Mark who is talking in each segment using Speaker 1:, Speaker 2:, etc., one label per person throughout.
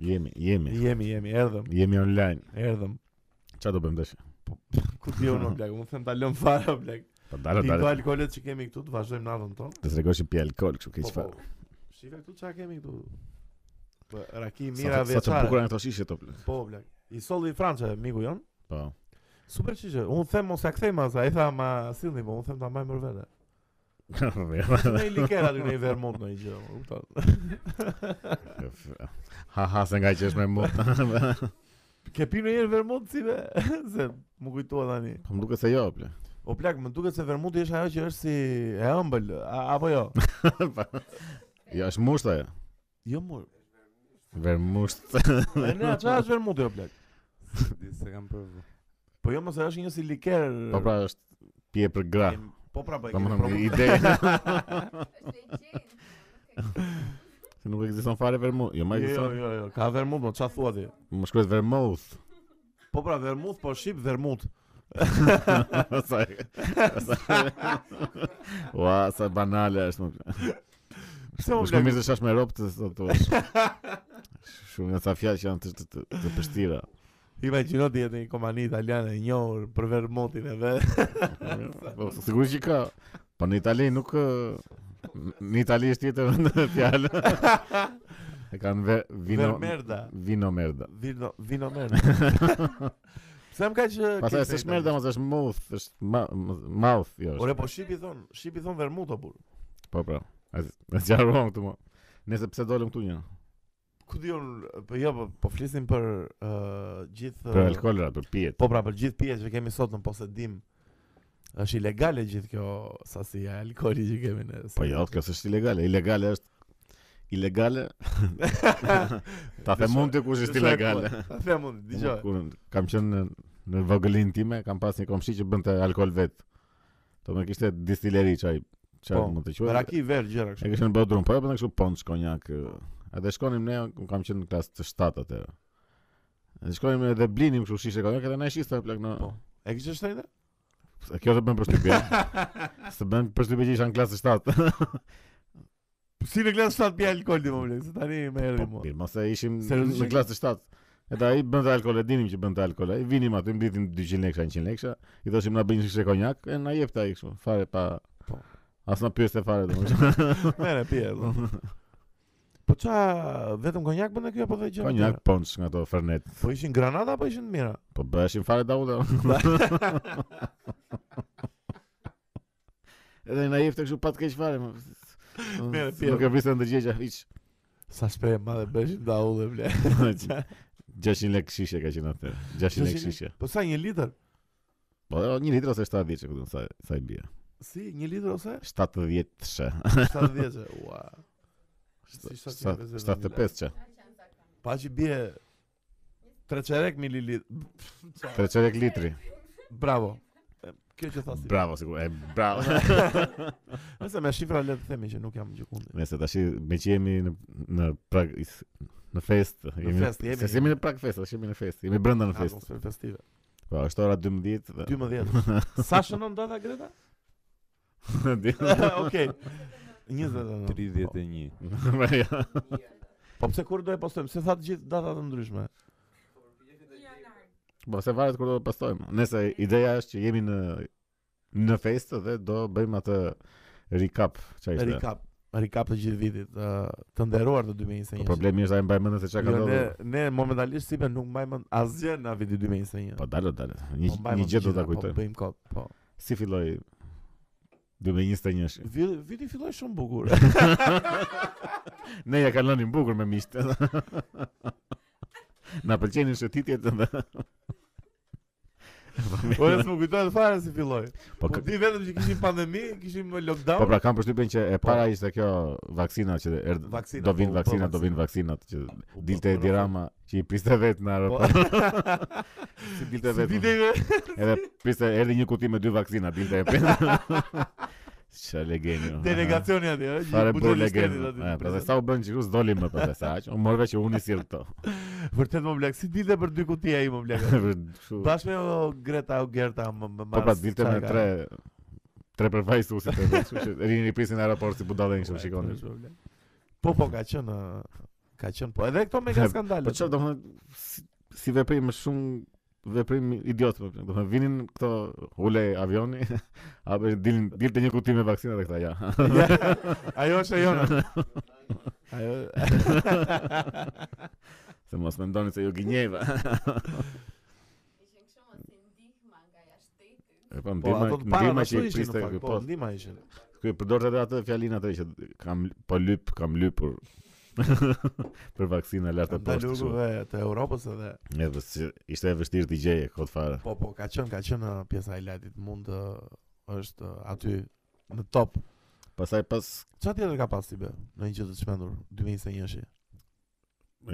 Speaker 1: Jemi, jemi.
Speaker 2: Jemi, jemi, erdhëm,
Speaker 1: Jemi online.
Speaker 2: erdhëm.
Speaker 1: Çfarë do bëjmë tash?
Speaker 2: Ku diu më plak, unë them ta lëm fare plak.
Speaker 1: Po dalë,
Speaker 2: Ti do
Speaker 1: dalë.
Speaker 2: alkoolet që kemi këtu, të vazhdojmë natën tonë.
Speaker 1: Të tregosh pi alkool, kështu keq
Speaker 2: Po,
Speaker 1: fare.
Speaker 2: po. Shive këtu çka kemi këtu? Po, raki
Speaker 1: Sa-
Speaker 2: mira
Speaker 1: Sa të bukura
Speaker 2: veçare.
Speaker 1: janë ato shishe to. plak.
Speaker 2: Po, plak. I solli Franca miku jon.
Speaker 1: Po.
Speaker 2: Super çishë. Unë them mos ja kthej masa, ai tha ma sillni, po unë them ta mbaj mër vete. Ne i liker aty në i vermont në i gjë, më kupton.
Speaker 1: Ha ha, se nga që është me mut.
Speaker 2: Ke pi në herë vermont si be? se më kujtoa tani.
Speaker 1: Po më duket se jo, ple.
Speaker 2: O plak, më duket se vermuti është ajo që është si e ëmbël, a- apo jo?
Speaker 1: Jo, është musht ajo.
Speaker 2: Jo mor.
Speaker 1: Ver musht.
Speaker 2: E ne çfarë është vermuti o plak?
Speaker 3: Di se kam provu.
Speaker 2: jo, Po jo mos e është një si liker.
Speaker 1: Po pra është pije për gra.
Speaker 2: Kem- Po pra, po e kemi
Speaker 1: Domethënë
Speaker 2: provu.
Speaker 1: ide. Se nuk ekziston fare vermouth. Jo, më
Speaker 2: Jo,
Speaker 1: ekziston.
Speaker 2: jo, jo, ka vermut, po çfarë thua ti?
Speaker 1: Më shkruhet vermouth.
Speaker 2: Po pra, vermut, po shqip vermut.
Speaker 1: Sa. sa- Ua, sa banale është. më-
Speaker 2: Pse o
Speaker 1: Më shumë
Speaker 2: plak?
Speaker 1: mirë të shash me ropë të sot të Shumë nga sa fjalë që janë të, të, të, të pështira
Speaker 2: Imagjino ti jetë në një kompani italiane e njohur për vermutin e vet.
Speaker 1: Po, Sigurisht që ka Po në Itali nuk ë, Në Itali është tjetër në fjalë E kanë ve, vino
Speaker 2: Vermerda.
Speaker 1: Vino merda
Speaker 2: Vino vino merda. Pse më ka që
Speaker 1: Pastaj s'është merda, mos është mouth, është ma- mouth, jo. është-
Speaker 2: jo. Ore po shqipi thon, shqipi thon vermut o bur.
Speaker 1: po po. Ne zgjaruam këtu mo. Nëse pse dolëm këtu një.
Speaker 2: Ku diun, po jo, po, po flisim për uh, gjithë
Speaker 1: Për alkoolra, për pijet.
Speaker 2: Po pra për gjithë pijet që kemi sot në posedim. Është ilegale gjithë kjo sasi e alkoolit që kemi ne.
Speaker 1: Po jo, kjo s'është ilegale, ilegale është ilegale. Ta them unë të kush është ilegale.
Speaker 2: Ta them unë, dëgjoj.
Speaker 1: Kur kam qenë në, në vogëlin time, kam pas një komshi që bënte alkool vet. Do më kishte distilleri çaj, çaj
Speaker 2: Po,
Speaker 1: mund të quaj.
Speaker 2: Raki ver gjëra
Speaker 1: E
Speaker 2: kështu.
Speaker 1: kishin në Bodrum, po e bënte kështu pont shkonjak. ë. Edhe shkonim ne, unë kam qenë në klasë të 7 atëherë. Edhe shkonim edhe blinim kështu shishe konjak, edhe na shiste plak në.
Speaker 2: Po. E kishe shtënë?
Speaker 1: Se Kjo të bën përshtypje. Se bën përshtypje që isha në klasë të 7.
Speaker 2: Po Si në klasë 7 pija alkool ti më blek, se tani më erdhi
Speaker 1: Po,
Speaker 2: mua.
Speaker 1: mirë, mos e ishim
Speaker 2: Seriozisht
Speaker 1: në
Speaker 2: e-
Speaker 1: klasë të 7. Edhe ai bënte alkool, e dinim që bënte alkool. Ai vinim aty mbitin 200 lekësha, 100 lekësha. I thoshim na bëjnë shishe konjak, e na jepte ai kështu, fare pa
Speaker 2: Po.
Speaker 1: As na pyeste fare domosdoshmë.
Speaker 2: Merë pije. do. Po qa, vetëm konjak bënte kjo apo dhe gjë?
Speaker 1: Konjak ponç nga ato fernet.
Speaker 2: Po ishin granada apo ishin të mira?
Speaker 1: Po bëheshin fare dauda. Edhe na jepte kështu pa të keq fare. mo.
Speaker 2: Mirë, pje.
Speaker 1: Nuk e vriste ndërgjegja hiç.
Speaker 2: Sa shpejt madhe bëshin da ullë e ble.
Speaker 1: 600 lekë shishe ka qenë atë. 600 lekë
Speaker 2: 600
Speaker 1: shishe.
Speaker 2: Po sa një litër?
Speaker 1: Po 1 litër ose 70 që këtu sa sa i bie.
Speaker 2: Si, një litër ose?
Speaker 1: 70 she.
Speaker 2: 70 që, ua. Si 750
Speaker 1: 75 që.
Speaker 2: Pa që bje 300 mililit.
Speaker 1: Tre çelek litri.
Speaker 2: Bravo. E, Kjo që thasi.
Speaker 1: Bravo sigur. E bravo.
Speaker 2: Nëse me shifra le të themi që nuk jam gjikundi.
Speaker 1: Nëse tash me që jemi në në prag is- në fest, jemi
Speaker 2: fest, jemi. Ah,
Speaker 1: Se jemi në prag fest, tash jemi në fest, jemi brenda në fest.
Speaker 2: Atmosferë festive.
Speaker 1: Po, është ora 12 dhe
Speaker 2: 12. Sa shënon data Greta? Okej. 29.
Speaker 3: 31.
Speaker 1: Ja.
Speaker 2: Po pse kur do e postojmë? Se tha të gjithë data të ndryshme.
Speaker 1: Po se varet kur do të pastojmë. Nëse ideja është që jemi në në fest dhe do bëjmë atë recap çfarë ishte.
Speaker 2: Recap, recap të gjithë vitit, ë, të nderuar të 2021.
Speaker 1: Po problemi është ai mbaj mend se çka ka
Speaker 2: Jo, ne,
Speaker 1: ndodhur.
Speaker 2: ne momentalisht sipe nuk mbajmë mend asgjë nga viti 2021.
Speaker 1: Po dalo dalo.
Speaker 2: Po
Speaker 1: Një
Speaker 2: mbajmë
Speaker 1: një gjë do
Speaker 2: gjitha,
Speaker 1: ta kujtojmë.
Speaker 2: Po bëjmë kot, po.
Speaker 1: Si filloi 2021?
Speaker 2: Vi- Viti filloi shumë bukur.
Speaker 1: Ne ja kalonim bukur me miqtë. Na pëlqenin shëtitjet dhe
Speaker 2: Po e s'më kujtohet fare si filloi.
Speaker 1: po,
Speaker 2: Po
Speaker 1: kë-
Speaker 2: di vetëm që kishim pandemi, kishim lockdown.
Speaker 1: po pra kam përshtypjen që e
Speaker 2: Po.
Speaker 1: para ishte kjo vaksina që erdhi
Speaker 2: Vaksina,
Speaker 1: do vinë
Speaker 2: po, po,
Speaker 1: vaksinat, do
Speaker 2: vaksina.
Speaker 1: vinë vaksinat që
Speaker 2: U bë,
Speaker 1: dilte
Speaker 2: po,
Speaker 1: Edi Rama që i priste vetë në aeroport. Si dilte
Speaker 2: Si viti
Speaker 1: vetë. Edhe priste erdhi një kuti me dy vaksina, dilte e priste. Çfarë legjeni. o.
Speaker 2: delegacioni aty, ëh, që
Speaker 1: Ah, Fare
Speaker 2: i
Speaker 1: bur
Speaker 2: butën i shtetit
Speaker 1: legjeni.
Speaker 2: aty.
Speaker 1: Po dhe sa u bën çikus doli më pas sa aq. U morve që unë i sill këto.
Speaker 2: Vërtet më blek, si dilte për dy kutia ai më blek.
Speaker 1: Kështu.
Speaker 2: Bashkë me o Greta o Gerta më më
Speaker 1: Po pra
Speaker 2: mas,
Speaker 1: dilte me
Speaker 2: çfarë ka?
Speaker 1: tre tre përfaqësuesit e vetë, po kështu që rini prisin në aeroport si budallë kështu
Speaker 2: Ua,
Speaker 1: shikonin.
Speaker 2: kështu, bla. Po po ka qenë ë, Ka qenë po. Edhe këto mega skandale.
Speaker 1: Po çfarë domethënë si, si veprim më shumë veprim idiot më plak. Domethënë vinin këto ule avioni, apo dilin dilte një kuti me vaksina dhe këta ja.
Speaker 2: Ja, Ajo është e jona. Ajo
Speaker 1: se mos mendoni se ju gënjeva. E pa
Speaker 2: Po
Speaker 1: ndihma,
Speaker 2: ato të para
Speaker 1: ndihma
Speaker 2: ashtu
Speaker 1: që i
Speaker 2: ishin në
Speaker 1: priste
Speaker 2: fakt,
Speaker 1: kë
Speaker 2: po
Speaker 1: po.
Speaker 2: ndihma ishin.
Speaker 1: Kë përdorte edhe atë fjalin atë që kam po lyp, kam lypur. për vaksina lart e
Speaker 2: Kam
Speaker 1: poshtë.
Speaker 2: dalur
Speaker 1: kështu.
Speaker 2: dhe të Europës edhe
Speaker 1: Edhe si- ishte e vështirë t'i gjeje kot fare.
Speaker 2: po po ka qenë ka qenë uh, pjesa e lajtit mund të është uh, aty në top.
Speaker 1: Pastaj pas
Speaker 2: Çfarë tjetër ka pas ti be? Në një gjë të çmendur 2021-shi.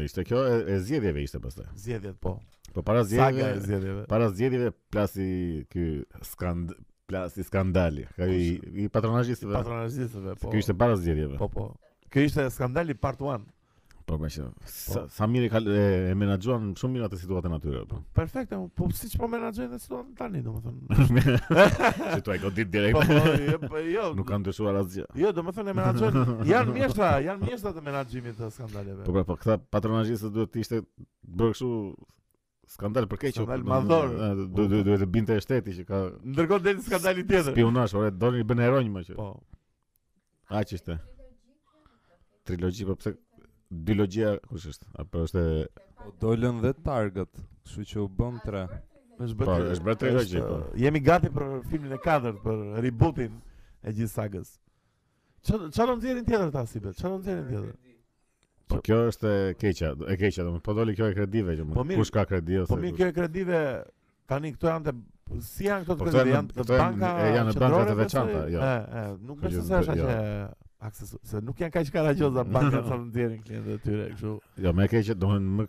Speaker 1: ishte kjo e, e zgjedhjeve ishte pastaj.
Speaker 2: Zgjedhjet po.
Speaker 1: Po para
Speaker 2: Saga e
Speaker 1: zgjedhjeve,
Speaker 2: zgjedhjeve.
Speaker 1: para zgjedhjeve plasi ky skand plasi skandali. Ka i, i patronazhistëve.
Speaker 2: Patronazhistëve po.
Speaker 1: Ky ishte para zgjedhjeve.
Speaker 2: po po. Ky ishte skandali part 1.
Speaker 1: Po më shë. Sa, sa mirë e ka e, e menaxhuan shumë mirë atë situatën atyre. Po.
Speaker 2: Perfekt, e, po siç po menaxhojnë situatën tani domethënë.
Speaker 1: Se tu ai godit direkt.
Speaker 2: Po po, jo, po, jo.
Speaker 1: Nuk kanë dëshuar asgjë.
Speaker 2: Jo, domethënë e menaxhojnë. Janë mjeshtra, janë mjeshtra të menaxhimit të skandaleve.
Speaker 1: Po pra, po këta patronazhistë duhet të ishte bërë kështu skandal për keq.
Speaker 2: Skandal
Speaker 1: do-
Speaker 2: madhor.
Speaker 1: do- do- do- Duhet të binte shteti që ka
Speaker 2: Ndërkohë del skandali tjetër.
Speaker 1: spionash, ore doni bën heronj më që.
Speaker 2: Po.
Speaker 1: Aq ishte. Trilogji, po pse biologjia kush është? Apo është e-
Speaker 3: Po dolën dhe target, kështu që u bën tre.
Speaker 2: Është
Speaker 1: Po, është bërë trilogji,
Speaker 2: është,
Speaker 1: po.
Speaker 2: uh, Jemi gati për filmin e katërt, për rebootin e gjithë sagës. Çfarë çfarë do nxjerrin tjetër ta si bet? Çfarë do nxjerrin tjetër?
Speaker 1: Po kjo është e keqja, e keqja domun. Po doli kjo e kredive që mund.
Speaker 2: Po mirë,
Speaker 1: kush ka kredi ose
Speaker 2: Po mirë, kjo e kredive tani këto janë të si janë këto
Speaker 1: Po,
Speaker 2: të
Speaker 1: këto
Speaker 2: kredive
Speaker 1: janë-
Speaker 2: janë të
Speaker 1: këto janë-
Speaker 2: banka
Speaker 1: e janë në bankat e
Speaker 2: qendrore, besoj?
Speaker 1: veçanta, jo.
Speaker 2: E, e, nuk
Speaker 1: Kjo jo.
Speaker 2: besoj
Speaker 1: gjë
Speaker 2: se është
Speaker 1: nuk-
Speaker 2: aq e aksesu, se nuk janë kaq karagjoza bankat sa të nxjerrin klientët e tyre kështu.
Speaker 1: Jo, më e keqja domun më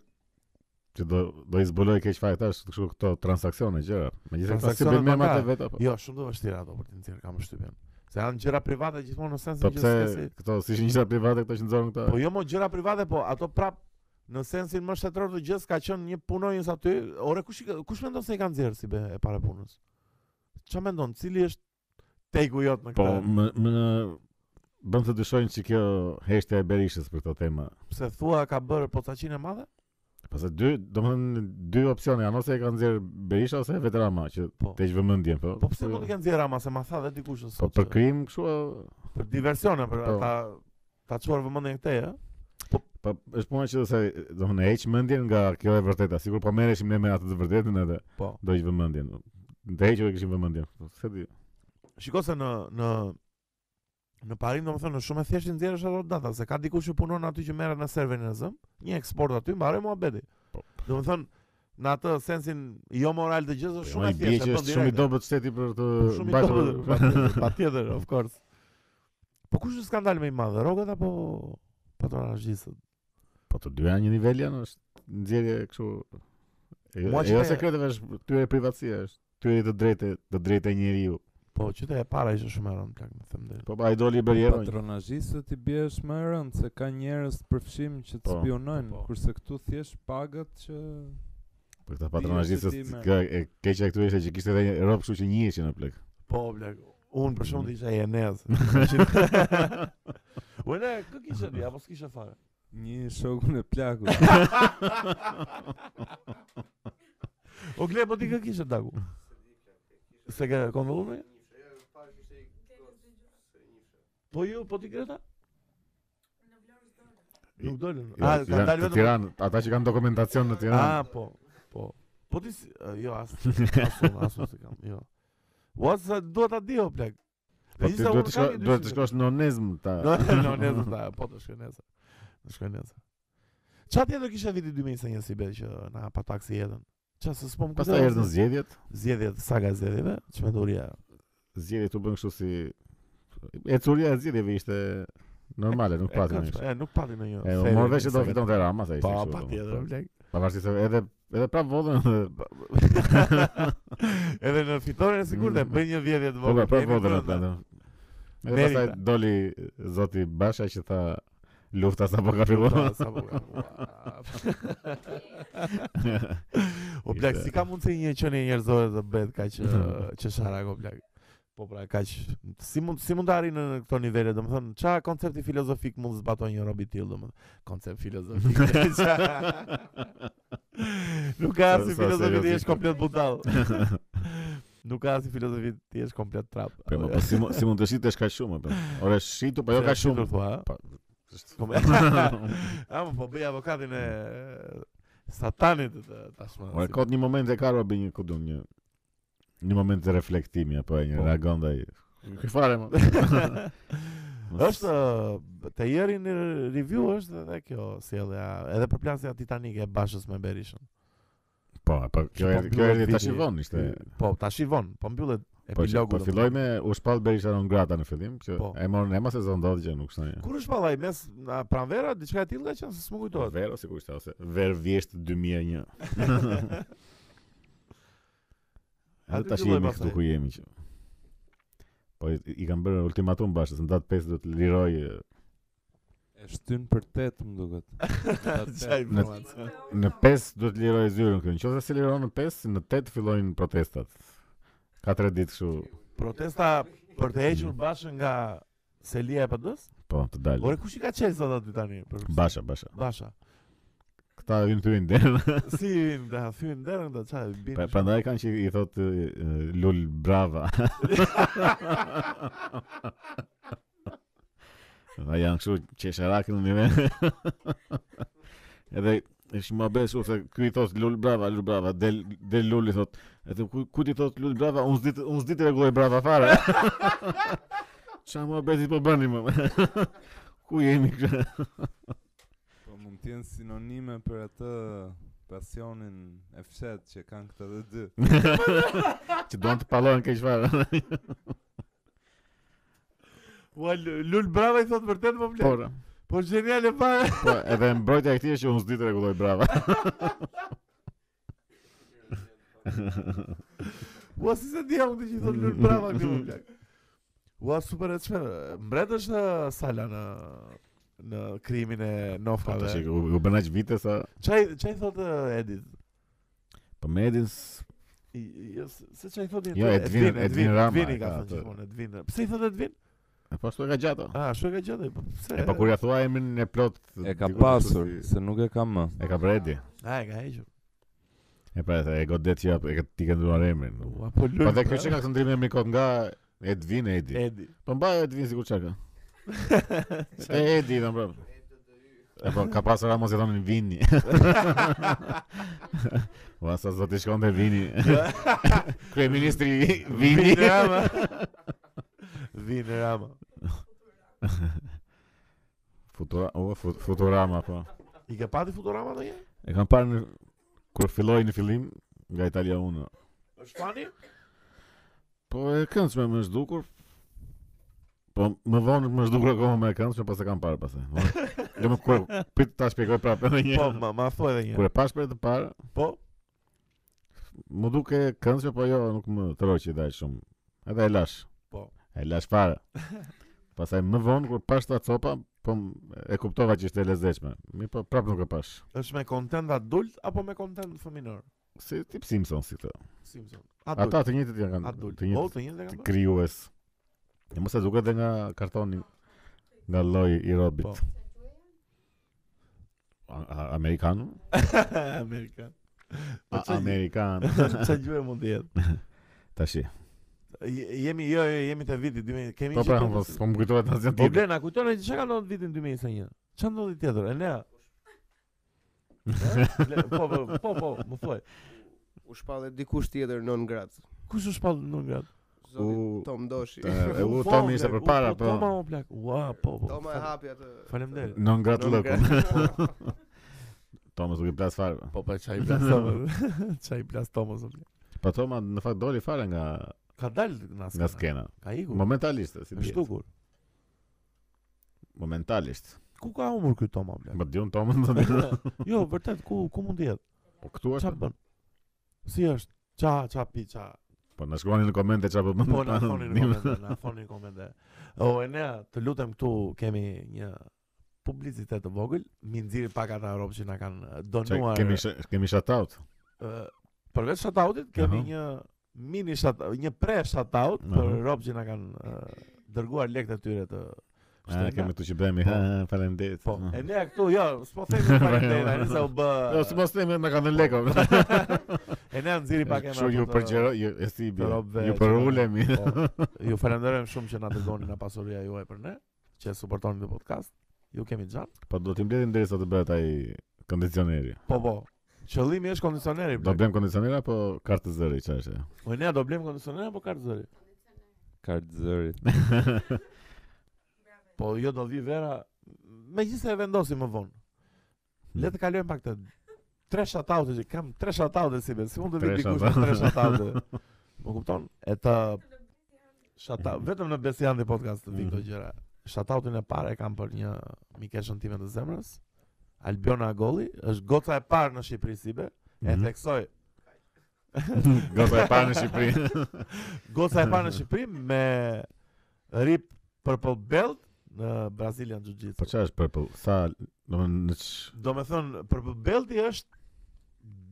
Speaker 1: që do do i zbuloj keq fare tash kështu këto transaksione gjëra. Megjithëse këta si
Speaker 2: Transaksionet
Speaker 1: bën me
Speaker 2: bankare.
Speaker 1: atë vetë po. apo.
Speaker 2: Jo, shumë të vështira ato për të nxjerrë kam përshtypjen. Se janë gjëra private gjithmonë
Speaker 1: Po
Speaker 2: në sensin që
Speaker 1: pse
Speaker 2: s'ke si-
Speaker 1: këto si ishin gjëra private këto që nxorën këta.
Speaker 2: Po jo mo gjëra private, po ato prap në sensin më shtetror të gjës ka qenë një punonjës aty. Ore kush i ka- kush mendon se i kanë nxjerrë si be e para punës? Çfarë mendon? Cili është take-u jot në
Speaker 1: Po
Speaker 2: këtë?
Speaker 1: më më bën të dyshojnë që kjo heshtja e Berishës për këtë temë.
Speaker 2: Pse thua ka bërë pocaçin e madhe?
Speaker 1: Pastaj dy, domethënë dy opsione, janë ose e kanë nxjerr Berisha ose vetë Rama që
Speaker 2: Po.
Speaker 1: teq vëmendjen, po.
Speaker 2: Po pse mund të kenë nxjerrë ama se ma tha dhe dikush se
Speaker 1: Po për krim kështu a-
Speaker 2: për diversione për
Speaker 1: Po.
Speaker 2: ta ta çuar vëmendjen këtej, ë?
Speaker 1: Po është puna që se do të heq mendjen nga kjo e vërteta. Sigur po merreshim ne me atë të vërtetën edhe
Speaker 2: Po.
Speaker 1: do të vëmendjen. Të hequr e kishim vëmendjen. Po, Se di.
Speaker 2: Shiko se në në në Parim domethënë është shumë e thjeshtë nxjerrësh ato data, se ka dikush që punon aty që merret në serverin e zëm, një eksport aty mbaroi muhabeti.
Speaker 1: Po.
Speaker 2: Domethënë në atë sensin jo moral të gjës
Speaker 1: Po,
Speaker 2: është
Speaker 1: ma
Speaker 2: shumë
Speaker 1: i
Speaker 2: e
Speaker 1: bie
Speaker 2: thjeshtë.
Speaker 1: që
Speaker 2: e bën
Speaker 1: është shumë i
Speaker 2: direkte.
Speaker 1: dobët shteti për të
Speaker 2: Shumë i
Speaker 1: mbajtur.
Speaker 2: dobët, patjetër, patjetër, of course. Po kush është skandal më i madh, rrogat apo patronazhistët?
Speaker 1: Po të dyja në një nivel janë është nxjerrje kështu. E
Speaker 2: Mua që
Speaker 1: jo
Speaker 2: me-
Speaker 1: sekreteve është tyre privatësia është. Tyre të drejtë, të drejtë e njeriu.
Speaker 2: Po, qytet e para ishte shumë e rëndë plak, më them drejt.
Speaker 1: Po ai doli i bëri heronj.
Speaker 3: Patronazhistët i biesh më e rëndë se ka njerëz të përfshim që të
Speaker 1: Po,
Speaker 3: spionojnë,
Speaker 2: po.
Speaker 3: kurse këtu thjesht pagët që
Speaker 1: Për Po, këta
Speaker 3: Bie se ti
Speaker 1: patronazhistës
Speaker 3: merr.
Speaker 1: kjo e keqja këtu ishte që kishte edhe një rob kështu që njiheshin në plek.
Speaker 2: Po, plak. Unë për shkak të isha i Enez. Unë kë kishe di apo s'kishe fare?
Speaker 3: një shokun e plakut.
Speaker 2: O gle, po ti kë kishe daku? Se ke konvollu në? Po ju, po ti kreta? Nuk dolën. A, Ah, ka
Speaker 1: Janë
Speaker 2: dalë
Speaker 1: të
Speaker 2: vetëm-
Speaker 1: Tiranë, ata që kanë dokumentacion në
Speaker 2: Ah,
Speaker 1: Tiranë.
Speaker 2: po. Po. Po ti si- eh, jo as asun, asun se kam, jo. Ua, sa duhet ta di o plak.
Speaker 1: Po ti duhet të shkosh, duhet të shkosh në onezm ta.
Speaker 2: No, no, nesër ta, po të shkoj nesër. Të shkoj nesër. Çfarë tjetër kisha viti 2021 si be që na pa taksi jetën? Çfarë se s'po më
Speaker 1: Pastaj
Speaker 2: kujtohet,
Speaker 1: erdhën zgjedhjet.
Speaker 2: zgjedhjet, saga e zgjedhjeve, çmenduria.
Speaker 1: Zgjedhjet u bën kështu si e curia e zgjedhjeve ishte normale, nuk
Speaker 2: E,
Speaker 1: pati
Speaker 2: ka-
Speaker 1: më.
Speaker 2: E, nuk pati në një.
Speaker 1: E
Speaker 2: seri,
Speaker 1: morë vesh
Speaker 2: në
Speaker 1: që do
Speaker 2: saga.
Speaker 1: fiton te Rama sa ishte.
Speaker 2: Po,
Speaker 1: kështu,
Speaker 2: patjetër,
Speaker 1: po.
Speaker 2: blek.
Speaker 1: Pavarësisht se edhe edhe prap votën. edhe-
Speaker 2: Edhe në fitoren e sigurt e
Speaker 1: Mm.
Speaker 2: bëj një dhjetë të
Speaker 1: Po
Speaker 2: vogël.
Speaker 1: pra, prap
Speaker 2: jemi
Speaker 1: votën
Speaker 2: brenda.
Speaker 1: atë. Edhe
Speaker 2: Merita.
Speaker 1: pastaj doli zoti Basha që tha lufta sapo ka filluar.
Speaker 2: Ua, sa po ka- ua. Po, eh, O blek, si ka mundësi një qenie njerëzore të bëhet kaq ë, qeshara o blek? Po pra kaq si mund si mund të arrijnë në këto nivele, domethënë ç'a koncepti filozofik mund të zbatojë një rob i tillë domethënë. Koncept filozofik. qa- Nuk ka
Speaker 1: Sa-
Speaker 2: asnjë
Speaker 1: sa
Speaker 2: filozofi ti
Speaker 1: seriozisht.
Speaker 2: jesh komplet butall. Nuk ka asnjë filozofi ti jesh komplet trap. Eh,
Speaker 1: Po më po si, mu- si mund të shitesh kaq shumë apo? Ora shitu, po jo
Speaker 2: Se
Speaker 1: ka
Speaker 2: ashtu
Speaker 1: shumë.
Speaker 2: do Thua,
Speaker 1: Po.
Speaker 2: Kom- A më po bëj avokatin e eh, satanit të- tashmë.
Speaker 1: Ora
Speaker 2: si-
Speaker 1: kot një moment e ka robi një ku dun një një moment të reflektimi apo e një
Speaker 2: Po.
Speaker 1: reagon ndaj. Kë fare më.
Speaker 2: është ë, te jeri në review është edhe kjo sjellja, edhe përplasja titanike e bashës me Berishën.
Speaker 1: Po, po kjo
Speaker 2: Po,
Speaker 1: erdhi- kjo erdhi
Speaker 2: mbyllet
Speaker 1: tash i
Speaker 2: viti.
Speaker 1: vonë ishte.
Speaker 2: Po, tash i vonë, po mbyllet
Speaker 1: Po, që-
Speaker 2: epilogu.
Speaker 1: po
Speaker 2: domethënë.
Speaker 1: filloj me u shpall Berisha në Grata në fillim, që
Speaker 2: Po.
Speaker 1: e morën ema se zon ndodhi që nuk shtaj.
Speaker 2: Kur është pallaj mes na pranvera diçka e tillë ka qenë se s'më kujtohet.
Speaker 1: Vero sikur ishte ose Ver vjesht 2001.
Speaker 2: A
Speaker 1: Edhe
Speaker 2: ti
Speaker 1: tash
Speaker 2: filloj
Speaker 1: jemi
Speaker 2: pastaj.
Speaker 1: këtu ku jemi që. Po i, i kanë bërë ultimatum bashkë, se në datë 5 do të liroj e,
Speaker 3: E shtyn për 8 më duket.
Speaker 2: Çaj informacion.
Speaker 1: në 5 do të liroj zyrën këtu. Nëse se liron në 5, në 8 fillojnë protestat. 4 ditë kështu,
Speaker 2: Protesta për të hequr bashën nga Selia e PD-s?
Speaker 1: po, të dalë.
Speaker 2: Ore kush i ka qenë sot aty tani? Për...
Speaker 1: Basha, basha.
Speaker 2: Basha.
Speaker 1: Këta hyn të hyjnë derën.
Speaker 2: Si vin ta thyen derën ta çaj bin.
Speaker 1: Pra- Prandaj kanë që i thot e, e, Lul Brava. Ata janë kështu qesharak në nivel. Edhe është më besu se ky i thot Lul Brava, Lul Brava, del del Lul i thot, edhe ku ku ti thot Lul Brava, unë s'di unë s'di të rregulloj Brava fare. Çfarë më bezi po bëni më? ku jemi kështu?
Speaker 3: Po mund të jenë sinonime për atë pasionin e fshet që kanë këta dhe dy.
Speaker 1: Që duan të pallohen keq fare.
Speaker 2: Ua Lul Brava i thot vërtet po
Speaker 1: Po,
Speaker 2: flet. Po geniale fare.
Speaker 1: po, edhe mbrojtja e këtij është që unë s'di të rregulloj Brava.
Speaker 2: Ua si se dia unë që i thot Lul Brava këtu më plak. Ua super e çfarë? Mbret është ë, sala në në krimin e
Speaker 1: Po tash
Speaker 2: nofkave.
Speaker 1: u, u bën aq vite sa
Speaker 2: Çaj çaj thot ë, Edit?
Speaker 1: po me Edin s-
Speaker 2: I- i- Jo, se- se çai thotë
Speaker 1: Jo, Edvin- Edvin Rama
Speaker 2: Edvin i
Speaker 1: e
Speaker 2: ka
Speaker 1: ka
Speaker 2: thënë
Speaker 1: atë.
Speaker 2: gjithmonë Edvin. Pse i thotë Edvin?
Speaker 1: e po ashtu e ka gjatë. o.
Speaker 2: Ah, ashtu e ka gjetur. po Pse?
Speaker 1: E po kur ja thua emrin e plot
Speaker 3: E ka
Speaker 1: diku
Speaker 3: pasur,
Speaker 1: kështu si-
Speaker 3: se nuk e ka më.
Speaker 1: E ka për Edi.
Speaker 2: Ah, e ka hequr.
Speaker 1: E pra e godet që jap- e ka ti ke ndruar emrin.
Speaker 2: Ua, po lul.
Speaker 1: Po dhe kjo që ka këtë ndrim emri kot nga Edvin Edi.
Speaker 2: Edi.
Speaker 1: Po mbaj Edvin sikur çka ka. E Edi do mbrëm. E po ka pasur Ramos e thonin Vini. Po, Ua sa zoti shkonte Vini. Kryeministri Vini.
Speaker 2: Vin Rama. Vin Rama.
Speaker 1: Futura, o, fut- Futurama po.
Speaker 2: I ka pati Futurama do një?
Speaker 1: E kam parë në kur filloi në fillim nga Italia 1.
Speaker 2: Është fani?
Speaker 1: Po e këndshme më është dukur. Po më vonë më është dukur akoma më e këndshme pas e kam parë pastaj. Po, Do më kur prit ta shpjegoj prapë edhe një.
Speaker 2: Po, ma, ma thua edhe një.
Speaker 1: kur e pash për të parë,
Speaker 2: Po,
Speaker 1: më duke e këndshme, po jo, nuk më tërhoqi daj shumë. Edhe e lash.
Speaker 2: Po.
Speaker 1: E lash fare. Pastaj më vonë kur pash ta copa, po m- e kuptova që ishte e lezetshme. Mi po prapë nuk e pash.
Speaker 2: është me kontent adult apo me kontent fëminor?
Speaker 1: Si tip Simpson si këto.
Speaker 2: Simpson. Adult.
Speaker 1: Ata të njëjtit janë kanë.
Speaker 2: adult.
Speaker 1: Të
Speaker 2: Po, O,
Speaker 1: njëjtit.
Speaker 2: të njëjtë e kam
Speaker 1: të
Speaker 2: bërë.
Speaker 1: krijues. E mos e duket edhe nga kartoni nga lloji i robit.
Speaker 2: Po.
Speaker 1: A- a- Amerikan?
Speaker 2: Amerikan. Po
Speaker 1: A-
Speaker 2: çaj-
Speaker 1: Amerikan.
Speaker 2: Çfarë gjë mund të jetë?
Speaker 1: Tashi.
Speaker 2: Je- Jemi jo, jo, jemi te viti 2000. Kemi
Speaker 1: Po
Speaker 2: që
Speaker 1: pra,
Speaker 2: të-
Speaker 1: po po më kujtohet asgjë
Speaker 2: Po
Speaker 1: tjetër.
Speaker 2: blen, a kujton e çka ka ndodhur vitin 2021? Ç'a ndodhi tjetër? Enea. Ble- po, po, po, po, më thuaj.
Speaker 4: U shpallet dikush tjetër non grat.
Speaker 2: Kush është pallë në grad?
Speaker 4: Zoti
Speaker 1: U-
Speaker 4: Tom Doshi.
Speaker 1: E, E u Tomi ishte përpara, po.
Speaker 2: Toma më plak. Ua, po, po.
Speaker 4: Toma e hapi atë.
Speaker 2: Faleminderit.
Speaker 1: Non grat
Speaker 4: Non
Speaker 1: lëku.
Speaker 4: grat.
Speaker 1: Tomas nuk i plas fare. po.
Speaker 2: Po, po, çaj plas Toma. Çaj plas Toma zot.
Speaker 1: Po Toma në fakt doli fare nga
Speaker 2: Ka dalë nga
Speaker 1: nga
Speaker 2: skena.
Speaker 1: skena.
Speaker 2: Ka ikur.
Speaker 1: Momentalisht, si
Speaker 2: Është
Speaker 1: dihet.
Speaker 2: dukur.
Speaker 1: Momentalisht.
Speaker 2: Ku ka humur ky Toma plak?
Speaker 1: Po diun Toma.
Speaker 2: Jo, vërtet ku ku mund të jetë?
Speaker 1: Po këtu
Speaker 2: Ç'a
Speaker 1: është.
Speaker 2: bën? Si është? Qa, qa pi, qa
Speaker 1: Po na shkruani në komente çfarë po.
Speaker 2: Po na thoni në komente, na thoni në komente. O Enea, të lutem këtu kemi një publicitet të vogël, mi nxirri pak ata rob që na kanë
Speaker 1: Çaj,
Speaker 2: donuar.
Speaker 1: Kemi sh- kemi shout out.
Speaker 2: ë, përveç shoutoutit kemi
Speaker 1: Aha.
Speaker 2: një mini shout një pre shout out për
Speaker 1: Aha.
Speaker 2: Rob që na kanë eh, dërguar lekët e tyre të
Speaker 1: A,
Speaker 2: kështu
Speaker 1: kemi
Speaker 2: nga-
Speaker 1: këtu që bëhemi, ha, faleminderit.
Speaker 2: Po,
Speaker 1: Ah.
Speaker 2: e ne këtu jo, s'po them se faleminderit, nëse u bë.
Speaker 1: Jo, si mos themi na kanë dhënë lekë.
Speaker 2: E ne nxiri Po, pak emra.
Speaker 1: Kështu ju
Speaker 2: po të-
Speaker 1: përgjero, ju e si bie.
Speaker 2: të robëve
Speaker 1: Ju
Speaker 2: që-
Speaker 1: përulemi.
Speaker 2: Po, ju falenderojmë shumë që na dërgoni nga pasuria juaj për ne, që e suportoni këtë podcast. Ju kemi xhan.
Speaker 1: Po do t'i mbledhim derisa të bëhet ai kondicioneri.
Speaker 2: Po po. Qëllimi është kondicioneri.
Speaker 1: Do
Speaker 2: blek.
Speaker 1: blem kondicioner apo kartë zëri, çfarë është?
Speaker 2: Po ne do blem po kondicioner apo kartë zëri?
Speaker 3: Kartë zërit.
Speaker 2: Po jo do vi vera. Megjithëse e vendosim më vonë.
Speaker 1: Hmm.
Speaker 2: Le të kalojmë pak të tre shataute që kam tre shataute si be, si mund të vi
Speaker 1: Tre
Speaker 2: dikush me tre shataute. Më kupton? E të shata vetëm në Besian dhe podcast të vi këto
Speaker 1: Mhm.
Speaker 2: gjëra. Shatautën e parë e kam për një mikeshën time të zemrës. Albiona Agolli është goca e parë në Shqipëri si be. E
Speaker 1: Mhm.
Speaker 2: theksoj.
Speaker 1: Goza e parë në Shqipëri.
Speaker 2: Goca e parë në Shqipëri me rip purple belt në Brazilian Jiu-Jitsu.
Speaker 1: Po çfarë është purple? Sa, domethënë në ç...
Speaker 2: Do me thënë, për belti është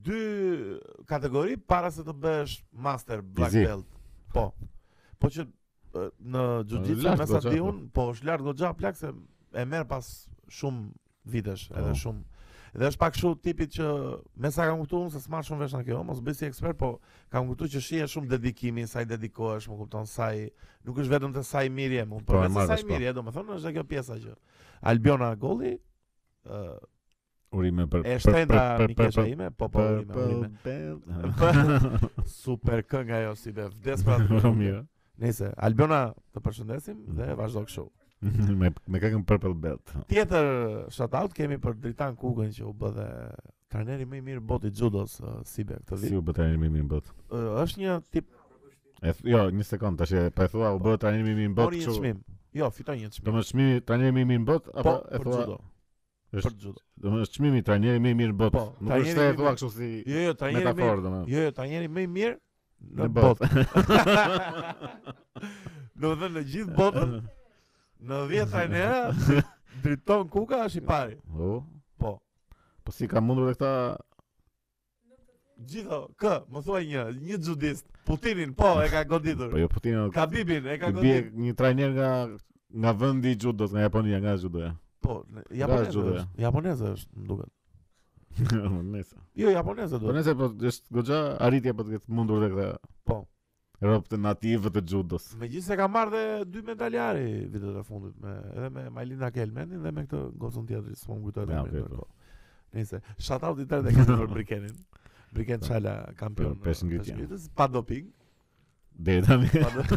Speaker 2: dy kategori para se të bësh master black
Speaker 1: Fizik.
Speaker 2: belt. Po. Po që e, në jiu-jitsu
Speaker 1: Lartë
Speaker 2: me sa
Speaker 1: goxha,
Speaker 2: di
Speaker 1: po.
Speaker 2: un, po është lart goxha plak se e merr pas shumë vitesh, edhe
Speaker 1: Po.
Speaker 2: shumë Dhe është pak shumë tipit që me sa kam kuptuar unë se s'marr shumë vesh në kjo, mos bëj si ekspert, po kam kuptuar që shihet shumë dedikimi, sa i dedikohesh, më kupton, sa i nuk është vetëm të sa i mirë je,
Speaker 1: Po,
Speaker 2: më
Speaker 1: e
Speaker 2: përveç se sa
Speaker 1: marrësh,
Speaker 2: i
Speaker 1: po.
Speaker 2: mirë je, domethënë është dhe kjo pjesa që Albiona Golli ë
Speaker 1: urime për
Speaker 2: E
Speaker 1: për-
Speaker 2: shtrenjta
Speaker 1: për- për- për-
Speaker 2: mikesha ime, po po
Speaker 1: për-
Speaker 2: urime,
Speaker 1: për-
Speaker 2: urime.
Speaker 1: për-
Speaker 2: Super kënga ajo si be, vdes pra. të-
Speaker 1: Mirë. Mm.
Speaker 2: Nëse Albiona të përshëndesim dhe vazhdo kështu.
Speaker 1: me me këngën Purple Belt.
Speaker 2: Tjetër shout out kemi për Dritan Kukën që u bë dhe trajneri më i mirë i botë i judos ë, si be këtë
Speaker 1: Si
Speaker 2: vit.
Speaker 1: u bë trajnimi im bot?
Speaker 2: Ë, Është një tip
Speaker 1: E, th- jo, një sekond, tash e- po e thua u bë trajnimi im bot.
Speaker 2: mori një
Speaker 1: kështu-
Speaker 2: çmim. Jo, fiton një çmim.
Speaker 1: Do më çmimi trajneri më i mirë në botë apo
Speaker 2: Po,
Speaker 1: e
Speaker 2: për
Speaker 1: thua?
Speaker 2: judo.
Speaker 1: është-
Speaker 2: Për judo.
Speaker 1: Do më çmimi trajneri më i mirë në botë.
Speaker 2: Po,
Speaker 1: Nuk
Speaker 2: trajneri
Speaker 1: është se
Speaker 2: më
Speaker 1: e
Speaker 2: i
Speaker 1: thua
Speaker 2: mirë-
Speaker 1: kështu si
Speaker 2: Jo, jo, trajneri më i-
Speaker 1: metaforë domethënë.
Speaker 2: Jo, jo, trajneri më i mirë
Speaker 1: Po.
Speaker 2: në
Speaker 1: Në
Speaker 2: botë. Do të thënë në gjithë botën në 10 trajnera driton Kuka është i pari.
Speaker 1: Po.
Speaker 2: Po.
Speaker 1: Po si ka mundur dhe këta
Speaker 2: Gjitho, kë, më thuaj një, një xudist. Putinin, po, e ka goditur.
Speaker 1: Po jo Putin
Speaker 2: Kabibin, e ka
Speaker 1: i bie
Speaker 2: goditur.
Speaker 1: një trajner nga nga vendi i judos, nga Japonia, nga judoja.
Speaker 2: Po, në- japoneze
Speaker 1: judo,
Speaker 2: është. Japoneze është, më
Speaker 1: Po
Speaker 2: duket.
Speaker 1: Nëse.
Speaker 2: Jo, japoneze
Speaker 1: Po
Speaker 2: duhet.
Speaker 1: nëse po është goxha arritja po të ketë mundur dhe këta.
Speaker 2: Po.
Speaker 1: Rob të nativë të judos.
Speaker 2: Me gjithë se ka marrë dhe dy medaljari vitet e fundit, me, edhe me Majlinda Kelmenin dhe me këtë gocën tjetër, s'po më kujtohet
Speaker 1: Ja,
Speaker 2: emrin
Speaker 1: okay,
Speaker 2: në
Speaker 1: po.
Speaker 2: kohë. Nëse, shataut i tërë dhe kanë për Brikenin. Briken Çala kampion
Speaker 1: Po, Për pesë
Speaker 2: e
Speaker 1: ngritje.
Speaker 2: pesëngritjes, pa doping.
Speaker 1: Deri tani.
Speaker 2: Pa do-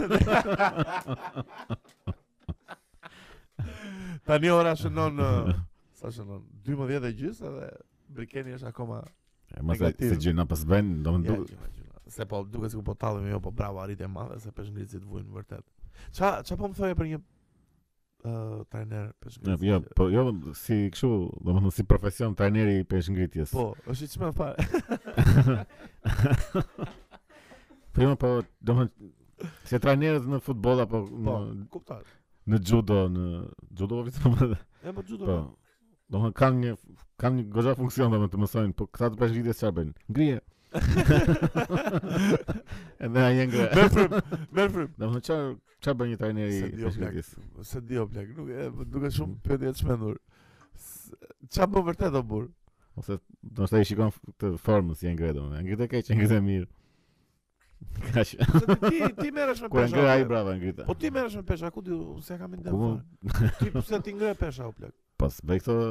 Speaker 2: Tani ora shënon ë, sa shënon 12 e gjys edhe Brikeni është akoma
Speaker 1: E, Mos e
Speaker 2: Negativ.
Speaker 1: se gjëna pas vend, do më
Speaker 2: ja,
Speaker 1: duket.
Speaker 2: gjuna, gjuna. se po duket sikur po tallemi jo, po bravo arritje e madhe se peshngritësit vujnë vërtet. Ça ça po më thoje për një ë trajner
Speaker 1: Ja,
Speaker 2: peshngritës?
Speaker 1: Jo, po jo si kështu, domethënë si profesion trajneri i peshngritjes.
Speaker 2: Po, është i çmë fare.
Speaker 1: Po jo, po domethënë se trajnerët në futboll apo
Speaker 2: Po,
Speaker 1: në,
Speaker 2: kuptoj.
Speaker 1: në judo, në judo vetëm
Speaker 2: E po çudo.
Speaker 1: Po. Do më kanë një kanë një goxha funksion domethënë të mësojnë, po këta të peshë çfarë bëjnë? Ngrije. Edhe ai ngre.
Speaker 2: Merr frym, merr frym.
Speaker 1: Domethënë çfarë çfarë bën një trajner i
Speaker 2: Se di o plak.
Speaker 1: peshëngritjes?
Speaker 2: Se di o plak, nuk e po duket shumë pyetje të çmendur. S- Ça po vërtet o burr?
Speaker 1: Ose do të i shikon f- të formën si e ngre domethënë. Ngritë keq, e ngritë mirë. Kaq.
Speaker 2: Se ti ti merresh me
Speaker 1: Kur e
Speaker 2: pesha.
Speaker 1: ngre ai
Speaker 2: o plak.
Speaker 1: brava ngritë.
Speaker 2: Po ti merresh me pesha, ku di unë se kam ide.
Speaker 1: Ku
Speaker 2: fare. Ti pse ti ngre pesha o plak?
Speaker 1: Pas bëj këto
Speaker 2: po,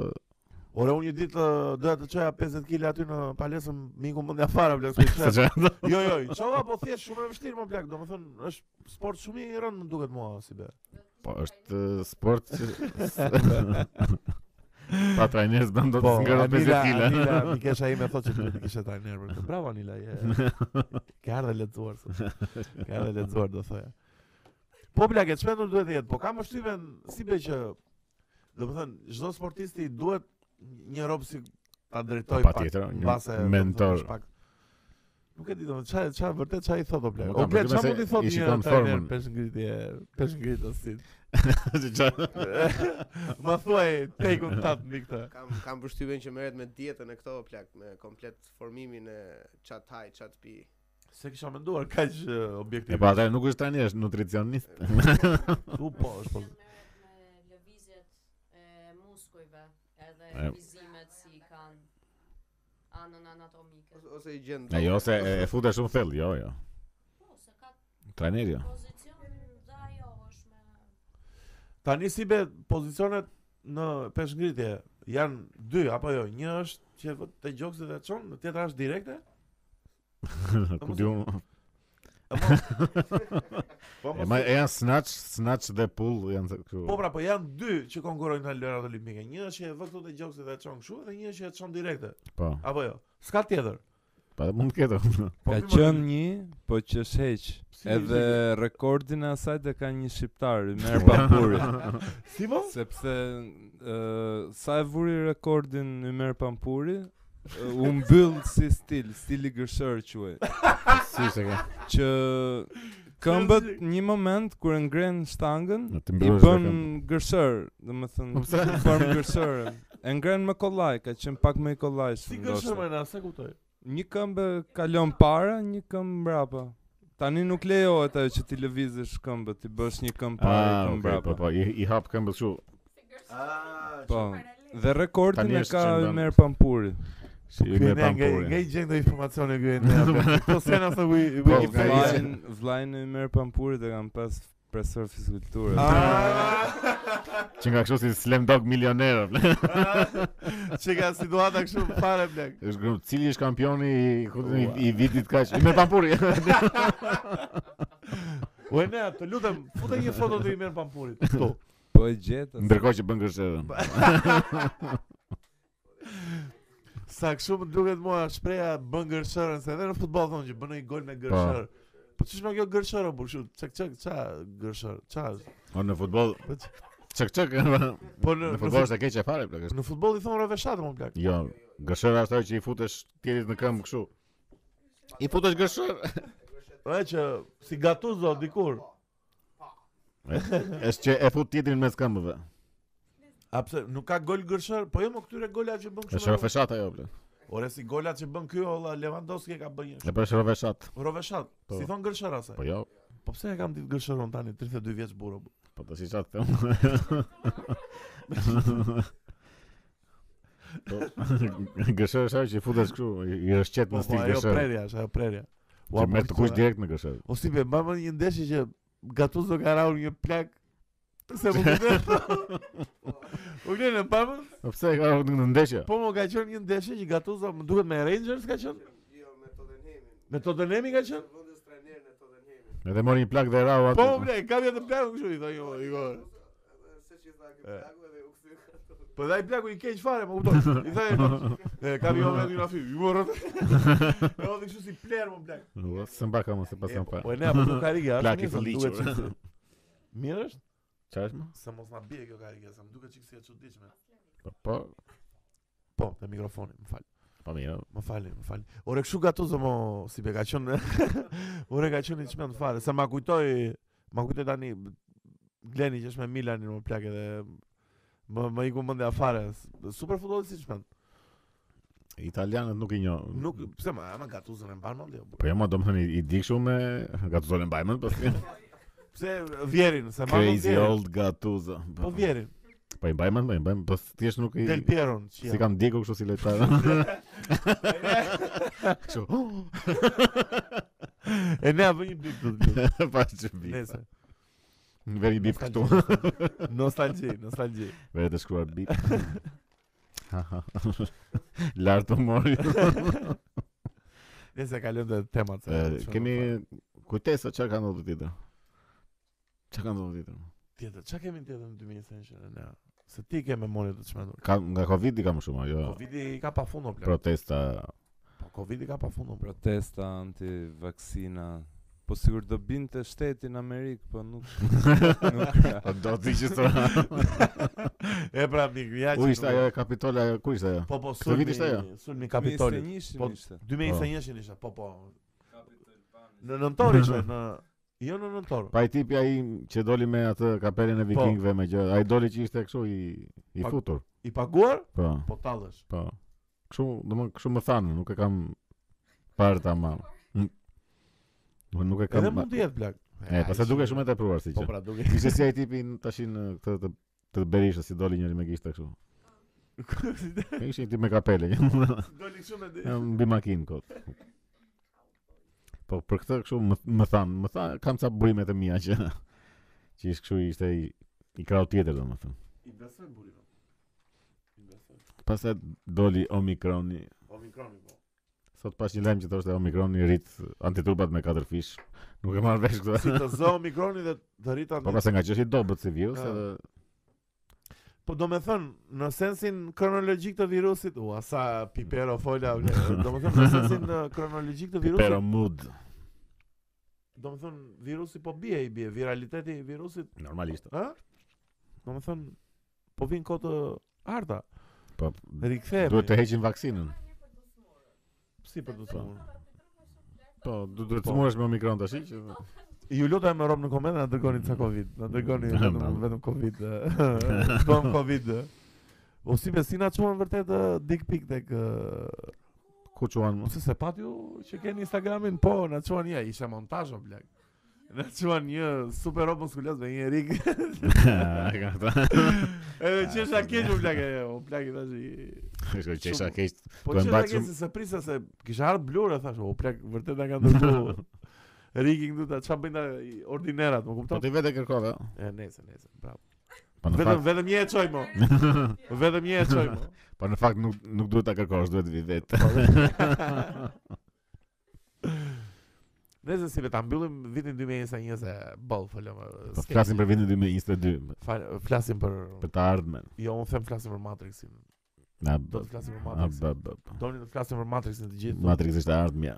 Speaker 2: Ore unë një ditë ë, doja të çoja 50 kg aty në palesën miku mund ja fara o plak.
Speaker 1: se
Speaker 2: s'u qef.
Speaker 1: çfarë.
Speaker 2: Jo jo, i çova po thjesht shumë e vështirë më plak, domethënë është sport shumë i rënd më duket mua si be.
Speaker 1: Po është eh, sport që pa trajnerës bën
Speaker 2: Po,
Speaker 1: do të ngërë 50
Speaker 2: Anila, Anila,
Speaker 1: kg.
Speaker 2: Mikesha ime thotë që duhet të kishe trajner për këtë. Bravo Anila, je. Ke ardhe lexuar. sot. Ke ardhe lexuar do thoja. Po plak, e çmendur duhet të jetë, po kam vështirën si be që domethënë çdo sportisti duhet një rob si ta drejtoj
Speaker 1: Po, patjetër, një
Speaker 2: mbase, domethënë,
Speaker 1: mentor.
Speaker 2: është pak- Nuk e di domethënë çfarë çfarë vërtet çfarë i thotë o plak.
Speaker 1: Nuk
Speaker 2: O
Speaker 1: kam
Speaker 2: plak,
Speaker 1: përgjithësi,
Speaker 2: çfarë mund i
Speaker 1: i
Speaker 2: thotë një
Speaker 1: shikon
Speaker 2: trajner
Speaker 1: formën.
Speaker 2: pesh ngritje, pesh ngritësit.
Speaker 1: Se çfarë.
Speaker 2: Ma thuaj take-un tat mbi këtë.
Speaker 4: Kam kam përshtypjen që merret me dietën e këto plak, me komplet formimin e çat haj, çat pi.
Speaker 2: Se kisha menduar kaq
Speaker 1: E
Speaker 2: ë,
Speaker 1: pa
Speaker 2: objektivisht.
Speaker 1: atë nuk është tani, është nutricionist.
Speaker 2: Tu po, është po.
Speaker 5: me lëvizjet e muskujve edhe
Speaker 1: E.
Speaker 5: vizimet si kanë anën anatomike.
Speaker 4: Ose- Ose i gjen.
Speaker 1: E jo se e, e fute shumë thellë, jo, jo.
Speaker 5: Po, se ka
Speaker 1: Trajneri. jo.
Speaker 5: pozicion dhe ajo është me
Speaker 2: Tani si be pozicionet në peshngritje janë dy apo jo? Një është që vë- te gjoksit e çon, në tjetra është direkte.
Speaker 1: Ku di unë.
Speaker 2: Po
Speaker 1: E
Speaker 2: mos-
Speaker 1: ma- e janë snatch, snatch dhe pull janë se- kështu.
Speaker 2: Po pra, po janë dy që konkurrojnë në lojrat olimpike. Një është që e vë këtu te gjoksit e çon kështu dhe një është që e çon direkte.
Speaker 1: Po.
Speaker 2: Apo jo? S'ka tjetër.
Speaker 1: Pa mund të ketë.
Speaker 2: Po,
Speaker 3: Ka
Speaker 2: mirë, ma-
Speaker 3: qenë një, po që sheq.
Speaker 2: Si Po.
Speaker 3: Edhe
Speaker 2: sheq?
Speaker 3: rekordin e asaj të ka një shqiptar, Mer Pampuri.
Speaker 2: si po?
Speaker 3: sepse ë, sa e vuri rekordin Mer Pampuri, ë, u mbyll si stil, stili gërshër quaj.
Speaker 1: Si se ka.
Speaker 3: Që këmbët një moment kur e ngren shtangën,
Speaker 1: Në të
Speaker 3: i
Speaker 1: mbyllësh
Speaker 3: bën
Speaker 1: me
Speaker 3: gërshër, do më
Speaker 1: Po
Speaker 3: thënë,
Speaker 1: pse?
Speaker 3: në formë gërshëre. E ngren me kollaj, ka qenë pak më i kollaj.
Speaker 2: Si gëshëm na, se kuptoj.
Speaker 3: Një këmbë kalon para, një këmbë mbrapa. Tani nuk lejohet ajo që ti lëvizësh këmbët, ti bësh një këmbë para, një
Speaker 1: Ah,
Speaker 3: këmbë
Speaker 1: okay, po
Speaker 3: mbrapa.
Speaker 1: po, i, i hap këmbën kështu.
Speaker 2: Ah,
Speaker 3: Po.
Speaker 5: paralel.
Speaker 3: Dhe rekordin
Speaker 1: Tani
Speaker 3: e
Speaker 1: është
Speaker 3: ka
Speaker 1: qëndron.
Speaker 3: Ymer Pampuri.
Speaker 1: Si i me
Speaker 2: Nga nga
Speaker 1: pampuri.
Speaker 2: i gjeng do informacione ky ne. Po se na thoi
Speaker 1: Po,
Speaker 2: wiki.
Speaker 1: ka ishte-
Speaker 3: Vlajn, vlajn e Ymer Pampurit e kanë pas profesor fizikulture.
Speaker 2: Ah.
Speaker 1: Që nga kështu si slam dog milioner.
Speaker 2: Çe ka situata kështu fare blek.
Speaker 1: Është grup, cili është kampioni i, ku- i, i vitit kaq? I me pampuri.
Speaker 2: U e Po ne, të lutem, futë një foto të Imer Pampurit. Ktu.
Speaker 3: Po e gjetë.
Speaker 1: Ndërkohë që bën gërshërën.
Speaker 2: Sa kështu më duket mua shpreha bën gërshërën se edhe në futboll thonë që bën një gol me gërshër. Po çish më kjo gërshërë po kështu çak çak ça gërshër, ça. është?
Speaker 1: Po në futboll
Speaker 2: Po që-
Speaker 1: çak çak.
Speaker 2: Po në
Speaker 1: Në
Speaker 2: në
Speaker 1: futboll është e keq e fare plak. është-
Speaker 2: fut- në futboll i thonë reveshat më blek.
Speaker 1: Jo, gërshëra është ajo që i futesh tjerit në këmbë kështu. I futesh gërshër.
Speaker 2: Ëh Po që si gatuzo dikur.
Speaker 1: Është që e fut tjetrin mes këmbëve.
Speaker 2: A pse nuk ka gol gërshër? Po jo më këtyre golat që bën
Speaker 1: Është
Speaker 2: kështu. me-
Speaker 1: rofeshat ajo plak.
Speaker 2: Ore si golat që bën ky olla Lewandowski e ka bën një.
Speaker 1: E për është rofeshat.
Speaker 2: Roveshat,
Speaker 1: Po.
Speaker 2: si thon gërshëra se.
Speaker 1: Po jo,
Speaker 2: Po pse e kam ditë gërshëron tani 32 vjeç burro. bu?
Speaker 1: po të si çat them. Po, gërshër është ajo që i futesh kështu, i- i rëshqet
Speaker 2: Po
Speaker 1: në
Speaker 2: po
Speaker 1: stil
Speaker 2: ajo
Speaker 1: gërshër.
Speaker 2: prerja, është ajo prerja. Ua,
Speaker 1: Që
Speaker 2: po,
Speaker 1: merr të kush
Speaker 2: qëra-
Speaker 1: direkt në gërshër.
Speaker 2: O si be, ma më një ndeshje që Gattuso ka raur një plak Se më këtë U këtë në pamë
Speaker 1: Po pse e ka ardhur në ndeshje?
Speaker 2: Po më ka qenë një ndeshje që Gattuso Më duket me Rangers ka qenë
Speaker 4: jo,
Speaker 2: Me Tottenhami ka qenë
Speaker 1: Edhe mori një plak dhe rau atë.
Speaker 2: Po më blej, ka vjetë plaku kështu i tha jo,
Speaker 4: Po,
Speaker 2: i gore E. Po dhe ai plaku i keq fare, më kupton. I tha, e, ka vjen vetë në afi. Ju morët. Jo, dhe kështu si player më plak.
Speaker 1: Ua, Së mba ka mos e pasan pa.
Speaker 2: Po e ne apo nuk ka ligë,
Speaker 1: Plak i
Speaker 2: ashtu
Speaker 1: fëlliqur.
Speaker 2: duhet çiksi. po, Mirë është?
Speaker 1: Çfarë është? më?
Speaker 2: Se mos na bie kjo karike, se më duket çiksi e çuditshme.
Speaker 1: Po po.
Speaker 2: Po, te mikrofoni, më fal.
Speaker 1: Po mirë.
Speaker 2: Më falni, më falni. Ore kshu gatuzo mo si be ka qenë. Ore ka qenë çmend fare, se ma kujtoi, ma kujtoi tani Gleni që është me Milanin më plak edhe më më iku mendja fare. S- Super futbolli si çmend.
Speaker 1: Italianët nuk i njoh.
Speaker 2: Nuk pse ma ama gatuzon e mban mendje.
Speaker 1: Po jo, më domethënë i- i dikshu me Gattuso Bajmën, po
Speaker 2: Pse vjerin, se ma mund
Speaker 1: Crazy
Speaker 2: vjerin.
Speaker 1: old Gattuso.
Speaker 2: Po vjerin.
Speaker 1: Po i Bajmën, po i Bajmën, po thjesht nuk i
Speaker 2: Del Pieron. që
Speaker 1: si
Speaker 2: jam.
Speaker 1: kam djeku kështu si lojtar. Kështu.
Speaker 2: E ne apo një bip do të bëj.
Speaker 1: Pa çbi.
Speaker 2: Nëse.
Speaker 1: Veri bip këtu.
Speaker 2: Nostalgji, nostalgji.
Speaker 1: Veri të shkruar bip. Ha, ha. Lartë të mori.
Speaker 2: Nëse kalojmë te temat. se
Speaker 1: E,
Speaker 2: çfarë
Speaker 1: Kemi
Speaker 2: do të
Speaker 1: kujtesa çka ka ndodhur tjetër. Çka ka ndodhur tjetër?
Speaker 2: thotë. tjetër. Çka kemi tjetër në 2021? Ne. Se ti ke memorie të çmendur.
Speaker 1: Ka nga Covidi ka më shumë ajo.
Speaker 2: Covidi ka pafund o
Speaker 1: Pra-
Speaker 2: plot.
Speaker 1: Protesta.
Speaker 2: Po Covidi ka pafund o plot.
Speaker 3: Protesta anti-vaksina. Po sigur do binte shteti në Amerikë, po nuk... nuk
Speaker 1: Po do të ishte sa.
Speaker 2: E pra mik, ja
Speaker 1: U ishte ajo e Kapitola, ajo ku ishte ajo?
Speaker 2: Po po,
Speaker 1: Këtë vit
Speaker 2: sulmi,
Speaker 1: ishte ajo?
Speaker 2: sulmi Kapitoli.
Speaker 3: ishte
Speaker 2: Po-
Speaker 3: ishte.
Speaker 2: 2021 ishte, po po. Në nëntor ishte, në jo në nëntor.
Speaker 1: Pa i tipi ai që doli me atë kapelin e vikingëve me gjë. Ai doli që ishte kështu i i
Speaker 2: Po. Pa-
Speaker 1: futur.
Speaker 2: I paguar,
Speaker 1: Po,
Speaker 2: po tallesh.
Speaker 1: po. Kështu, domthon kështu më thanë, nuk e kam parë tamam. Po nuk e
Speaker 2: Edhe
Speaker 1: kam.
Speaker 2: mund të jetë plak.
Speaker 1: E, pastaj duke shumë e tepruar si
Speaker 2: Po
Speaker 1: që.
Speaker 2: pra duke.
Speaker 1: Ishte si ai tipi në- tash në këtë të të berishë si doli njëri me gishta kështu. Ai ishte një tip me kapele. që-
Speaker 2: Doli shumë e
Speaker 1: Mbi makinë kot. Po për këtë kështu më, më than, më than, kam ca burime të mia që që ishte kështu ishte i, i krau tjetër domethënë.
Speaker 2: I besoj burime. I besoj.
Speaker 1: Pastaj doli Omikroni.
Speaker 2: Omikroni po.
Speaker 1: Sot pas një lajm që thoshte Omikroni rrit antitrupat me 4 fish. Nuk e marr vesh
Speaker 2: Si
Speaker 1: këtë.
Speaker 2: të zë Omikroni dhe të rritan.
Speaker 1: Po pastaj nga që është i dobët si virus,
Speaker 2: Ah.
Speaker 1: edhe
Speaker 2: Po do me thënë, në sensin kronologjik të virusit, ua sa pipero fola, ble, do me thënë në sensin uh, kronologjik të
Speaker 1: pero
Speaker 2: virusit,
Speaker 1: mood
Speaker 2: do me thënë virusi po bie i bie, viraliteti i virusit,
Speaker 1: normalisht.
Speaker 2: ha? Do me thënë, po vinë kotë arta,
Speaker 1: Po
Speaker 2: rikthehemi.
Speaker 1: duhet të heqin vaksinën.
Speaker 2: si për të thonë.
Speaker 1: Po, du- duhet
Speaker 2: Po.
Speaker 1: të smuresh me Omikron tash që
Speaker 2: Ju lutaj më rob në komente na dërgoni ca Covid, na dërgoni vetëm
Speaker 1: Bravo.
Speaker 2: vetëm Covid. eh, Bëm Covid. eh. O si besina çuan vërtet eh, dick pic tek eh,
Speaker 1: ku çuan
Speaker 2: Ose se pat ju që keni Instagramin, po, na quan një, isha montazh o blek. Na quan një super rob muskuloz me një rig.
Speaker 1: Ka këta.
Speaker 2: Edhe qesha keq o blek, e, o blek i thash. i-
Speaker 1: Është që isha keq.
Speaker 2: Po
Speaker 1: Duhem
Speaker 2: qesha
Speaker 1: bajt
Speaker 2: keq
Speaker 1: shumë-
Speaker 2: se se prisa se kisha ardhur blur e thash, o blek, vërtet na kanë dërguar. Rigi këtu ta çfarë bëjnë ta- i ordinerat, më
Speaker 1: Po
Speaker 2: kupton?
Speaker 1: ti vetë e kërkove. o?
Speaker 2: E nese, nese, bravo.
Speaker 1: Po në
Speaker 2: Vetëm
Speaker 1: fakt,
Speaker 2: vetëm një e çoj mo. Vetëm një e çoj mo.
Speaker 1: po në fakt nuk nuk duhet ta kërkosh, duhet vi vetë.
Speaker 2: Po. Nëse si vetë ta mbyllim vitin 2021 se boll folëm.
Speaker 1: Po flasim për vitin 2022,
Speaker 2: flasim për
Speaker 1: për të ardhmen.
Speaker 2: jo, unë them flasim për Matrixin.
Speaker 1: Na
Speaker 2: Do
Speaker 1: b-
Speaker 2: të flasim për
Speaker 1: na
Speaker 2: Matrixin.
Speaker 1: b- b- b-
Speaker 2: Doni të flasim për Matrixin të gjithë.
Speaker 1: Matrix është e ardhmja.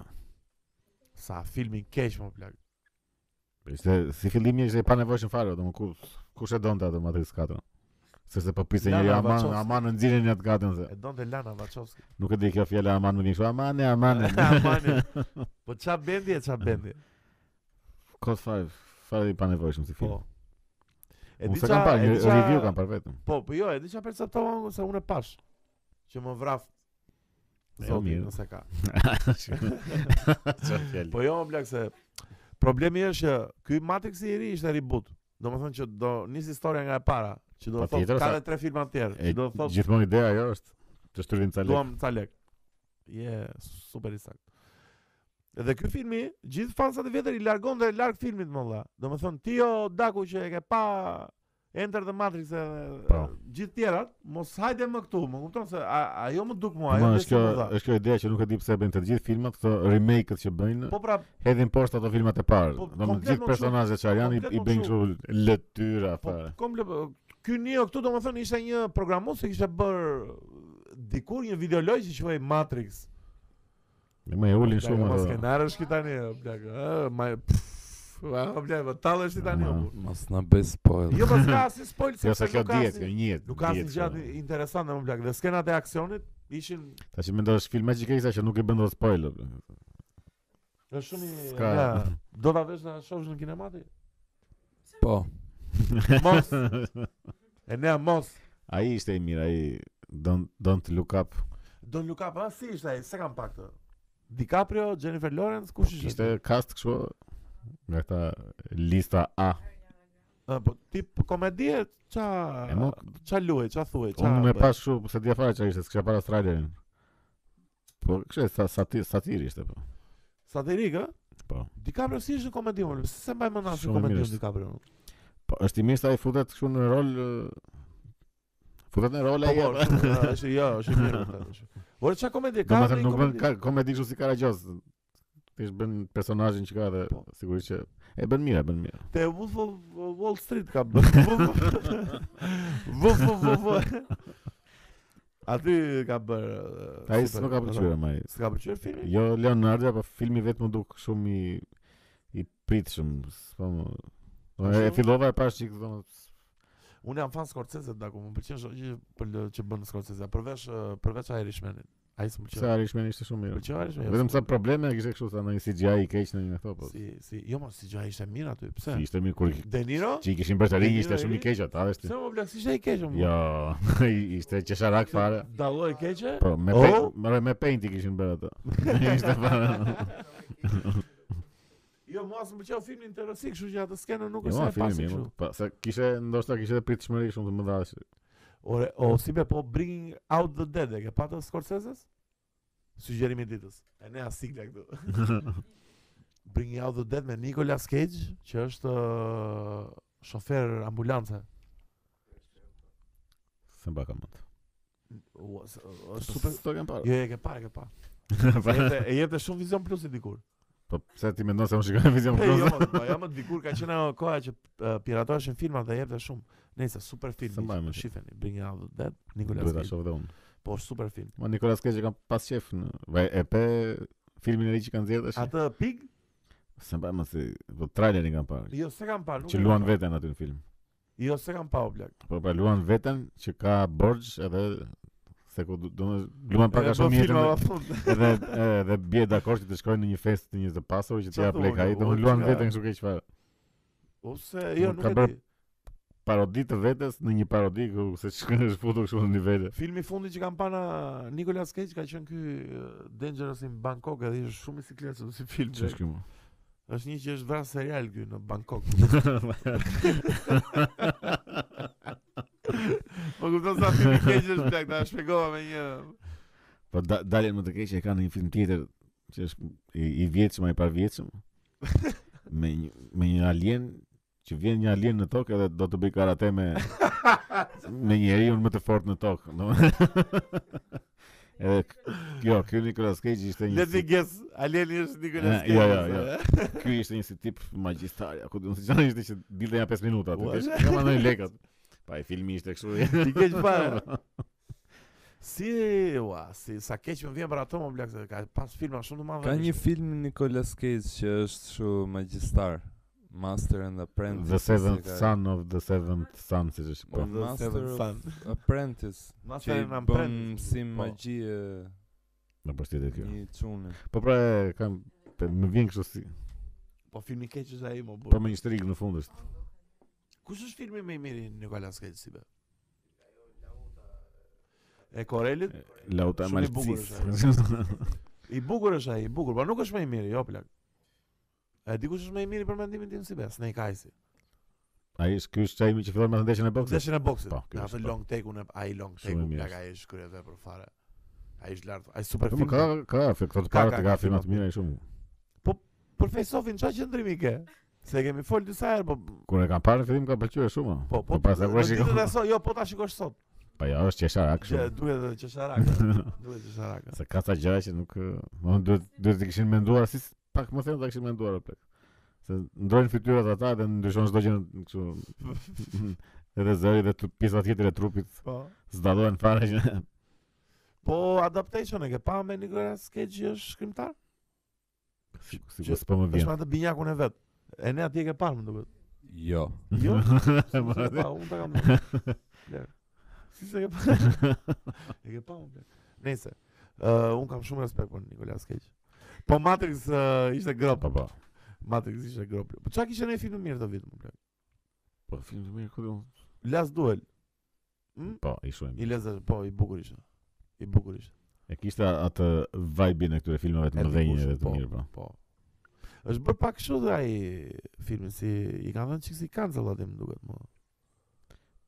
Speaker 2: Sa filmin keq më plak.
Speaker 1: Ishte si fillimi ishte pa nevojshëm fare, domethënë ku kush e donte atë Matrix 4. Sepse po priste
Speaker 2: Lana
Speaker 1: njëri aman,
Speaker 2: Wachowski.
Speaker 1: aman në nxirin në atë gatën se.
Speaker 2: E donte Lana Wachowski.
Speaker 1: Nuk e di kjo fjala aman më vjen kështu, aman, aman.
Speaker 2: Amani. Po ça bendi e ça bendi.
Speaker 1: Code 5, fare i panevojshëm si film.
Speaker 2: Po. E
Speaker 1: Unë
Speaker 2: di
Speaker 1: se
Speaker 2: ça
Speaker 1: kam parë,
Speaker 2: e
Speaker 1: një
Speaker 2: di ça-
Speaker 1: review kam parë vetëm.
Speaker 2: Po, po jo, e di çfarë perceptova unë se unë e pash. Që më vraf
Speaker 1: E,
Speaker 2: Zoti
Speaker 1: Jo, mirë.
Speaker 2: nëse ka.
Speaker 1: Çfarë fjalë?
Speaker 2: Po jo, blak se problemi është që ky Matrix i ri ishte reboot. Domethënë që do nis historia nga e para, që do thotë
Speaker 1: Patjetër,
Speaker 2: ka
Speaker 1: sa-
Speaker 2: edhe tre filma të tjerë, që do thotë
Speaker 1: Gjithmonë ideja ajo është të shtrydhim ca lekë.
Speaker 2: duam ca lek. Je super i sakt. Edhe ky filmi, gjithë fansat e vjetër i largon dhe larg filmit më valla. Domethënë ti o Daku që e ke pa Enter the Matrix edhe
Speaker 1: Po.
Speaker 2: gjithë tjerat, mos hajde më këtu, më kupton se a- ajo më duk mua, Po, ajo
Speaker 1: Ma,
Speaker 2: më
Speaker 1: është kjo,
Speaker 2: më dha.
Speaker 1: është kjo ideja që nuk e di pse e bëjnë të gjithë filmat, këto remake-et që bëjnë,
Speaker 2: Po pra,
Speaker 1: hedhin poshtë ato filmat e parë.
Speaker 2: Po,
Speaker 1: Do të
Speaker 2: komplet më
Speaker 1: gjithë
Speaker 2: kështu.
Speaker 1: personazhet që janë i,
Speaker 2: Komplet
Speaker 1: i
Speaker 2: më
Speaker 1: bëjnë
Speaker 2: kështu.
Speaker 1: kështu lëtyra
Speaker 2: Po
Speaker 1: fare.
Speaker 2: komple ky Neo këtu domethënë ishte një programues që kishte bër dikur një videoloj që quhej Matrix.
Speaker 1: Ne më e ulin
Speaker 2: Plak,
Speaker 1: shumë po.
Speaker 2: Mos
Speaker 1: ato.
Speaker 2: po, skenar është ky tani, o plak. ë, Ma pff, a, o plak, po tallë është tani. o,
Speaker 1: Aha.
Speaker 2: bu.
Speaker 3: Mos na bëj spoil.
Speaker 2: Jo pas ka si spoil
Speaker 1: Jo se
Speaker 2: sepse
Speaker 1: kjo
Speaker 2: nuk ka
Speaker 1: dihet, kjo
Speaker 2: asnjë-
Speaker 1: njihet.
Speaker 2: Nuk ka asnjë
Speaker 1: dihet
Speaker 2: gjatë
Speaker 1: kjo.
Speaker 2: interesante më plak. Dhe skenat e aksionit ishin
Speaker 1: Tash mendosh filma që ke që nuk e bën dot spoiler.
Speaker 2: është shumë i
Speaker 1: S'ka.
Speaker 2: ja, do ta vesh na shohësh në kinemati?
Speaker 3: Po.
Speaker 2: Mos. E ne mos.
Speaker 1: Ai ishte i mirë, ai don't don't look up.
Speaker 2: Don Luca pa si ishte ai, se kam pak të. DiCaprio, Jennifer Lawrence,
Speaker 1: Po,
Speaker 2: kush ishte?
Speaker 1: Ishte cast kështu nga ta lista A.
Speaker 2: Ë, po tip komedie ça
Speaker 1: E mo,
Speaker 2: ça luaj, ça thuaj, ça.
Speaker 1: unë më
Speaker 2: bëj?
Speaker 1: pas kështu se dia fare çfarë ishte, s'kisha para trailerin. Po, kështë sa satir, satir ishte po.
Speaker 2: Satirik, ë?
Speaker 1: Po.
Speaker 2: DiCaprio si është në komedi, më pse se mbaj më na si
Speaker 1: Shumë
Speaker 2: komedi
Speaker 1: mirë
Speaker 2: është
Speaker 1: është.
Speaker 2: DiCaprio.
Speaker 1: Po, është i mirë sa i futet kështu në rol ë, Futet në rol
Speaker 2: Po,
Speaker 1: ai.
Speaker 2: po,
Speaker 1: apo?
Speaker 2: shumë, ë, është jo, është i mirë. vërtet, është. Por ça komedi ka?
Speaker 1: Domethënë
Speaker 2: ndonjë
Speaker 1: nuk bën
Speaker 2: komedi?
Speaker 1: ka komedi kështu si Karagjoz. Ti bën personazhin që ka dhe
Speaker 2: Po.
Speaker 1: sigurisht që e bën mirë, e bën mirë.
Speaker 2: Te Wolf of Wall Street ka bërë. Wolf of Wall. Aty ka bërë. ë,
Speaker 1: Ai
Speaker 2: super, po,
Speaker 1: s'më ka pëlqyer më. ai.
Speaker 2: S'ka pëlqyer filmi?
Speaker 1: Jo Leonardo, po filmi vetë më duk shumë i i pritshëm, s'po më. Po, E
Speaker 2: Ashtu?
Speaker 1: fillova e pash çik domethënë
Speaker 2: Unë jam fan Scorsese Daku, më pëlqen çdo gjë për lë- që bën Scorsese, përveç ë, përveç Irishmanit. Ai s'më
Speaker 1: pse
Speaker 2: pëlqen.
Speaker 1: Irishman ishte shumë mirë.
Speaker 2: Pëlqen Irishmani?
Speaker 1: Vetëm sa probleme kishte kështu sa ndonjë CGI i keq në një ato, po.
Speaker 2: Si, si, jo mos si gjë ai ishte mirë aty. Pse?
Speaker 1: Si ishte mirë kur i-
Speaker 2: De Niro?
Speaker 1: që i kishin bërë të rinj,
Speaker 2: Niro
Speaker 1: ishte
Speaker 2: i
Speaker 1: shumë i
Speaker 2: ri?
Speaker 1: keq ata,
Speaker 2: Pse
Speaker 1: ishte.
Speaker 2: më blaq ishte i keq më?
Speaker 1: Jo, i- ishte qesharak fare.
Speaker 2: Dalloi keqe?
Speaker 1: Po, me
Speaker 2: Oh? Po,
Speaker 1: paint, me paint i kishin bërë ato. Ishte fare.
Speaker 2: Jo, Jo, mua s'më pëlqeu filmi interesik, kështu që atë skenën nuk
Speaker 1: Jo,
Speaker 2: është sa
Speaker 1: ma,
Speaker 2: e
Speaker 1: filmi
Speaker 2: pasi
Speaker 1: mirë.
Speaker 2: kështu.
Speaker 1: mo. Pa, se kishe ndoshta kishe pritshmëri shumë të mëdha. që-
Speaker 2: Ore, o si be po Bringing Out the Dead e ke patë Scorsese-s? Sugjerimi i ditës. E ne asigla këtu. Bringing Out the Dead me Nicolas Cage, që është ë, shofer ambulance.
Speaker 1: Se mbaka mend.
Speaker 2: Ua, s- Është super.
Speaker 1: Sto kanë parë.
Speaker 2: Jo, e ke parë, e ke parë. Se E jepte- e jepte shumë vizion plus i dikur.
Speaker 1: Po pse ti mendon se unë shikoj vizion
Speaker 2: E, jo,
Speaker 1: plus?
Speaker 2: mo, po jam më dikur ka qenë ajo koha që ë, piratoheshin filmat dhe jepte shumë. Nëse super
Speaker 1: Se mbaj
Speaker 2: film.
Speaker 1: mend.
Speaker 2: Shifeni Bringing Out the Dead, Nicolas
Speaker 1: Duhet ta
Speaker 2: Cage.
Speaker 1: shoh edhe unë.
Speaker 2: Po është super film.
Speaker 1: Ma Nikolas Cage e kam pas shef në vaj- e pe filmin e ri që kanë nxjerrë tash.
Speaker 2: Atë pig?
Speaker 1: Se mbaj më se po trailerin kam parë.
Speaker 2: Jo, se kam parë. nuk
Speaker 1: Që
Speaker 2: e kam
Speaker 1: luan
Speaker 2: parë.
Speaker 1: veten aty në film.
Speaker 2: Jo, se kam parë o blak.
Speaker 1: Po pra luan veten që ka borxh edhe se ku do të luan pak a
Speaker 2: Edhe bën
Speaker 1: shumë jetën.
Speaker 2: po, filma
Speaker 1: dhe-
Speaker 2: pa fund.
Speaker 1: Edhe edhe bie dakord që të shkojnë në një festë të një të pasur që të
Speaker 2: Çfarë
Speaker 1: jap
Speaker 2: thua,
Speaker 1: lek ai,
Speaker 2: jo,
Speaker 1: do
Speaker 2: o,
Speaker 1: luan
Speaker 2: çka?
Speaker 1: veten kështu keq fare.
Speaker 2: Ose jo,
Speaker 1: Nuk
Speaker 2: nuk
Speaker 1: ka
Speaker 2: e
Speaker 1: bërë-
Speaker 2: di.
Speaker 1: Parodi të vetes në një parodi ku se shkon është futur kështu në nivele.
Speaker 2: Filmi i fundit që kam pa na Nicolas Cage ka qenë ky uh, Dangerous in Bangkok, edhe ishte shumë i sikletshëm si film.
Speaker 1: Ç'është
Speaker 2: Jack.
Speaker 1: kjo? mo?
Speaker 2: Është një që është vrarë serial ky në Bangkok. Po kupton sa filmi keq është blak, ta shpjegova me një
Speaker 1: Po da, daljen më të keqe e ka në një film tjetër që është i, i vjetshëm ai i parvjetshëm. me një me një alien që vjen një alien në tokë edhe do të bëj karate me me njeriu më të fortë në tokë, domethënë. edhe k- kjo, ky Nicolas Cage ishte një
Speaker 2: Let me guess, Alieni është Nicolas
Speaker 1: Eh,
Speaker 2: Cage.
Speaker 1: jo, jo, jo. Ky ishte një si tip magjistar, ku do të thonë ishte që dilte ja 5 minuta atë.
Speaker 2: Ua,
Speaker 1: Kish kam ndonjë lekët. Pa, i filmi ishte kështu.
Speaker 2: Ti keq fare. Si, ua, si sa keq më vjen për ato më blak, se ka pas filma shumë të madhe.
Speaker 3: Ka një film Nicolas Cage që është shu magjistar Master and Apprentice
Speaker 1: The
Speaker 3: se
Speaker 1: Seventh
Speaker 3: ka-
Speaker 1: Son of the Seventh Son, siç është.
Speaker 3: Po,
Speaker 1: Po.
Speaker 2: The
Speaker 3: Master
Speaker 2: Seventh
Speaker 3: of
Speaker 2: Son.
Speaker 3: Apprentice
Speaker 2: Master
Speaker 3: Që i
Speaker 2: and
Speaker 3: bën
Speaker 2: Apprentice,
Speaker 3: mësim
Speaker 2: po.
Speaker 3: magjie
Speaker 1: Në përshtytje kjo.
Speaker 3: një çune
Speaker 1: Po pra, e, kam pe- më vjen kështu si,
Speaker 2: Po filmi keq është ai më burr.
Speaker 1: po me një strik në fund është.
Speaker 2: Kush është filmi më i miri i Nicolas Cage si be? E Korelit?
Speaker 1: E, Lauta e
Speaker 2: Shumë i bukur
Speaker 1: Malcis.
Speaker 2: I bukur është ai, i bukur, por nuk është më i miri, jo plak. E di kush është më i miri për mendimin tim si be? Snake Eyes.
Speaker 1: Ai është ky është ai që fillon me ndeshjen e boksit.
Speaker 2: Ndeshjen e boksit.
Speaker 1: Po, ky
Speaker 2: Në
Speaker 1: është,
Speaker 2: atë
Speaker 1: po.
Speaker 2: long take-un, e- ai long
Speaker 1: Shumë i
Speaker 2: take-un
Speaker 1: mirë
Speaker 2: plak
Speaker 1: është.
Speaker 2: ai është kryer për fare. Ai është lart, ai super
Speaker 1: Po më
Speaker 2: film.
Speaker 1: ka ka efekt këto të
Speaker 2: Ka,
Speaker 1: parë
Speaker 2: ka,
Speaker 1: të
Speaker 2: ka
Speaker 1: ka filma të
Speaker 2: filma.
Speaker 1: mira shumë.
Speaker 2: Për Face Offin çfarë qëndrimi ke? Se kemi fol disa herë, po
Speaker 1: Kur e kam parë në fillim ka pëlqyer shumë.
Speaker 2: po po.
Speaker 1: pas e
Speaker 2: në
Speaker 1: kur e shikoj.
Speaker 2: ditët e sot, jo, po ta shikosh sot.
Speaker 1: Po ja, është qesharak
Speaker 2: Gjë,
Speaker 1: shumë.
Speaker 2: duhet të qesharaka. Duhet qesharaka.
Speaker 1: Se ka ca gjëra që nuk, ë, do të duhet duhet të kishin menduar si s- pak më thënë ta kishin menduar o plak. Se ndrojnë fytyrat ata dhe ndryshon çdo gjë në- kështu. Edhe zëri dhe tu- pjesa tjetër e trupit
Speaker 2: Po.
Speaker 1: zdallohen fare që
Speaker 2: Po adaptation e ke pa me Nicolas Cage që është shkrimtar?
Speaker 1: si si ku s'po më
Speaker 2: Është
Speaker 1: vjen.
Speaker 2: me atë binjakun e vet. E ne atje ke parë më duket.
Speaker 3: Jo
Speaker 1: Mhm.
Speaker 2: Jo. Si
Speaker 1: Po,
Speaker 2: se ke pa, unë ta kam. parë. Ler. Si se ke pa? E ke pa unë. Nëse. Uh, unë kam shumë respekt për Nicolas Cage. Po Matrix uh, ishte grop.
Speaker 1: Po po.
Speaker 2: Matrix ishte grop. Po çka kishte në film të mirë të vit më plak?
Speaker 1: Po film të mirë ku do.
Speaker 2: Last Duel. Hm?
Speaker 1: Po, i shumë.
Speaker 2: I lezë, po, i bukur ishte. I bukur ishte.
Speaker 1: E kishte atë vibe-in e këtyre filmave
Speaker 2: E
Speaker 1: të mëdhenj
Speaker 2: dikur
Speaker 1: edhe
Speaker 2: shumë,
Speaker 1: të mirë po.
Speaker 2: Po. Është bërë pak kështu dhe ai filmi si i kanë dhënë çiksi cancel aty më duket më.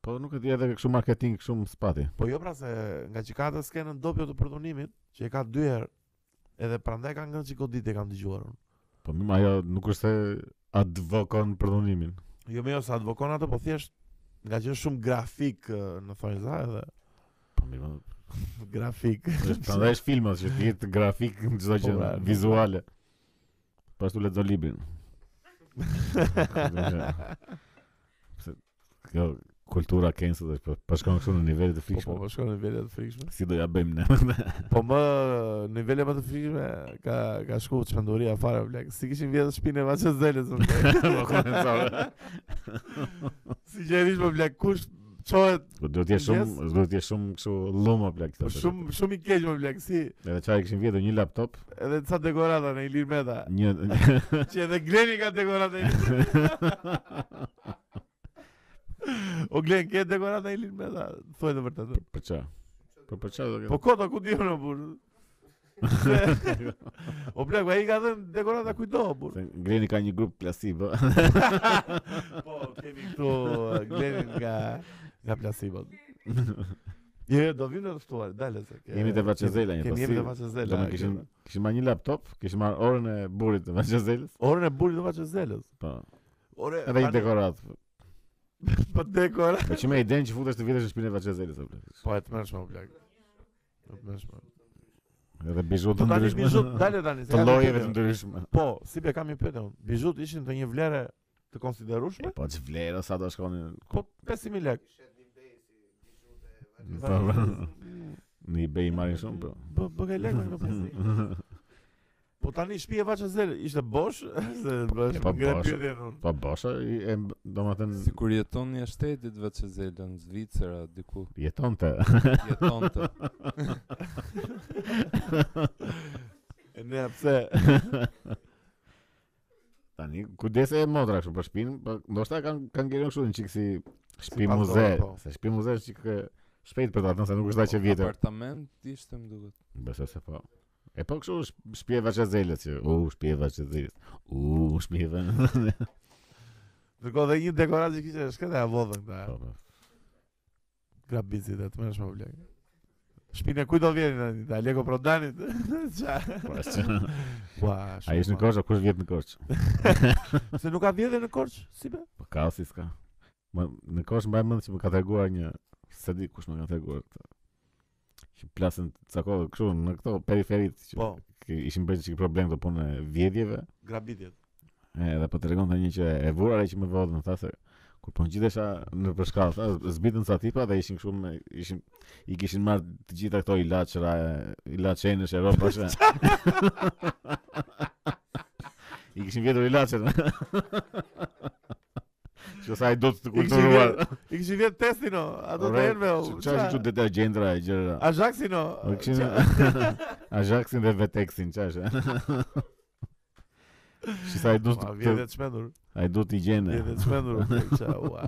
Speaker 1: Po nuk e di edhe kështu marketing shumë spati.
Speaker 2: Po jo pra se nga që ka atë skenën dopjo të përdhunimit, që e ka dy herë, edhe prandaj kanë ngënë çiko ditë e kam dëgjuar unë.
Speaker 1: Po mirë, ajo nuk është se advokon përdhunimin.
Speaker 2: Jo më jo sa advokon atë, po thjesht nga që është shumë grafik ë, në thonjza edhe Po,
Speaker 1: Po mirë, po,
Speaker 2: grafik.
Speaker 1: Është prandaj është filmat që të jetë grafik në çdo
Speaker 2: Po,
Speaker 1: gjë
Speaker 2: pra,
Speaker 1: vizuale. Pastu lexo librin.
Speaker 2: Po,
Speaker 1: Pse kjo kultura cancel është po po shkon kështu në nivele të
Speaker 2: Po po,
Speaker 1: fikshme.
Speaker 2: po shkon në nivele të frikshme.
Speaker 1: Si do ja bëjmë ne?
Speaker 2: Po më nivele më të frikshme ka ka shku çmenduria fare blek. Si kishin vjedhë shpinë e Vaçezelës.
Speaker 1: Po komentore.
Speaker 2: Si gjerish më blek kush çohet
Speaker 1: Po duhet të jesh shumë, duhet të jesh shumë kështu llumë apo
Speaker 2: Po
Speaker 1: këtë.
Speaker 2: shumë shumë i keq më blek, si
Speaker 1: Edhe çfarë kishin vjetë një laptop,
Speaker 2: edhe ca dekorata në Ilir Meta,
Speaker 1: një
Speaker 2: që edhe Gleni ka dekorata. në Ilir Meta. o Glen, ke dekorata në Ilir Meta? Thuaj të vërtetë.
Speaker 1: për çfarë? Po për çfarë do
Speaker 2: Po
Speaker 1: kjo?
Speaker 2: koto ku di unë burr. o blek, ai ka dhënë dekorata kujdo, burr.
Speaker 1: Se Gleni ka një grup klasik, bë.
Speaker 2: po, kemi këtu eh, Glenin nga nga Placebo. Je, do vinë të ftuar, dale se. ke-
Speaker 1: Jemi te Vaçezela një
Speaker 2: Kemi
Speaker 1: pas,
Speaker 2: jemi te
Speaker 1: si-
Speaker 2: Vaçezela.
Speaker 1: Do me
Speaker 2: a,
Speaker 1: kishin
Speaker 2: kemi.
Speaker 1: kishin marrë një laptop, kishin marrë orën e burrit të Vaçezelës.
Speaker 2: Orën e burrit të Vaçezelës.
Speaker 1: Po.
Speaker 2: Ore,
Speaker 1: Edhe një
Speaker 2: tani-
Speaker 1: dekorat.
Speaker 2: Po dekor.
Speaker 1: Po që me idenë që futesh të vitesh në shtëpinë e Vaçezelës apo.
Speaker 2: Po e të mërshme, o blek. E të mërshme.
Speaker 1: Edhe bizhu
Speaker 2: Po
Speaker 1: të
Speaker 2: tani
Speaker 1: ndryshme.
Speaker 2: bizhut, dale tani.
Speaker 1: Të
Speaker 2: se kam një
Speaker 1: llojeve të
Speaker 2: pyetje.
Speaker 1: ndryshme.
Speaker 2: Po, si be kam një pyetje unë. Bizhut ishin të një vlere të konsiderueshme?
Speaker 1: Po që vlerë sa do shkonin
Speaker 2: Po 5000 lekë.
Speaker 1: Po, po. në eBay marrin shumë po.
Speaker 2: Po bëj lekë nga 5000. Po tani shtëpi e Vaçezel ishte bosh, se bësh
Speaker 1: Po,
Speaker 2: ngre
Speaker 1: bosh.
Speaker 2: pyetjen unë.
Speaker 1: Po bosha, i- e domethënë
Speaker 3: Sikur jeton një shtetit vetë që zelën, Zvicera, diku
Speaker 1: jeton të
Speaker 3: jeton të.
Speaker 2: E Ne pse?
Speaker 1: tani kujdese e motra kështu për shtëpinë, po ndoshta kanë kanë ngelur kështu një çik si shtëpi
Speaker 2: Si
Speaker 1: muze,
Speaker 2: Pandora, po.
Speaker 1: se shtëpi muze është çik e, shpejt për ta dhënë se nuk është aq e vjetër.
Speaker 3: Apartament ishte më duket.
Speaker 1: Besoj se po. E po kështu sh- shtëpi e Vaçezelës, që, u shtëpi e Vaçezelës. U shtëpi e Po, Vaçezelës.
Speaker 2: Dërgo dhe një dekorat që kishte shkëtë e avodhën këta.
Speaker 1: Po, po.
Speaker 2: Grabizit e të mërshme vlek. Shpinë kujt do vjen tani? Ta Lego Prodanit. Ça?
Speaker 1: Po, as-
Speaker 2: Ua,
Speaker 1: Ai është në
Speaker 2: shumë.
Speaker 1: Korçë, kush vjet në Korçë?
Speaker 2: Se nuk ka vjedhje në Korç, si be?
Speaker 1: Po ka si s'ka. Më në kosh mbaj mend që më ka treguar një se di kush më ka treguar këtë. Që plasën ca kohë kështu në këto periferit që
Speaker 2: Po,
Speaker 1: ki- ishin bërë çik problem këto punë e vjedhjeve.
Speaker 2: grabitjet.
Speaker 1: E, Edhe po tregonte një që e vura ai që më vodhën, më tha se kur po ngjitesha në përshkallë, tha, zbitën sa tipa dhe ishin kështu me ishin i kishin marrë të gjitha këto ilaçra, ilaçenësh e ropash. e. I kishin vjetur ilaçet. Që sa i do të
Speaker 2: I kishin
Speaker 1: kulturuar.
Speaker 2: vjet- I kishin vjet testin o, ato të
Speaker 1: Ore,
Speaker 2: herve o.
Speaker 1: Çfarë është këtu detergjentra e gjëra?
Speaker 2: Ajaxin o.
Speaker 1: Po kishin
Speaker 2: ça-
Speaker 1: Ajaxin dhe Vetexin, çfarë është? Që sa i do
Speaker 2: Ma,
Speaker 1: të
Speaker 2: Vjedhje të shmendur.
Speaker 1: ai do t'i gjene.
Speaker 2: Vjedhje të shmendur. o, blek, ça, ua.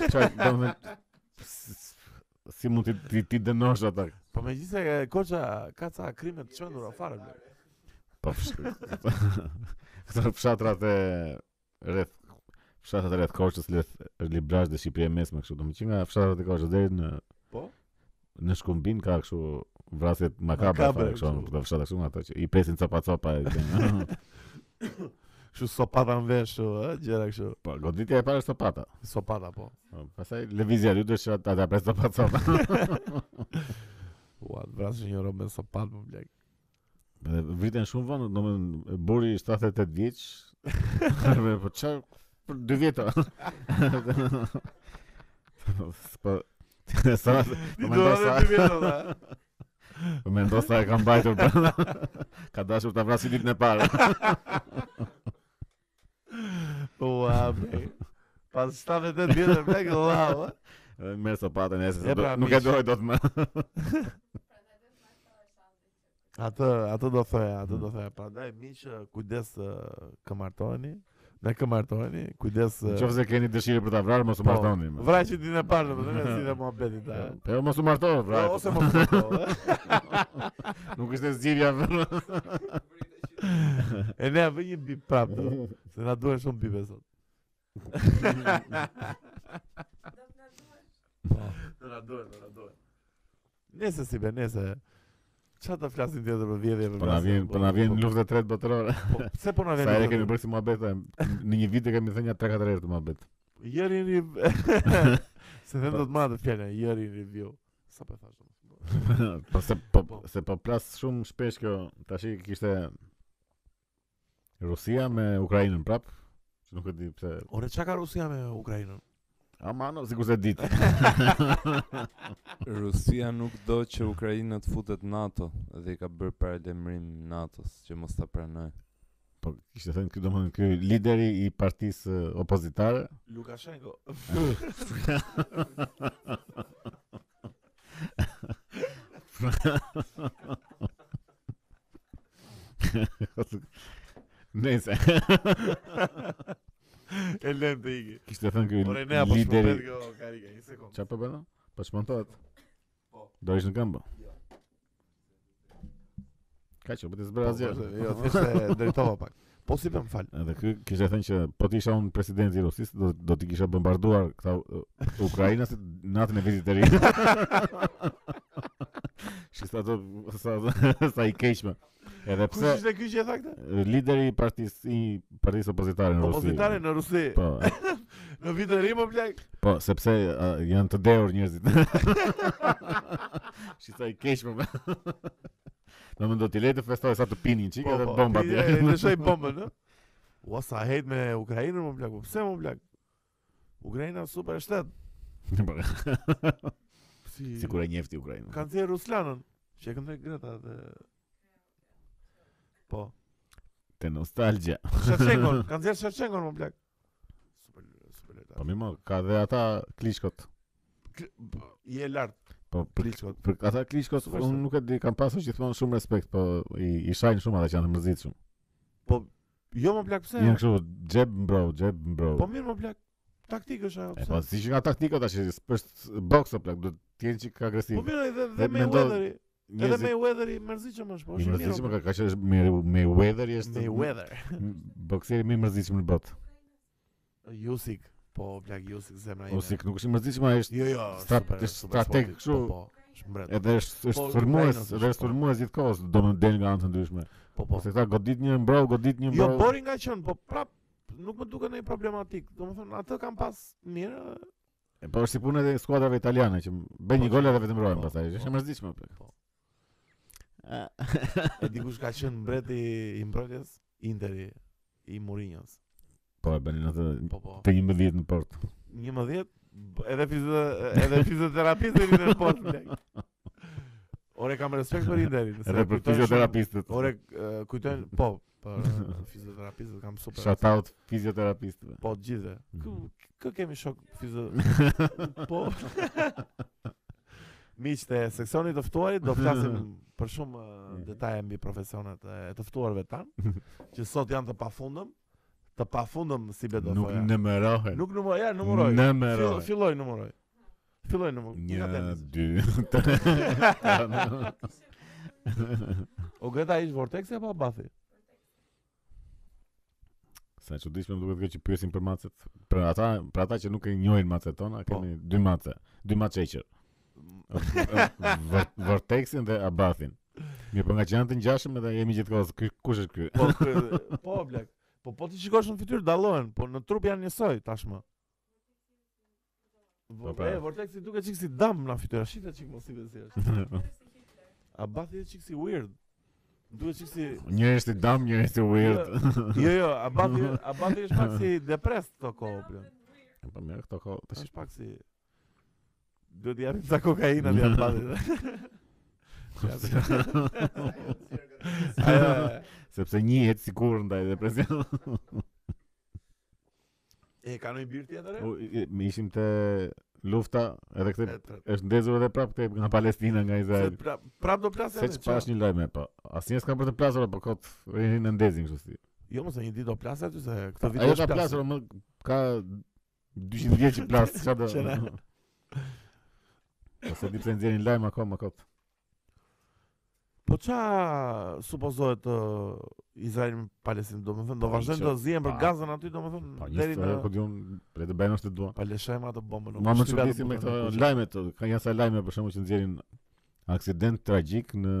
Speaker 1: Çfarë do të thënë si mund ti ti, ti dënosh ata?
Speaker 2: Po me gjithse e, Korça ka ca krime të shmendura fare. blek.
Speaker 1: Po fsh- këto fshatrat e rreth fshatrat e rreth Korçës, rreth Librazh dhe Shqipëria e Mesme kështu, domethënë që nga fshatrat e Korçës deri në
Speaker 2: Po.
Speaker 1: në Shkumbin ka kështu vrasje makabre
Speaker 2: Makabre,
Speaker 1: fare kështu,
Speaker 2: kështu.
Speaker 1: këto fshatra kështu nga ato që i presin capa capa. e kanë.
Speaker 2: Kështu sopata në vesh, o, ë, gjëra kështu.
Speaker 1: Po goditja e parë është sopata.
Speaker 2: Sopata po.
Speaker 1: Po, Pastaj lëvizja e dytë është që ata ta pres capa capa.
Speaker 2: Ua, vrasë një robë me sopat po blek.
Speaker 1: Dhe vriten shumë vonë, domethënë buri 78 vjeç. Dhe po çfarë për 2 vjeta. Po sa
Speaker 2: Ti
Speaker 1: po
Speaker 2: do
Speaker 1: mendo
Speaker 2: të
Speaker 1: sa
Speaker 2: dy vjetë ata.
Speaker 1: po mendo sa e ka mbajtur. Ka dashur ta vrasi ditën e parë.
Speaker 2: Ua, blek. Pas 78 vjetë blek, ua.
Speaker 1: Dhe Merr sopatën e
Speaker 2: E
Speaker 1: se do-
Speaker 2: pra,
Speaker 1: nuk e
Speaker 2: miq.
Speaker 1: doj dot më.
Speaker 2: Atë, atë do thoja, atë
Speaker 1: Mm.
Speaker 2: do thoja. Prandaj miq, kujdes ë, këmartoheni. Ne këmartoheni, kujdes. ë,
Speaker 1: Nëse keni dëshirë për ta vrarë mos u
Speaker 2: po,
Speaker 1: martoni. më.
Speaker 2: Vraqi ditën e parë, domethënë si dhe muhabeti ta.
Speaker 1: Po jo, mos u marto, vraj.
Speaker 2: Po, Ose po. mos u marto. ë.
Speaker 1: Nuk ishte zgjidhja.
Speaker 2: E ne vë një bip prap do. Se na duhen shumë bipe sot. Do na duhen, do na duhen. Nese si be, nese. Qa të flasim tjetër për vjedhje për
Speaker 1: Po na vjen, po na vjen lufta e tretë botërore.
Speaker 2: Po, pse po na vjen
Speaker 1: Sa herë
Speaker 2: luftë?
Speaker 1: kemi bërë si muhabet, e, në një vit e kemi thënë ja 3-4 herë të muhabet.
Speaker 2: Jeri në Se them do të marrë të fjallën, jeri në review. Sa për thashtë?
Speaker 1: po se po se po plas shumë shpesh kjo, tash i kishte Rusia me Ukrainën prap, që nuk e di pse.
Speaker 2: Ore, qa ka Rusia me Ukrajinën?
Speaker 1: Amano, sikur se ditë.
Speaker 3: Rusia nuk do që Ukraina të futet NATO dhe i ka bërë paralajmërim NATO-s që mos ta pranoj.
Speaker 1: po kishte thënë ky domethënë ky lideri i partisë eh, opozitare.
Speaker 2: Lukashenko.
Speaker 1: Nëse
Speaker 2: e lem të iki.
Speaker 1: kishte thënë ky
Speaker 2: Ore, ne apo
Speaker 1: lideri
Speaker 2: shpërbet po kjo karika, një sekundë.
Speaker 1: çfarë po bëna? Po çmontohet.
Speaker 2: Po.
Speaker 1: Do ish në këmbë.
Speaker 2: Jo.
Speaker 1: Kaq, po të zbra asgjë.
Speaker 2: Jo, thjesht e drejtova pak. Po si më fal.
Speaker 1: Edhe ky kishte thënë që po të isha unë presidenti i Rusisë, do do të kisha bombarduar këta uh, Ukrainës natën e vitit të ri. Shkista ato sa sa i keqme. Edhe
Speaker 2: Kush
Speaker 1: pse
Speaker 2: ishte ky që e tha këtë?
Speaker 1: lideri i partisë i partisë opozitare në Rusi.
Speaker 2: Opozitare në Rusi.
Speaker 1: Po,
Speaker 2: Në vitin e ri më blaq.
Speaker 1: po, sepse uh, janë të dehur njerëzit. Shkista i keqme. Në më do t'i lejtë festoj sa të pinin qikë edhe bomba
Speaker 2: pi-
Speaker 1: dje.
Speaker 2: Po, e lëshoj bombën, ë? Ua sa hejt me Ukrainën më blaq. po Pse më blaq? Ukraina është super shtet. Si
Speaker 1: Sigur Po, e njefti Ukrainën.
Speaker 2: kanë thënë Ruslanën, që e kanë thënë Greta dhe Po.
Speaker 1: Te nostalgja.
Speaker 2: Shevchenkon, kanë po, thënë Shevchenkon më blaq. Super super
Speaker 1: Po
Speaker 2: lart.
Speaker 1: mi mo, ka dhe ata klishkot.
Speaker 2: Je lart.
Speaker 1: Po për,
Speaker 2: Klitschkot.
Speaker 1: për ata klishkot
Speaker 2: Super
Speaker 1: unë
Speaker 2: shtat.
Speaker 1: nuk e di, kam pasur gjithmonë shumë respekt, po i, i shajnë shumë ata që janë të mërzitshëm.
Speaker 2: Jo më blaq pse?
Speaker 1: Janë kështu xhep mbro, xhep mbro.
Speaker 2: Po mirë më blaq. Taktikë
Speaker 1: E
Speaker 2: është ajo.
Speaker 1: po
Speaker 2: pse?
Speaker 1: si që nga taktika tash është boks apo plak, do të jenë çik agresiv.
Speaker 2: Po mirë edhe
Speaker 1: Dhe
Speaker 2: dhe
Speaker 1: mendo-
Speaker 2: Mayweatheri. Edhe Mayweatheri mërzitshëm është, po
Speaker 1: i
Speaker 2: është i
Speaker 1: mërzitshëm
Speaker 2: mirë.
Speaker 1: ka ka qenë me- me weather
Speaker 2: o-
Speaker 1: është
Speaker 2: Mayweather.
Speaker 1: m- bokseri më i mërzitshëm në
Speaker 2: Po,
Speaker 1: botë.
Speaker 2: Jusik, po plak Jusik zemra ime.
Speaker 1: Ose nuk është i mërzitshëm, ai është
Speaker 2: Jo, jo,
Speaker 1: Strat-
Speaker 2: super,
Speaker 1: është
Speaker 2: super
Speaker 1: strateg
Speaker 2: sportist,
Speaker 1: kështu.
Speaker 2: Po, po, është mbret.
Speaker 1: edhe është është
Speaker 2: Po,
Speaker 1: sulmues,
Speaker 2: Ukrainës
Speaker 1: edhe
Speaker 2: është,
Speaker 1: është
Speaker 2: po.
Speaker 1: sulmues gjithkohës, do të del nga anë të ndryshme.
Speaker 2: Po, po.
Speaker 1: Ose këta godit një mbro, godit një
Speaker 2: Jo
Speaker 1: mbro.
Speaker 2: bori nga qen, po prap nuk më duket ndonjë problematik. Domethënë atë kam pas mirë.
Speaker 1: E po është si puna e skuadrave italiane që bën një
Speaker 2: Po,
Speaker 1: gol edhe vetëm mbrojnë
Speaker 2: po,
Speaker 1: pastaj.
Speaker 2: po.
Speaker 1: Është e mërzitshme. plak.
Speaker 2: Po. E dikush ka qenë mbreti i mbrojtjes Interi i Mourinho's.
Speaker 1: Po e bënin atë
Speaker 2: Po, po.
Speaker 1: të 11 në port.
Speaker 2: 11 b- edhe fizio edhe fizioterapisti i në sport. blek. Ore kam respekt për Interin. se
Speaker 1: Edhe për
Speaker 2: kujtojnë shumë-
Speaker 1: fizioterapistët.
Speaker 2: Ore e, kujtojnë, po, për e, fizioterapistët kam super.
Speaker 1: Shout out Mm. fizioterapistëve.
Speaker 2: Po të gjithë. Kë, kë kemi shok fizio. po. Miqtë e seksionit të ftuarit do flasim për shumë eh, detaje mbi profesionet e të ftuarve tan, që sot janë të pafundëm, të pafundëm si be do
Speaker 1: Nuk
Speaker 2: thoja.
Speaker 1: numërohen.
Speaker 2: Nuk numëroj, ja numëroj.
Speaker 1: Numëroj.
Speaker 2: Fill- Filloj numëroj. Filloj numëroj.
Speaker 1: Një,
Speaker 2: Nga tenis.
Speaker 1: dy, tre.
Speaker 2: O Greta ish Vortex apo Bathi?
Speaker 1: Sa e çuditshme më duket kjo që pyesin për macet. Për ata, për ata që nuk e njohin macet tona,
Speaker 2: Po.
Speaker 1: kemi dy mace, dy maçeqër. Vor- Vortexin dhe Abathin. Mirë, po nga që janë të ngjashëm edhe jemi gjithkohës "Ky- kush është ky?
Speaker 2: Po, kë- po blek. Po po ti shikosh në fytyrë dallohen, po në trup janë njësoj tashmë. Po
Speaker 1: Po, pra.
Speaker 2: e vortexi duket çik si dam në fytyrë, shitet çik mos i vezi është. A bathi çik si weird. Duhet çik si
Speaker 1: Njëri është i dam, njëri është i weird.
Speaker 2: Jo, jo, a bathi a bathi është pak si depressed këto kohë blek.
Speaker 1: Po mirë, këto kohë tash
Speaker 2: Jo. Është pak si Duhet i japim sa kokainë aty atë bathi. Ajo,
Speaker 1: sepse njihet sikur ndaj depresion.
Speaker 2: E ka një birë tjetër?
Speaker 1: U- i- i- Ishim te lufta, edhe
Speaker 2: e?
Speaker 1: këtë
Speaker 2: E, tre-
Speaker 1: është ndezur edhe prapë këtë nga Palestina nga
Speaker 2: Se
Speaker 1: Izraeli.
Speaker 2: pra- Prap do plasë
Speaker 1: Se që pash një lajme, po. Asnjë s'ka për të plasur, po kot rinë në ndezin kështu si.
Speaker 2: Jo, mos e një ditë do plasë aty se këtë video
Speaker 1: Ajo
Speaker 2: Po është
Speaker 1: ka plasur, më ka 200 vjet që plas, çfarë do.
Speaker 2: Qëra.
Speaker 1: Ose di pse nxjerrin lajm akoma kot.
Speaker 2: Po qa supozohet të Izraeli me Palestinë, do më thënë, do
Speaker 1: Po,
Speaker 2: vazhdojnë
Speaker 1: që-
Speaker 2: të zihen për
Speaker 1: pa.
Speaker 2: gazën aty, do më
Speaker 1: Po
Speaker 2: thënë,
Speaker 1: një
Speaker 2: deri në...
Speaker 1: histori ku diun le të bëjnë ose të duan.
Speaker 2: Pa leshema atë bombën.
Speaker 1: Ma më çuditsi
Speaker 2: po.
Speaker 1: me këto lajme të, ka jasa lajme për shembull që nxjerrin aksident tragjik në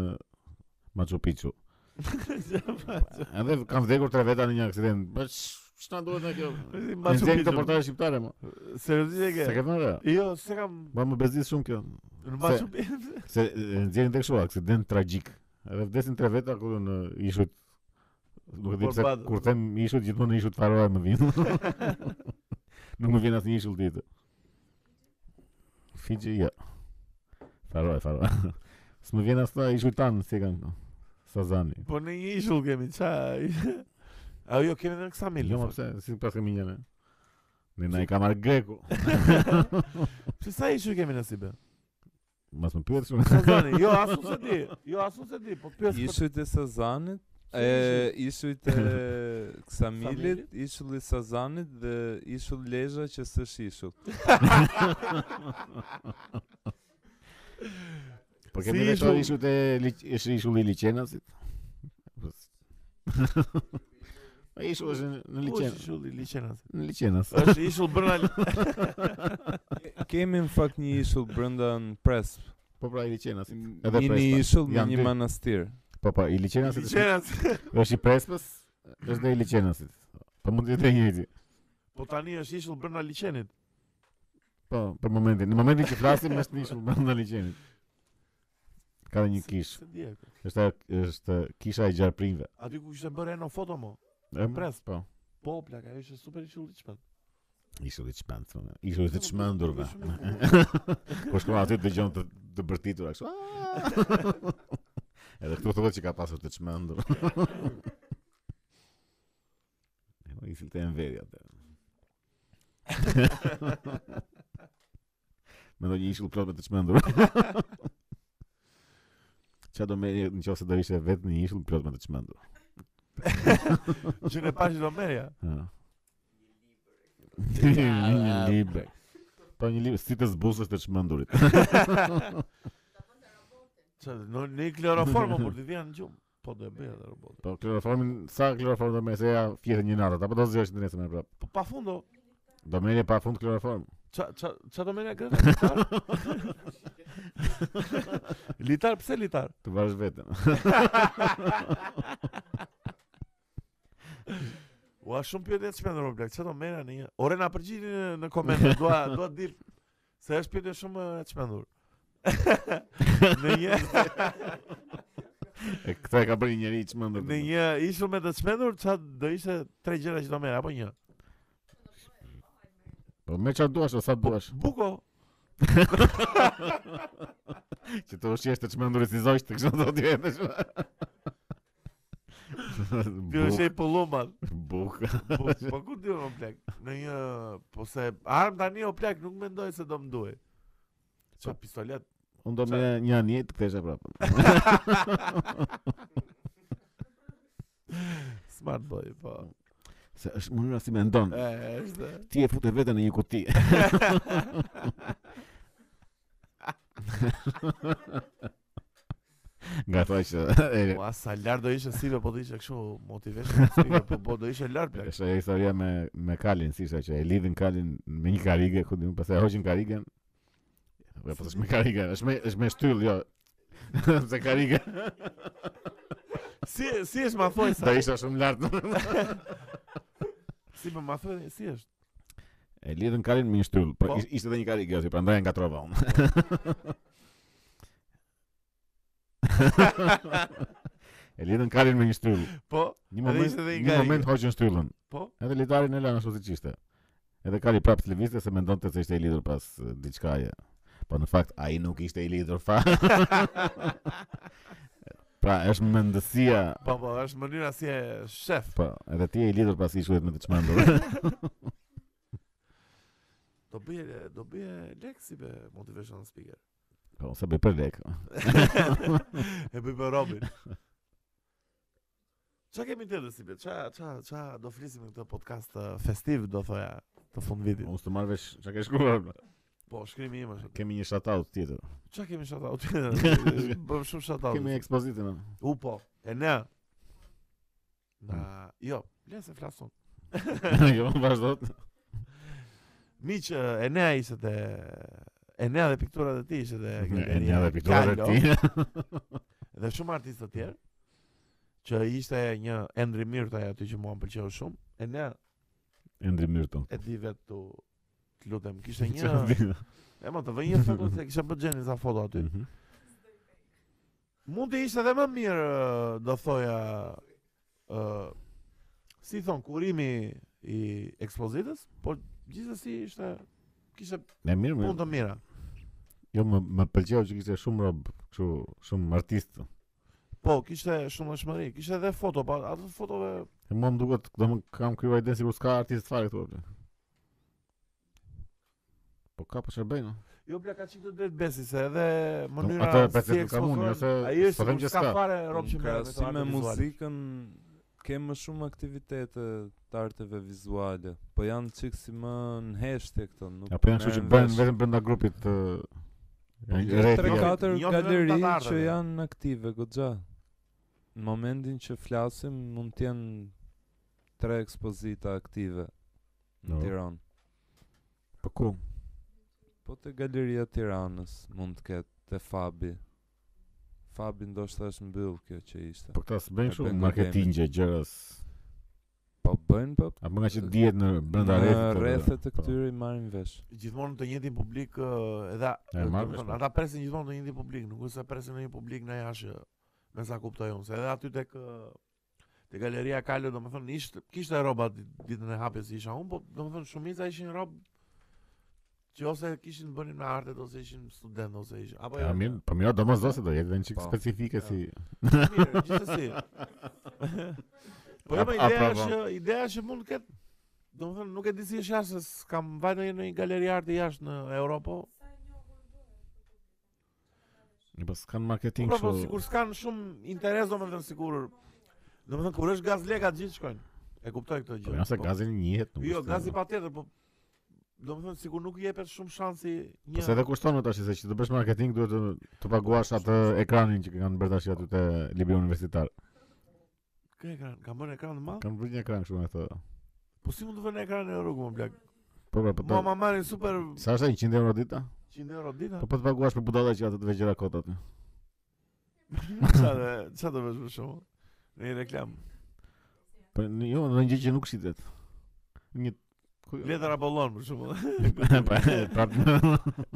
Speaker 1: Machu Picchu. Edhe kanë vdekur tre veta në një aksident. Po ç'na duhet na kjo? Machu Picchu. Këto
Speaker 2: Machu
Speaker 1: portale shqiptare mo.
Speaker 2: po. Seriozisht e
Speaker 1: Se
Speaker 2: ke?
Speaker 1: ke vënë? re?
Speaker 2: Jo, se kam...
Speaker 1: Ma më bezis shumë kjo.
Speaker 2: Në Machu Picchu...
Speaker 1: Se e, nxjerrin tek kështu aksident tragjik. Edhe vdesin tre veta kur në ishut Nuk e di
Speaker 2: Por
Speaker 1: pse
Speaker 2: bad-
Speaker 1: kur them ishut gjithmonë në ishut farore më vjen. Nuk më vjen asnjë ishull tjetër. Fiji ja. Farore, farore. S'më vjen asnjë ishull tan si e kanë. Sazani.
Speaker 2: Po në një ishull kemi, qa... A jo, kemi dhe në kësa milë.
Speaker 1: Jo, më pse si pas kemi një ne. Ne na i ka marr greku.
Speaker 2: Pse sa ishull kemi në Sibë?
Speaker 1: Mas më pyet shumë.
Speaker 2: Sezoni, jo asun se di, jo asun se di, po pyes për
Speaker 3: Ishujt e Sazanit,
Speaker 2: Si
Speaker 3: e ishujt e Ksamilit,
Speaker 2: Ksamilit?
Speaker 3: ishulli i Sazanit dhe ishull Lezha që s'është ishull.
Speaker 1: Po
Speaker 2: Si
Speaker 1: kemi edhe këto
Speaker 2: ishull?
Speaker 1: Po ishut e liq- ish- ishulli i liçenasit. Ai ishull është në- në
Speaker 2: Ku
Speaker 1: liçen,
Speaker 2: është ishulli liçen atë?
Speaker 1: në liçenas.
Speaker 2: Është ishull brenda
Speaker 3: Kemi në fakt një ishull brenda në Presp.
Speaker 1: Po pra i liçenas. Edhe
Speaker 3: Mini
Speaker 1: Prespa.
Speaker 3: ishull me
Speaker 1: Janë
Speaker 3: një
Speaker 1: dy.
Speaker 3: manastir.
Speaker 1: Po po, i liçenas është
Speaker 2: liçenat.
Speaker 1: është i Prespës, është dhe i liçenasit. Po mund të jetë e njëjti.
Speaker 2: Po tani është ishull brenda liçenit.
Speaker 1: Po, për momentin, në momentin që flasim është një ishull brenda liçenit. Ka dhe një kish.
Speaker 2: Se di. e kjo.
Speaker 1: Është ajo- është kisha e gjarprinve.
Speaker 2: Aty ku kishte bërë eno foto mo.
Speaker 1: E
Speaker 2: Pres.
Speaker 1: po.
Speaker 2: Po plak, ajo ishte super ishull i çmend.
Speaker 1: Ishulli i çmendshëm. Ishulli i çmendurve. Po shkon aty dëgjon të të bërtitur kështu. "Ah!" Edhe këtu thotë që ka pasur të çmendur. E po i filte në veri atë. Më do një ishull plot me të çmendur. Qa do merje në qofë se do ishte vetë një ishull plot me të çmendur.
Speaker 2: Që ne pashë do merja.
Speaker 1: Ha. një libër. Po një libër, si të zbusësh të çmendurit.
Speaker 2: Çfarë, në në kloroform por ti vjen në gjumë. Po do e bëj atë robot.
Speaker 1: Po kloroformin, sa kloroform do merr se ja fjetën një natë, apo do zgjesh në nesër më prap.
Speaker 2: Po pa fundo.
Speaker 1: Do merrje pa fund kloroform.
Speaker 2: Ça ça ça do merja Greta? Litar? litar pse litar?
Speaker 1: Të vash vetëm.
Speaker 2: Ua shumë pyetje të shpendë Roblak, çfarë do merra në një? Ore na përgjigji në, në komente, dua dua të di se është pyetje shumë e të shpendur. në një
Speaker 1: E këtë e ka bërë një njerëz i çmendur.
Speaker 2: në një ishull me të shpendur, çfarë do ishte tre gjëra që do merra apo një?
Speaker 1: Po me çfarë duash, o, sa duash.
Speaker 2: Buko.
Speaker 1: Që të ushqesh të çmendurit si zogj, të kështu do të jetësh.
Speaker 2: Ti do shej pullumban.
Speaker 1: Buk.
Speaker 2: Po po ku di unë plak? Në një po se arm tani o plak nuk mendoj se do më duaj. Ço pistolet.
Speaker 1: Unë do me një anije të kthesha prapë.
Speaker 2: Smart boy, po.
Speaker 1: Se është mënyra si mendon.
Speaker 2: E, është.
Speaker 1: Ti e futë veten në një kuti. Nga thaj që e,
Speaker 2: Ua, sa lart Po, do ishte si po do ishte kështu motivation speaker, po po do ishte lart plak.
Speaker 1: Është ajo historia me me Kalin, si ishte që e lidhin Kalin me një karige, ku diun, pastaj e hoqin karigen. Po po është me karige, është me është me shtyll, jo. Se karige
Speaker 2: Si si është ma thoj
Speaker 1: do
Speaker 2: sa?
Speaker 1: isha shumë lart.
Speaker 2: Si më ma thoj si është?
Speaker 1: e lidhin Kalin me një shtyll, po
Speaker 2: Po.
Speaker 1: ish- ishte edhe një karige aty, prandaj e ngatrova unë. e lidhin Kalin me një shtyll.
Speaker 2: Po,
Speaker 1: Një
Speaker 2: Edhe
Speaker 1: moment,
Speaker 2: ishte edhe një
Speaker 1: një
Speaker 2: karige.
Speaker 1: moment hoqën shtyllën.
Speaker 2: Po.
Speaker 1: Edhe litarin e lanë ashtu siç ishte. Edhe Kali prapë të lëvizte se mendonte se ishte i lidhur pas eh, diçkaje. Po në fakt ai nuk ishte i lidhur fa. pra, është mendësia.
Speaker 2: po po, është mënyra si e shef.
Speaker 1: Po, edhe ti je i lidhur pas ishullit me të çmendur.
Speaker 2: Do bëje do bëje lek si be motivation speaker.
Speaker 1: po, sa bëj për lek.
Speaker 2: e bëj për Robin. Qa kemi tjetër si be? Qa, qa, qa do flisim në këtë podcast eh, festiv do thoja të fund vitit.
Speaker 1: Unë s'të marr vesh çka ke shkruar.
Speaker 2: Po, shkrimi im është.
Speaker 1: Kemi një shoutout tjetër.
Speaker 2: Qa kemi shoutout? Bëm shumë
Speaker 3: Po.
Speaker 2: shoutout.
Speaker 1: Kemi ekspozitën.
Speaker 2: U po, e ne. Na, jo, le se flasun.
Speaker 1: jo, vazhdo.
Speaker 2: Miq, e Enea ishte te Enea dhe pikturat e tij ishte te
Speaker 1: E një
Speaker 2: galeria
Speaker 1: dhe pikturë
Speaker 2: Kallo,
Speaker 1: ti.
Speaker 2: Dhe shumë artistë të tjerë që ishte një Endri Mirtaj aty që mua më pëlqeu shumë. Enea
Speaker 1: Endri Myrton.
Speaker 2: e di vetë tu të lutem, kishte një
Speaker 1: Çfarë di?
Speaker 2: e më të vëj një foto se kisha bërë gjeni sa foto aty.
Speaker 1: Mhm.
Speaker 2: Mund të ishte edhe më mirë, ë, do thoja, ë si thon kurimi i ekspozitës, por gjithsesi ishte kishte
Speaker 1: Ne mirë, mirë.
Speaker 2: punë të mira.
Speaker 1: Jo, më, më pëlqeu që kishte shumë rob, kështu, shumë artist.
Speaker 2: Po, kishte shumë dëshmëri, kishte edhe foto, pa ato fotove
Speaker 1: E mua më duket, do më kam kryer ide sikur s'ka artist fare këtu. ble. Po ka po shërbejnë.
Speaker 2: Jo bla ka qikë të drejtë besi se edhe mënyra
Speaker 1: Ato e precizon
Speaker 2: e
Speaker 1: kam unë, jo
Speaker 2: ekspozohen,
Speaker 1: se
Speaker 2: ai
Speaker 1: s'po
Speaker 2: është
Speaker 1: them
Speaker 2: sikur
Speaker 1: që
Speaker 2: s'ka
Speaker 1: s'ka.
Speaker 2: fare rob që
Speaker 3: Në
Speaker 2: merret
Speaker 3: krahasim me muzikën kem më shumë aktivitete të arteve vizuale, po janë çik si më në heshtje këto, nuk.
Speaker 1: Apo po janë kështu që
Speaker 3: merren
Speaker 1: bëjnë
Speaker 3: vesh.
Speaker 1: vetëm brenda grupit të Po,
Speaker 3: Tre
Speaker 1: rrethja.
Speaker 2: ka-
Speaker 3: katër
Speaker 2: Njohin vetëm
Speaker 3: galeri
Speaker 2: të arteve.
Speaker 3: që janë aktive goxha. në momentin që flasim mund të jenë tre ekspozita aktive në
Speaker 1: No.
Speaker 3: Tiranë.
Speaker 1: Po ku?
Speaker 3: Po te galeria e Tiranës mund të ketë te Fabi. Fabi ndoshta është mbyll kjo që ishte.
Speaker 1: Po këta s'bëjnë
Speaker 3: E
Speaker 1: shumë
Speaker 3: bën
Speaker 1: marketingje gjëras.
Speaker 3: Po bëjnë po
Speaker 1: Apo nga që dihet në brenda
Speaker 3: në
Speaker 1: rrethet.
Speaker 3: rrethet e
Speaker 1: po.
Speaker 3: këtyre i marrin vesh.
Speaker 2: gjithmonë të njëjtin publik ë, edhe
Speaker 1: E,
Speaker 2: do
Speaker 1: marrë
Speaker 2: të
Speaker 1: vesh,
Speaker 2: thonë,
Speaker 1: po.
Speaker 2: ata presin gjithmonë të njëjtin publik, nuk është se presin në një publik në jashtë ë, me sa kuptoj unë, se edhe aty tek ë, te galeria Kalo domethënë ishte kishte rroba dit- ditën e hapjes isha unë, po domethënë shumica ishin rob që ose kishin bënin me artet ose ishin student ose ishin apo jo,
Speaker 1: Ja, mirë, po mirë, domosdoshmë do jetë një çik
Speaker 3: Po.
Speaker 1: specifike si
Speaker 2: Mirë, gjithsesi. po jo,
Speaker 1: Ap-
Speaker 2: më ideja
Speaker 1: apropo.
Speaker 2: është që- ideja është që mund të ketë domethënë nuk e di si është jashtë, se kam vajtë në një- në një galeri arti jashtë në Europë. po
Speaker 1: Një pas kanë marketing
Speaker 2: Po, po,
Speaker 1: kështu.
Speaker 2: sikur s'kan shumë interes domethënë sigur. Domethënë kur është gaz leka të gjithë shkojnë. E kuptoj këtë gjë.
Speaker 1: Po nëse
Speaker 2: po.
Speaker 1: gazi njihet nuk.
Speaker 2: Jo,
Speaker 1: është-
Speaker 2: gazi patjetër, po domethënë sikur nuk i jepet shumë shansi
Speaker 1: Po se edhe
Speaker 2: një.
Speaker 1: kushton më tash se që të bësh marketing duhet të, të paguash atë ekranin që kanë bërë tash aty te libri universitar.
Speaker 2: Kë ekran, kam bërë ekran të madh.
Speaker 1: Kanë bërë një ekran kështu me ato.
Speaker 2: Po si mund të vënë ekran në rrugë më blaq?
Speaker 1: Po pra, po
Speaker 2: Mua
Speaker 1: të
Speaker 2: ma marrin super
Speaker 1: Sa është ai, 100 euro dita?
Speaker 2: 100 euro dita.
Speaker 1: Po po të paguash për budalla që ato të vegjëra kot aty.
Speaker 2: Çfarë dhe- çfarë do bësh për shkakun? Në një reklam.
Speaker 1: Po n- jo, në një gjë që nuk shitet. Një ku-
Speaker 2: Letër Apollon për shkakun.
Speaker 1: Pa, prap.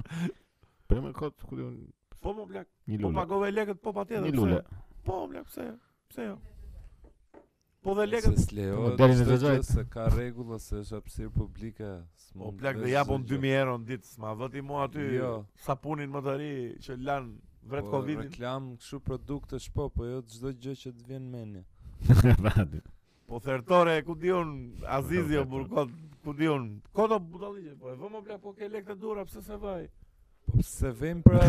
Speaker 1: Po jo, me kot ku diun
Speaker 2: Po më blaq,
Speaker 1: një
Speaker 2: po
Speaker 1: lule.
Speaker 2: pagove lekët, po patjetër.
Speaker 1: Një
Speaker 2: pse?
Speaker 1: lule.
Speaker 2: Po më blaq, pse? jo? Pse jo? Po dhe
Speaker 3: Se
Speaker 2: lekët
Speaker 1: Po,
Speaker 3: s'lejohet
Speaker 1: deri në
Speaker 3: çdo
Speaker 1: të
Speaker 3: gjë
Speaker 1: drejtë.
Speaker 3: se ka rregulla se është hapësirë publike.
Speaker 2: Po
Speaker 3: s'mund
Speaker 2: plak
Speaker 3: vesh
Speaker 2: dhe japon
Speaker 3: çdo gjë.
Speaker 2: 2000 euro në ditë, s'ma vëti mua aty
Speaker 3: Jo.
Speaker 2: sapunin më të ri që lan vret
Speaker 3: Po,
Speaker 2: Covidin.
Speaker 3: Reklam kështu produkte shpo, po jo çdo gjë që të vjen mendje.
Speaker 1: Vati.
Speaker 2: Po thertore, ku di un Azizi o burkot, ku di un. Kodo budalliqe, po e vëmë o plak po ke lekë të dura, pse se vaj?
Speaker 3: Po pse vim pra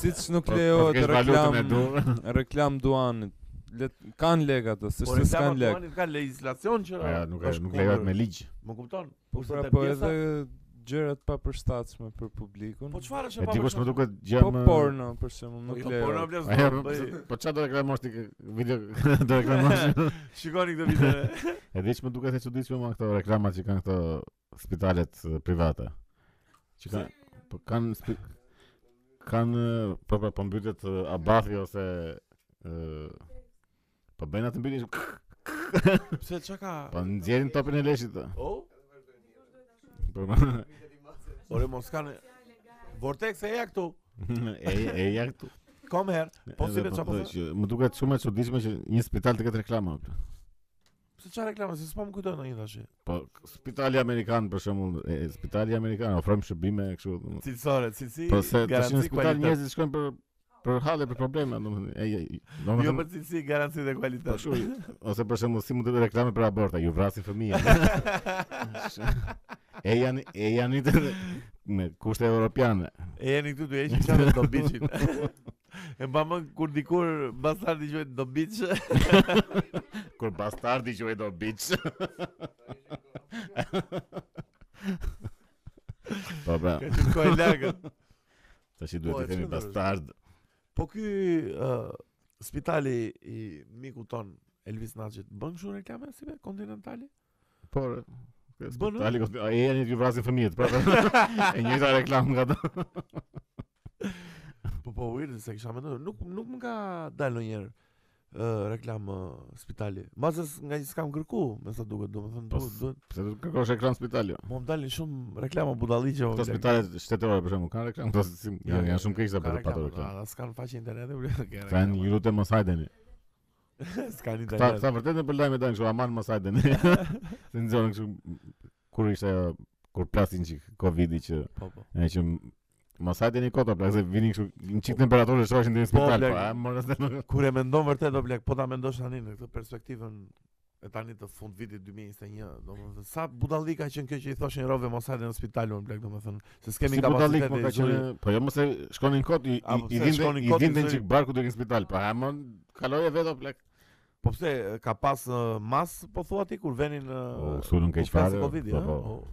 Speaker 3: siç nuk
Speaker 1: Po, po
Speaker 3: lejohet
Speaker 1: s'kesh valutën e
Speaker 3: reklam
Speaker 1: dur.
Speaker 3: reklam duanit. Le kan leg ato, se
Speaker 2: Po
Speaker 3: s'te s'kan leg.
Speaker 2: Ka legislacion që
Speaker 1: Po ja, nuk e-
Speaker 2: është
Speaker 1: nuk
Speaker 2: kundër.
Speaker 1: lejohet me ligj.
Speaker 2: Më kupton?
Speaker 3: Po
Speaker 2: Kurse
Speaker 3: pra
Speaker 2: te
Speaker 3: po
Speaker 2: pjesa-
Speaker 3: edhe gjërat pa përshtatshme për publikun.
Speaker 2: Po çfarë është
Speaker 1: E
Speaker 2: e
Speaker 1: dikush më
Speaker 2: papërshtatshme?
Speaker 1: duket gjë
Speaker 3: Po
Speaker 1: më
Speaker 3: porno për shembull
Speaker 2: Po
Speaker 3: nuk
Speaker 2: jo, porno
Speaker 3: lejohet.
Speaker 2: vlerë
Speaker 1: Po ja,
Speaker 2: s'do
Speaker 1: po-
Speaker 2: bëj.
Speaker 1: po çfarë do reklamosh ti kë- video do reklamosh?
Speaker 2: Shikoni këtë video.
Speaker 1: E di që më duket e çuditshme më këto reklamat që kanë këto spitalet eh, private. Që kanë po kanë spi- kanë eh, po po, po mbytet eh, abathi ose eh, po bëjnë atë mbytin kë-
Speaker 2: Pse çka ka?
Speaker 1: po nxjerrin topin e leshit. eh.
Speaker 2: O,
Speaker 1: Po
Speaker 2: ore mos kanë Vortex e ja këtu.
Speaker 1: e e ja këtu.
Speaker 2: Kom her. Po si
Speaker 1: Edhe
Speaker 2: vetë çfarë po
Speaker 1: thotë
Speaker 2: thë-
Speaker 1: që Më duket shumë e çuditshme që një spital të ketë reklama. o,
Speaker 2: Pse çfarë reklama, se s'po më kujton ndonjë tash.
Speaker 1: Po spitali amerikan për shembull, e, e, spitali amerikan ofron shërbime kështu. domethënë.
Speaker 2: Cilësore, cilësi.
Speaker 1: Po se tash në
Speaker 2: garanci,
Speaker 1: spital
Speaker 2: kualitet.
Speaker 1: njerëzit shkojnë për për halle për probleme, domethënë. E, e,
Speaker 2: Jo
Speaker 1: domethënë
Speaker 2: për cilësi, garanci dhe
Speaker 1: Po
Speaker 2: kualitet.
Speaker 1: shu, ose për shembull si mund të bëj reklame për aborta, ju vrasin fëmijën. e janë e janë të me kushte europiane.
Speaker 2: E jeni këtu të heqin çfarë do biçit. E mbamën kur dikur bastardi quhet do biç.
Speaker 1: Kur bastardi quhet do bitch. po pra,
Speaker 2: Ka qenë kohë e lagët.
Speaker 1: tash i
Speaker 2: Po,
Speaker 1: duhet
Speaker 2: e
Speaker 1: të themi
Speaker 2: çfarë do
Speaker 1: bastard.
Speaker 2: Po ky ë, spitali i miku ton Elvis Naçit bën kështu reklame si be kontinentali?
Speaker 1: Por
Speaker 2: Bën, ë?
Speaker 1: Tali kosti, e janë ju vrasin fëmijët, pra. e njëjta reklam nga ato.
Speaker 2: Po po weird se kisha menduar, nuk nuk më ka dalë ndonjëherë ë reklam ë, spitali. Mbas se s- nga që s'kam kërku, me sa duket, domethënë
Speaker 1: Po,
Speaker 2: duhet duhet.
Speaker 1: Pse do të kërkosh ekran spitali? jo?
Speaker 2: Mo më dalin shumë reklama budalliqe. po mo,
Speaker 1: Këto
Speaker 2: bler.
Speaker 1: spitalet shtetërore për shembull kanë reklam, këto si, janë, janë Jo, shumë keq sa
Speaker 2: Ka
Speaker 1: për patur
Speaker 2: reklama,
Speaker 1: reklam.
Speaker 2: Ata s'kan faqe interneti, bler, ka
Speaker 1: Kanë
Speaker 2: reklama.
Speaker 1: ju lutem mos hajdeni.
Speaker 2: S'kan
Speaker 1: Sa
Speaker 2: internet.
Speaker 1: sa vërtet në për lajme dalin kështu aman mos hajdeni. Se nxorën kështu kur ishte ajo kur plasin çik Covidi që
Speaker 2: Po po.
Speaker 1: e që m- mos hajdeni kota pra se vinin kështu në çik temperaturë shohin deri në
Speaker 2: Po,
Speaker 1: spital
Speaker 2: blek.
Speaker 1: pa morën se nuk.
Speaker 2: Kur e mendon vërtet o blek, po ta mendosh tani në këtë perspektivën e tani të fund vitit 2021, domethënë sa budallik ka qenë kjo që i thoshin rove mos hajde në spital unë blek, domethënë se s'kemi
Speaker 1: Si budallik
Speaker 2: kapacitet.
Speaker 1: po ka
Speaker 2: e
Speaker 1: qenë,
Speaker 2: gjuri.
Speaker 1: po jo mos e shkonin kot i
Speaker 2: A,
Speaker 1: i-
Speaker 2: po
Speaker 1: i
Speaker 2: pse
Speaker 1: dinte
Speaker 2: shkonin
Speaker 1: i
Speaker 2: kot,
Speaker 1: dinte
Speaker 2: zëri?
Speaker 1: çik barku deri në spital po pa amon kaloje vetë o plak.
Speaker 2: Po pse e, ka pas ë, mas po thua ti kur venin
Speaker 1: O, sulën keq fare,
Speaker 2: Covid,
Speaker 1: po,
Speaker 2: po.
Speaker 1: po.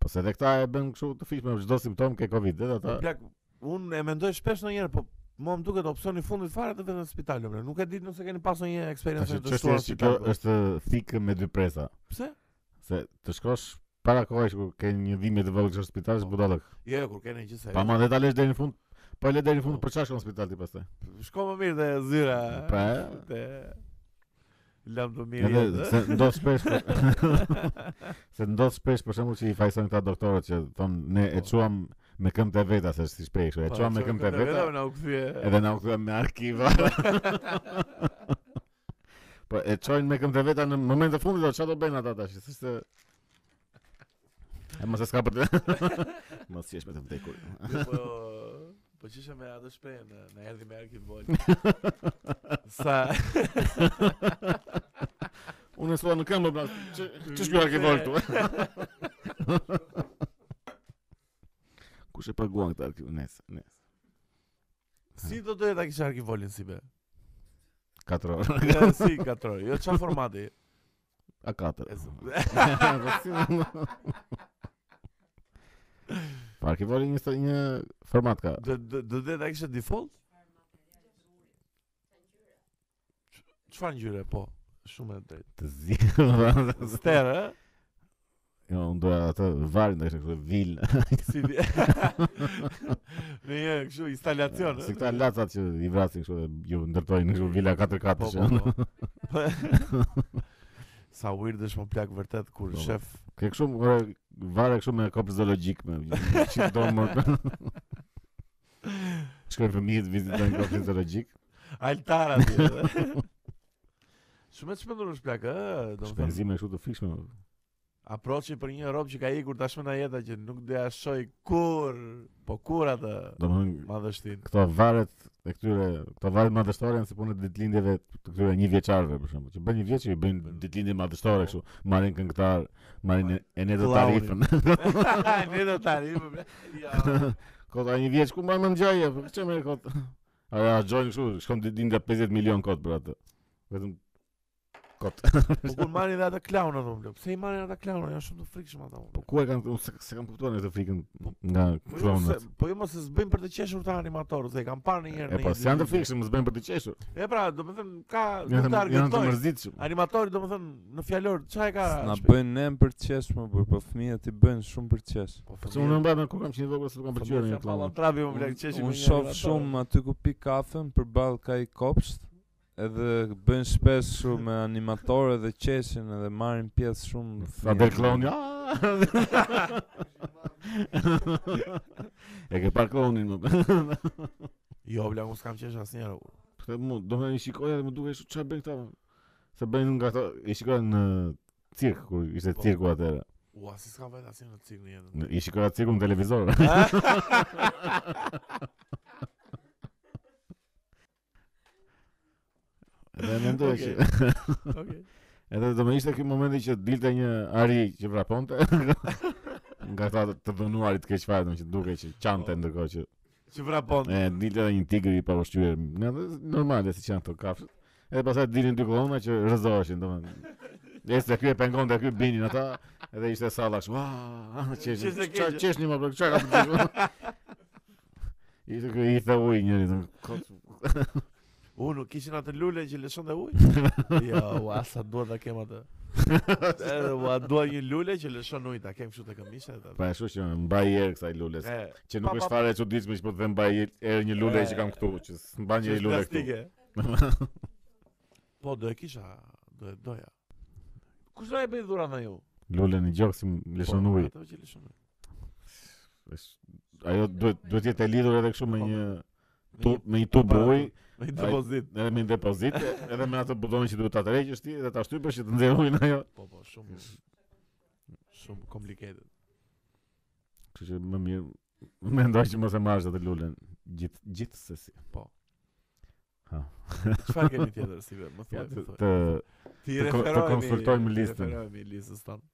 Speaker 1: Po se edhe këta e bën kështu të fikshme çdo po simptom ke Covid, edhe
Speaker 2: Po
Speaker 1: ata.
Speaker 2: blek, unë e mendoj shpesh ndonjëherë, po Mo më duket opsioni i fundit fare të vetëm në spital, më. Nuk e di nëse keni pasur një
Speaker 1: Tash
Speaker 2: eksperiencë të
Speaker 1: çështja
Speaker 2: shtuar
Speaker 1: është që kjo
Speaker 2: spital.
Speaker 1: është thikë me dy presa,
Speaker 2: Pse?
Speaker 1: se të shkosh para kohësh kur ke një dhimbje të vogël në spital është
Speaker 2: Po.
Speaker 1: budallëk.
Speaker 2: Jo, kur keni gjithë se.
Speaker 1: Pa më dhe ta lesh deri në fund. Po e le deri në fund
Speaker 2: Po.
Speaker 1: për çfarë shkon në spital ti pastaj?
Speaker 2: Shko më mirë te zyra.
Speaker 1: Pa.
Speaker 2: Te Lam të mirë.
Speaker 1: Edhe
Speaker 2: jetë.
Speaker 1: se ndodh shpesh se ndodh shpesh për shembull që i fajsojnë këta doktorët që thon ne e
Speaker 2: Po.
Speaker 1: çuam me këmbë të veta se si shprej kështu, e
Speaker 2: Po,
Speaker 1: çuam me
Speaker 2: çuam
Speaker 1: këmbë të veta
Speaker 2: po Na u kthye.
Speaker 1: edhe na u kthyen me arkiva. Po e çojnë me këmbë të veta në moment të fundit, o, çfarë do bëjnë ata tash? S'është E mos e s'ka për të Mos jesh me të vdekur
Speaker 2: Jo, Po Po qisha me atë shprehje në në erdhi me arkit vol. Sa
Speaker 1: Unë e sua në këmbë pra që- Që shpjua ke volë këtu Kush e paguan këtë arkiv? Nes, nes
Speaker 2: si do doja ta kisha arkit volin si be?
Speaker 1: 4 orë
Speaker 2: Ja, si katror. Jo çfarë formati?
Speaker 1: A Po 4
Speaker 2: E zë-
Speaker 1: Pa arkivori një, sta- një format ka
Speaker 2: Do do do doja ta kisha default? Çfarë ngjyre po? Shumë e drejtë.
Speaker 1: Të zi Ster
Speaker 2: Ster, eh? ë?
Speaker 1: Jo, unë doja atë varin dhe kështë kështë vil
Speaker 2: Si di. Në një kështu instalacion. eh?
Speaker 1: Si këta lacat që i vrasin kështu dhe Ju ndërtojnë kështu vila 4-4
Speaker 2: Po,
Speaker 1: që-
Speaker 2: po, po. Sa weird është më plak vërtet kur
Speaker 1: Po, po.
Speaker 2: shef
Speaker 1: Ke kështu ore, vare kështu me kopës zoologjik me që do më Shkojnë Po fëmijët vizitojnë kopës zoologjik.
Speaker 2: altara atje. Shumë e shpendur është plak, ë, domethënë.
Speaker 1: Shpenzime kështu të frikshme.
Speaker 2: Aproçi për një rob që ka ikur tashmë në jeta që nuk doja shoj kur, po kur atë
Speaker 1: Domethënë
Speaker 2: madhështin.
Speaker 1: këto varet e këtyre, këto varet madhështore janë si punë ditëlindjeve të këtyre një vjeçarëve për shembull, që bën një vjeç që i bëjnë ditëlindje madhështore kështu, marrin këngëtar, marrin Enedo
Speaker 2: Klaunin.
Speaker 1: Tarifën.
Speaker 2: ne do tani. po, Ja.
Speaker 1: Kot ai një vjeç ku më më ngjaje, po çe më kot. A ja gjojnë kështu, shkon ditëlindja 50 milion kot për atë. Vetëm kot.
Speaker 2: Po kur marrin edhe ata klaunat unë blok. Pse i marrin ata klaunat? Janë shumë të frikshëm ata unë.
Speaker 1: Po ku e kanë unë se, se kam kuptuar në këtë frikën nga
Speaker 2: Po jo se,
Speaker 1: klonët.
Speaker 2: po jo mos e s'bëjnë për të qeshur ta animatorët, se e kam parë një herë.
Speaker 1: E
Speaker 2: në
Speaker 1: po,
Speaker 2: një
Speaker 1: se janë të
Speaker 2: ditë.
Speaker 1: frikshëm, s'bën për të qeshur.
Speaker 2: E pra, domethën ka
Speaker 1: Janë
Speaker 2: nuk
Speaker 1: të- janë të
Speaker 2: targetojnë.
Speaker 1: mërzitshëm.
Speaker 2: Animatori domethën në fjalor çfarë ka?
Speaker 3: Na
Speaker 2: shpe-
Speaker 3: bëjnë nem për të qesh më burr, po fëmijët i bëjnë shumë për të qesh.
Speaker 2: Po
Speaker 1: Se unë mbaj me kur kam qenë vogël se kam pëlqyer një
Speaker 2: klon.
Speaker 1: klon.
Speaker 2: Trapi më blek qeshi.
Speaker 3: Unë shoh shumë aty ku pi kafen përballë ka i kopsht, edhe bën shpesh shumë me animatorë dhe qeshin edhe marrin pjesë shumë.
Speaker 1: Sa
Speaker 3: fëmijë.
Speaker 1: del kloni. "Ah!" E ke parë klonin më.
Speaker 2: Jo, bla, unë s'kam qesh asnjëherë. u.
Speaker 1: Këtë mu, do më i shikoja dhe më duke shu çfarë bën këta. më. Se bëjnë nga ato, i shikoja në cirk kur ishte
Speaker 2: Po.
Speaker 1: cirku atëherë.
Speaker 2: Ua, si s'kam vetë asnjë në cikë në jetën.
Speaker 1: Në- I shikoja cirku në televizor. Dhe mendoj që
Speaker 2: Okej.
Speaker 1: Edhe do më ishte ky momenti që dilte një ari që vraponte nga ta të dënuarit keq fare, do më që duke që qante ndërkohë që
Speaker 2: Që vrapon.
Speaker 1: e dilte edhe një tigër i pavështirë, nga dhe normale si që janë këto kafshët. Edhe pastaj dilin dy kolona që rrezoheshin, domethënë. Nëse ky e pengonte ky binin ata, edhe ishte salla kështu. Ah, çesh.
Speaker 2: Qeshni
Speaker 1: Çfarë
Speaker 2: keqe."
Speaker 1: çeshni më bro? Çfarë ka të bëjë? Ishte ky i tha ujë njëri, domethënë.
Speaker 2: U, nuk kishin atë lule që lëshonte ujë? Jo, ua, sa dua ta kem atë. Edhe ua, dua një lule që lëshon ujë, ta kem kështu te këmisha. ta-
Speaker 1: Po ashtu që mbaj erë kësaj lules.
Speaker 2: E,
Speaker 1: Që nuk
Speaker 2: Pa,
Speaker 1: është
Speaker 2: pa,
Speaker 1: fare e çuditshme që po të them mbaj erë një lule që kam këtu, që s'mban
Speaker 2: që
Speaker 1: një
Speaker 2: është
Speaker 1: lule këtu.
Speaker 2: plastike. Po, do e kisha, do e doja. Kush na e bëi dhurat na ju?
Speaker 1: Lule në gjokë si më lëshon
Speaker 2: Po,
Speaker 1: ujë.
Speaker 2: ato që lëshon ujë.
Speaker 1: Është- Ajo duhet duhet të jetë e lidhur edhe kështu me
Speaker 2: Po,
Speaker 1: një
Speaker 2: Me
Speaker 1: tub, me një tub ujë,
Speaker 2: Me një
Speaker 1: Po Ai-
Speaker 2: depozit.
Speaker 1: edhe me një depozit, edhe me atë butonin që duhet ta tërheqësh ti dhe ta shtypësh që të nxjerrë ujin ajo.
Speaker 2: Po, po, shumë shumë complicated.
Speaker 1: Kështu që më mirë mendoj që mos e marrësh atë lulen gjithë gjithsesi.
Speaker 2: Po. Çfarë kemi tjetër si be? Më
Speaker 1: Ja,
Speaker 2: thuaj,
Speaker 1: të,
Speaker 2: më thuaj.
Speaker 1: të
Speaker 2: Ti
Speaker 1: të ko- të
Speaker 2: referohemi-
Speaker 1: konsultojmë
Speaker 2: ti
Speaker 1: listën.
Speaker 2: Referohemi listës tonë.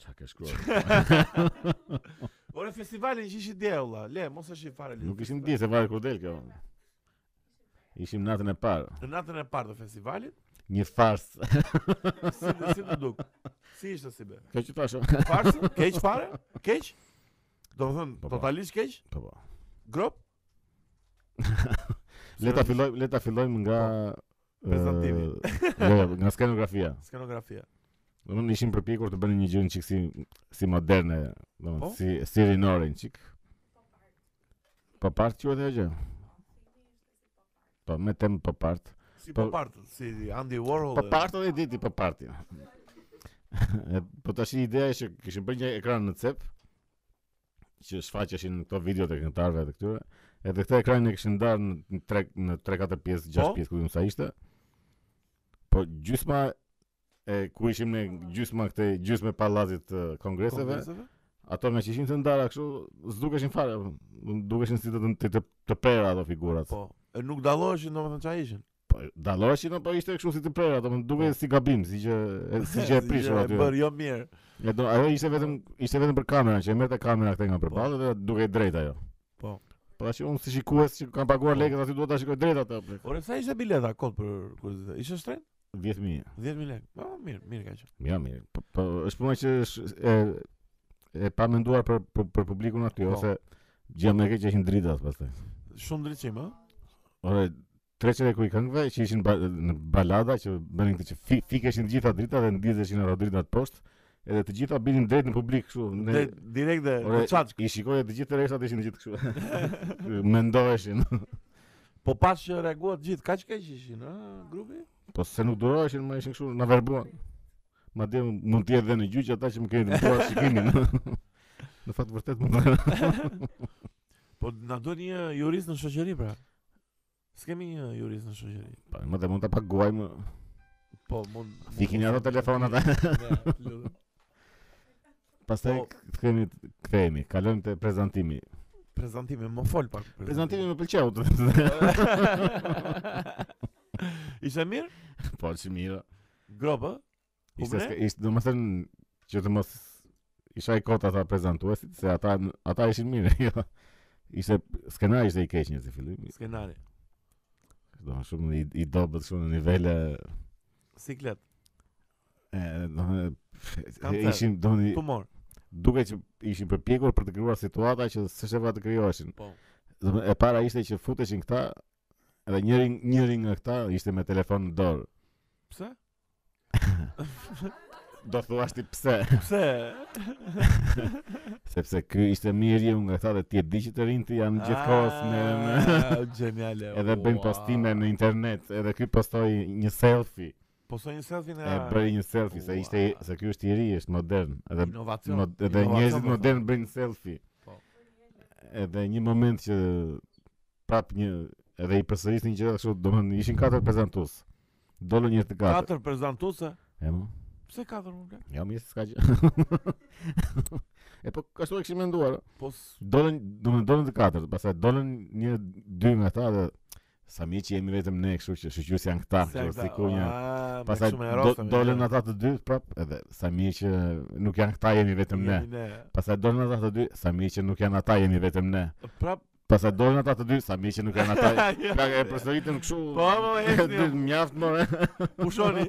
Speaker 1: çka ke shkruar?
Speaker 2: Ore festivalin që ishi dje valla, le, mos e shih fare listën.
Speaker 1: Nuk ishim di se vaje kur del kjo. Ishim natën e parë,
Speaker 2: Në natën e parë të festivalit,
Speaker 1: një farsë.
Speaker 2: si të si të duk. Si ishte si be?
Speaker 1: Kjo që thashë.
Speaker 2: Farsë, keq fare? Keq? Do të thënë
Speaker 1: Po, po.
Speaker 2: totalisht keq?
Speaker 1: Po po.
Speaker 2: Grop?
Speaker 1: Le ta fillojmë, le ta fillojmë nga ë,
Speaker 2: prezantimi.
Speaker 1: jo, nga skenografia.
Speaker 2: Skenografia.
Speaker 1: Domethënë ishin përpjekur të bënin një gjë një çik si si moderne,
Speaker 2: Po.
Speaker 1: domethënë si si rinore një çik. Pop art quhet ajo gjë. Po, me temë pop art.
Speaker 2: Si
Speaker 1: Po-
Speaker 2: po partë, si Andy Warhol.
Speaker 1: Pop art edhe diti pop arti. E, po tash ideja është që kishin bërë një ekran në cep që shfaqeshin këto video të këngëtarëve të këtyre. Edhe këtë ekranin e kishin ndarë në- në 3 në 3-4 pjesë, 6
Speaker 2: Po.
Speaker 1: pjesë ku diun sa ishte. Po gjysma e ku ishim ne gjysma këtej gjysme pallatit të kongreseve,
Speaker 2: kongreseve?
Speaker 1: ato nga që ishin të ndara kështu, s'dukeshin fare, dukeshin si të të, të, të prera ato figurat.
Speaker 2: Po. E nuk dalloheshin domethënë çfarë ishin.
Speaker 1: Po dalloheshin apo ishte kështu si të prera, domethënë duke si gabim, si që e- si që e prishur aty.
Speaker 2: Po. E bër jo mirë.
Speaker 1: E do, ajo ishte vetëm ishte vetëm për kamerën, që e merrte kamera këtë nga përballë dhe duke i drejtë ajo.
Speaker 2: Po.
Speaker 1: Po tash unë si shikues që kam paguar
Speaker 2: Po.
Speaker 1: lekët aty duhet ta shikoj drejt atë. plek.
Speaker 2: Ore sa ishte bileta kot për kuriozitet? Ishte shtren?
Speaker 1: 10000.
Speaker 2: 10000 lekë. Po mirë, mirë ka qenë.
Speaker 1: Ja mirë. Po, po është puna që është e e pa menduar për për, për publikun aty
Speaker 2: Po.
Speaker 1: ose gjë më e keq që ishin dritat pastaj.
Speaker 2: Shumë drejtim, ë?
Speaker 1: Ore treçet e kuj këngëve që ishin ba, në balada që bënin këtë që fi, fikeshin të gjitha dritat dhe ndizeshin ato dritat poshtë, edhe të gjitha binin drejt në publik kështu. në-
Speaker 2: Dhe direkt dhe po
Speaker 1: Ore,
Speaker 2: në çaçk.
Speaker 1: I shikoje të gjithë të reshtat ishin të gjithë kështu. Mendoheshin.
Speaker 2: Po pas që reaguat gjithë, kaq keq ishin, ë, grupi?
Speaker 1: Po se nuk duroheshin, më ishin kështu, na verbuan. Madje mund të jetë dhe në gjyq ata që më keni dëmtuar shikimin. në fakt vërtet mund të
Speaker 2: Po na duhet një jurist në shoqëri pra. S'kemi një jurist në shoqëri.
Speaker 1: pa, më të mund ta paguaj më.
Speaker 2: Po mund
Speaker 1: Fikin ato telefonat. Pastaj
Speaker 2: Po.
Speaker 1: k- kthehemi kthehemi, kalojmë te prezantimi.
Speaker 2: Prezantimi, më fol pak. për
Speaker 1: Prezantimi më pëlqeu. të-
Speaker 2: Ishte mirë?
Speaker 1: po, si mirë.
Speaker 2: Grobë?
Speaker 1: Ishte
Speaker 2: Ishte
Speaker 1: ska- ishte domethënë që të mos isha i kot ata prezantuesit se ata ata ishin mirë. jo. Ishte skenari ishte i keq një si fillim.
Speaker 2: skenari.
Speaker 1: Do shumë i, i dobët shumë në nivele
Speaker 2: Siklet,
Speaker 1: E, do me-
Speaker 2: Kam
Speaker 1: e,
Speaker 2: thënë,
Speaker 1: ishin do me-
Speaker 2: tumor.
Speaker 1: duke që ishin përpjekur për të krijuar situata që s'është vetë të krijoheshin.
Speaker 2: Po.
Speaker 1: Do me- e para ishte që futeshin këta edhe njëri njëri nga këta ishte me telefon në dorë.
Speaker 2: Pse?
Speaker 1: Do thuash ti pse?
Speaker 2: Pse?
Speaker 1: Sepse ky ishte mirë nga këta dhe ti e di që të rinjtë janë gjithkohës në, në
Speaker 2: Ah, Geniale.
Speaker 1: edhe bëjnë
Speaker 2: ua.
Speaker 1: postime në internet, edhe ky postoi një selfie.
Speaker 2: Postoj Po një selfie
Speaker 1: E
Speaker 2: nga
Speaker 1: bëri një selfie se ishte
Speaker 2: Ua.
Speaker 1: se ky është i ri, është modern, edhe
Speaker 2: inovacion.
Speaker 1: Mod, edhe
Speaker 2: Inovacion,
Speaker 1: njerëzit
Speaker 2: po,
Speaker 1: modern bëjnë selfie.
Speaker 2: Po.
Speaker 1: Edhe një moment që prap një edhe i përsërisnin gjëra kështu, domethënë ishin katër prezantues. Dolën një të katër.
Speaker 2: Katër prezantuese.
Speaker 1: E mo,
Speaker 2: Pse katër më blek?
Speaker 1: ja mirë se s'ka gjë. e po kështu e kishim menduar.
Speaker 2: Po s-
Speaker 1: Dolën, domethënë dolën të katërt, pastaj dolën një dy nga ata dhe sa mirë që jemi vetëm ne kështu që shoqërues janë këta,
Speaker 2: se
Speaker 1: kështu
Speaker 2: ata-
Speaker 1: jo, sikur një
Speaker 2: Ah, me
Speaker 1: Pastaj
Speaker 2: kështu me
Speaker 1: do,
Speaker 2: rosta, me
Speaker 1: dolën
Speaker 2: gjëra.
Speaker 1: ata të dy prap, edhe sa mirë që nuk janë këta jemi vetëm ne.
Speaker 2: Jemi ne.
Speaker 1: Pastaj dolën ata të dy, sa mirë që nuk janë ata, jemi vetëm ne.
Speaker 2: Prap.
Speaker 1: Pastaj dolën ata të dy, sa mirë që nuk janë ata. Ka e
Speaker 2: Pra- Ja.
Speaker 1: përsëritën kështu.
Speaker 2: Po, po, ecni.
Speaker 1: dy mjaft po. more.
Speaker 2: Pushoni.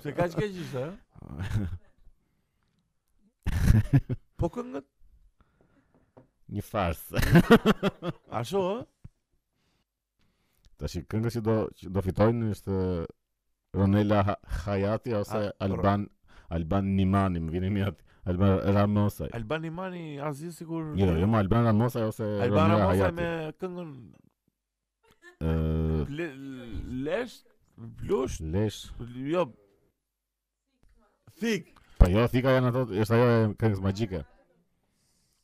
Speaker 2: Pse kaq keq ishte? ë? Po këngët?
Speaker 1: Një fars.
Speaker 2: Ashtu ë?
Speaker 1: Tash këngët që do që do fitojnë është Ronela Ha- Hayati ose
Speaker 2: A,
Speaker 1: Alban Alban Nimani, më vjen mirë. Alban Ramosaj.
Speaker 2: Albani Mani Aziz sigur.
Speaker 1: Jo, jo, ma Alban Ramosaj ose
Speaker 2: Albana
Speaker 1: Ronela
Speaker 2: Mosa
Speaker 1: Hayati.
Speaker 2: me këngën
Speaker 1: Ë,
Speaker 2: ble- Lesht, Blusht,
Speaker 1: Lesh.
Speaker 2: jo. Thik.
Speaker 1: Po jo, thika janë ato, është ajo e këngës magjike.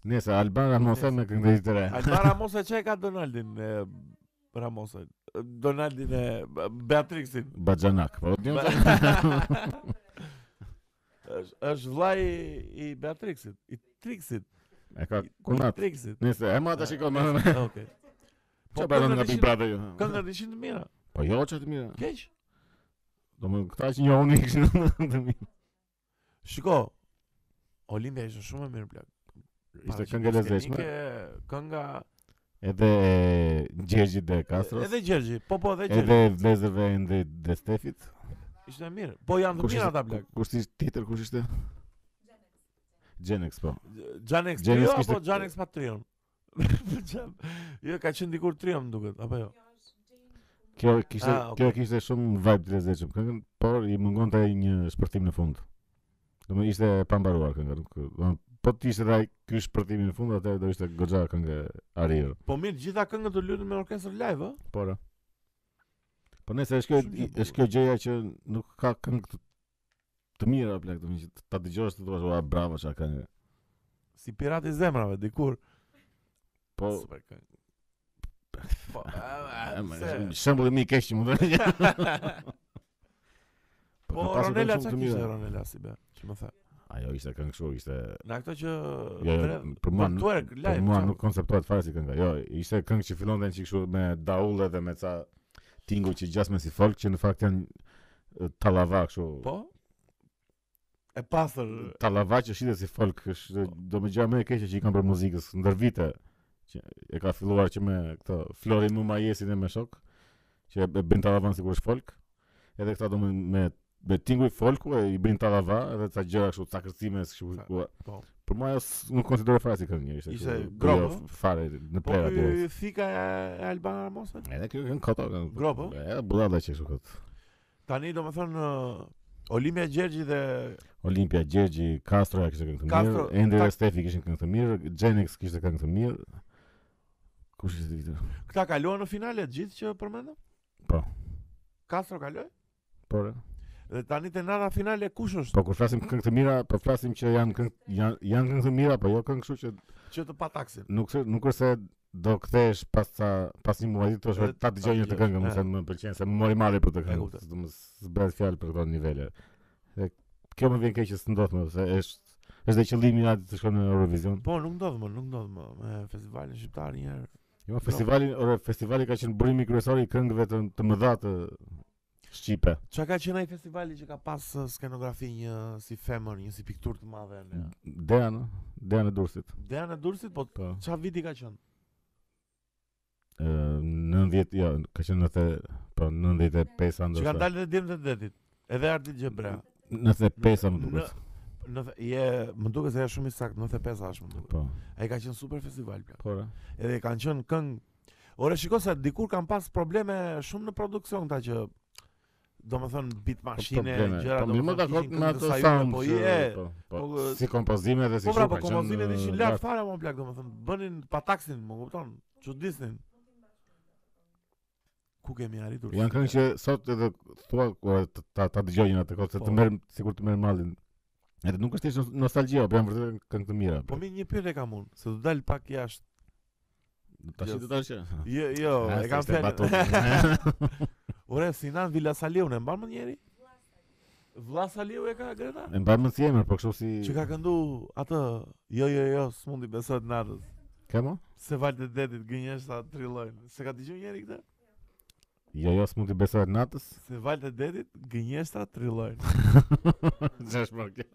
Speaker 1: Nëse Alban Ramosaj me këngë të re.
Speaker 2: Albana Mosa çe ka Donaldin e Ramosa. Donaldin e Beatrixin.
Speaker 1: Baxhanak. Po di unë
Speaker 2: Është është vllai i Beatrixit, i Trixit,
Speaker 1: E ka
Speaker 2: i- i
Speaker 1: kunat.
Speaker 2: Trixit.
Speaker 1: Nëse e ma ta shikoj më.
Speaker 2: Okej. Po,
Speaker 1: Ço bëron nga Big
Speaker 2: këngët ishin-
Speaker 1: Brother ju?
Speaker 2: Këngët ishin të mira.
Speaker 1: Po jo çfarë të mira.
Speaker 2: Keq.
Speaker 1: Domethënë këta që njohun i kishin të mirë.
Speaker 2: Shiko, Olimpia ishte shumë e mirë plak. Pra,
Speaker 1: Ishte këngë e lezeshme.
Speaker 2: Paraqitje Kënga
Speaker 1: Edhe Gjergji de Castro,
Speaker 2: edhe Gjergji, po po edhe Gjergji.
Speaker 1: edhe vlezërve e Endrit dhe Stefit.
Speaker 2: Ishte mirë. Po janë të
Speaker 1: Kush
Speaker 2: mirë
Speaker 1: ishte?
Speaker 2: ata plak.
Speaker 1: Kush ishte po. tjetër, kush ishte? Genex po. Xhanex
Speaker 2: Xhanex Trio
Speaker 1: kishte-
Speaker 2: apo Xhanex Patrion? Çam. jo, ka qenë dikur trium duket, apo jo?
Speaker 1: Kjo kishte
Speaker 2: Ah, okay.
Speaker 1: kjo kishte shumë vibe të lezetshëm këngën, por i mungonte një shpërthim në fund. Do më ishte e pambaruar kënga, nuk do më- po të ishte ai ky shpërthim në fund, atë do ishte goxha këngë arir.
Speaker 2: Po mirë, gjitha këngët të luajnë me orkestër live, ë?
Speaker 1: Por e. Po nëse është kjo
Speaker 2: Shumë gjë
Speaker 1: është kjo gjëja që nuk ka këngë të, të mira plak, do më që ta dëgjosh të thua "Ua, bravo çka këngë.
Speaker 2: Si pirati i zemrave dikur.
Speaker 1: Po
Speaker 2: Super këngë. Po, a, a,
Speaker 1: Ema,
Speaker 2: pse?
Speaker 1: shembulli më i keq që mund të jetë.
Speaker 2: Po
Speaker 1: ka pasur këngë shumë
Speaker 2: Ronela çka
Speaker 1: të
Speaker 2: kishte
Speaker 1: mira.
Speaker 2: Ronela si be? Ç'më the?
Speaker 1: Ajo ishte këngë kështu, ishte
Speaker 2: Në ato që
Speaker 1: jo, jo,
Speaker 2: dredh-
Speaker 1: për mua
Speaker 2: për
Speaker 1: nuk-
Speaker 2: twerk
Speaker 1: Për
Speaker 2: live.
Speaker 1: mua
Speaker 2: çam.
Speaker 1: nuk konceptohet fare si këngë. Jo, ishte këngë që fillonte një kështu me daulle dhe me ca tingull që gjasme si folk që në fakt janë e, tallava kështu.
Speaker 2: Po. E pastër.
Speaker 1: Tallava që shitet si folk, është do më gjë më e keqe që i kanë për muzikës ndër vite që e ka filluar që me këtë Florin Mumajesin e me shok që e e bën tallavan sikur është folk. Edhe këta do me me me tingull folku e i bën tallava edhe ca gjëra kështu ca kërcime kështu.
Speaker 2: Ca-
Speaker 1: ku-
Speaker 2: po.
Speaker 1: Për mua ajo s- nuk konsiderohet fare si këngë, ishte.
Speaker 2: Ishte
Speaker 1: kështu,
Speaker 2: grob,
Speaker 1: jo,
Speaker 2: ëh?
Speaker 1: fare në
Speaker 2: Po
Speaker 1: plera direkt.
Speaker 2: ky thika e e Alban Ramosa.
Speaker 1: Edhe kjo këngë koto këngë.
Speaker 2: Grob, ëh?
Speaker 1: E budalla që kështu kot.
Speaker 2: Tani do më thënë ë, Olimpia Gjergji dhe
Speaker 1: Olimpia Gjergji, Castro ja kishte këngë të mirë,
Speaker 2: Castro,
Speaker 1: Ender
Speaker 2: ta-
Speaker 1: dhe Stefi kishin këngë të mirë, Genix kishte këngë të mirë. Kush ishte tjetër?
Speaker 2: këta kaluan në finale të gjithë që përmendëm?
Speaker 1: Po.
Speaker 2: Castro kaloi
Speaker 1: Por,
Speaker 2: dhe tani te nata finale kush është?
Speaker 1: po kur flasim këngë të mira, po flasim që janë këngë janë janë këngë të mira, po jo këngë kështu që
Speaker 2: Që të pataksin.
Speaker 1: nuk se nuk është se do kthehesh pas sa pas një muaji të
Speaker 2: Edhe
Speaker 1: thosh ta dëgjoj një të
Speaker 2: dëgjosh,
Speaker 1: këngë, më
Speaker 2: e.
Speaker 1: thënë më pëlqen se më mori male për të
Speaker 2: E
Speaker 1: këngë.
Speaker 2: kuptoj.
Speaker 1: Do të zbret fjalë për këto nivele. Dhe kjo më vjen keq që s'ndodh më, se është është dhe qëllimi i natë të shkon në Eurovision.
Speaker 2: Po nuk ndodh më, nuk ndodh më me festivalin shqiptar një herë.
Speaker 1: Jo, festivali, ore, festivali ka qenë burimi kryesor i këngëve të, të mëdha të shqipe.
Speaker 2: Çka ka qenë ai festivali që ka pas ë, skenografi një si femër, një si pikturë të madhe. ne?
Speaker 1: Dejan, ë? Dejan e Durrësit.
Speaker 2: Dejan e Durrësit, po
Speaker 1: Po.
Speaker 2: çfarë viti ka qenë?
Speaker 1: Ë, 90, jo, ka qenë 90, po 95
Speaker 2: Që kanë
Speaker 1: ndoshta.
Speaker 2: dalë dhe djemtë të detit. Edhe Ardit Gjebrea.
Speaker 1: 95 më duket.
Speaker 2: Në je, më duket se është shumë i saktë, 95 është më duket.
Speaker 1: Po.
Speaker 2: Ai ka qenë super festival plan.
Speaker 1: Po. re.
Speaker 2: Edhe kanë qenë këngë. Ore shiko se dikur kanë pas probleme shumë në produksion këta që domethën bit mashine,
Speaker 1: Probleme.
Speaker 2: gjëra
Speaker 1: po, mirë më
Speaker 2: domethënë,
Speaker 1: dakord
Speaker 2: ishin
Speaker 1: me
Speaker 2: këngë të
Speaker 1: ato
Speaker 2: sajune,
Speaker 1: sound.
Speaker 2: Po
Speaker 1: që-
Speaker 2: je.
Speaker 1: po, po,
Speaker 2: po, ë,
Speaker 1: si kompozime dhe si
Speaker 2: Po pra,
Speaker 1: shumë,
Speaker 2: po
Speaker 1: ka qenë,
Speaker 2: kompozimet
Speaker 1: ë,
Speaker 2: ishin lart fare më plak domethën, bënin pataksin, më kupton? Çuditsin. Ku kemi arritur?
Speaker 1: Janë këngë që sot edhe thua kur ta- ta ta dëgjojnë atë kohë se
Speaker 2: Po.
Speaker 1: të merr sikur të merr mallin. Edhe nuk është thjesht nostalgjia, po janë vërtet këngë të mira.
Speaker 2: Po mi një pyetje kam unë, se do dal pak jashtë.
Speaker 1: Tash do tash.
Speaker 2: Jo, jo, e kam fjalën.
Speaker 1: Oh, fjalë.
Speaker 2: Ore, Sinan Villasaliu, e mban më njëri? Vllasaliu e ka Greta?
Speaker 1: E mbaj më si emër, po kështu si
Speaker 2: Që ka këndu atë, jo, jo, jo, s'mundi besot natës.
Speaker 1: Kemo?
Speaker 2: Se valë të detit gënjesh sa trillojnë. Se ka dëgjuar njëri këtë?
Speaker 1: Jo, jo, s'mund të besohet natës.
Speaker 2: Se valë të detit gënjesh sa trillojnë.
Speaker 1: Ç'është më kjo?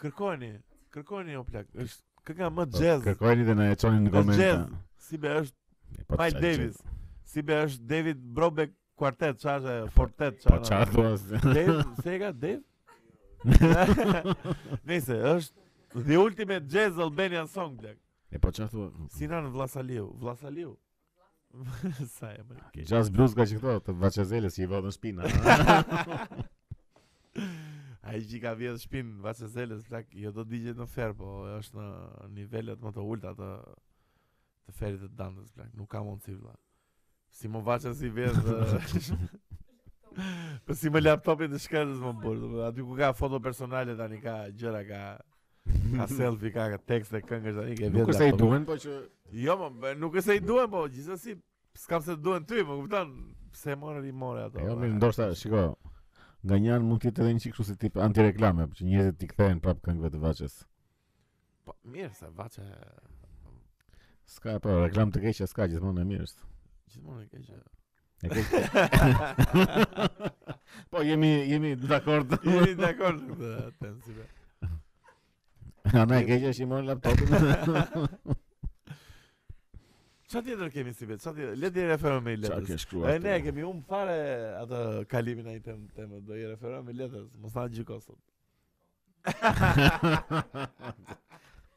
Speaker 2: Kërkoni, kërkoni o plak. Është kënga
Speaker 1: Po,
Speaker 2: më jazz.
Speaker 1: Kërkojeni dhe na e çoni në
Speaker 2: jazz.
Speaker 1: komente.
Speaker 2: Si be është
Speaker 1: E, po,
Speaker 2: Miles
Speaker 1: qa-
Speaker 2: Davis. Si be është David Brobeck Quartet, qa është ajo? Fortet,
Speaker 1: Po
Speaker 2: qa është
Speaker 1: çfarë
Speaker 2: ajo?
Speaker 1: thua?
Speaker 2: Dave, se e ka Dave? Nëse, është The Ultimate Jazz Albanian Song, plak.
Speaker 1: E po çfarë thua?
Speaker 2: Sinan Vlasaliu, Vlasaliu. Sa e bëri.
Speaker 1: Ke jazz blues ka që këto të Vaçezeles që i vao në shpinë.
Speaker 2: Ai që ka vjetë shpinë, Vacezeles, plak, jo do digjet në fer, po është në nivellet më të ulta të të ferit të dandës, plak, nuk ka mundësi, vlla. Si më vaçe si vjetë, Po si më laptopin të shkretës më burë, domethënë, aty ku ka foto personale tani ka gjëra, ka ka selfie, ka, ka tekste, këngësh tani ke
Speaker 1: Nuk
Speaker 2: vjetë
Speaker 1: është se i
Speaker 2: laptopin.
Speaker 1: duhen, po që
Speaker 2: Jo, më, bë- nuk është se i duhen, po gjithsesi s'kam se duhen ty, më kupton? Pse morën i morë ato?
Speaker 1: E, Jo,
Speaker 2: valla.
Speaker 1: mirë, ndoshta, shiko. Nga një anë mund të jetë edhe një çik kështu si tip antireklame, që njerëzit i kthehen prapë këngëve të Vaçes.
Speaker 2: Po mirë se vaçe
Speaker 1: S'ka po reklam të keqe, s'ka gjithmonë e mirë. është.
Speaker 2: gjithmonë e keqe.
Speaker 1: E keq- Po jemi jemi dakord.
Speaker 2: Jeni dakord me këtë tensive.
Speaker 1: Ana e keqe është i morën laptopin.
Speaker 2: Çfarë tjetër kemi si vetë? Çfarë tjetër? Le të referojmë me
Speaker 1: Çfarë ke
Speaker 2: letrës.
Speaker 1: shkruar?
Speaker 2: E ne
Speaker 1: këtu?
Speaker 2: kemi um fare atë kalimin ai tem temë, do i referojmë me letrës, mos na gjiko sot.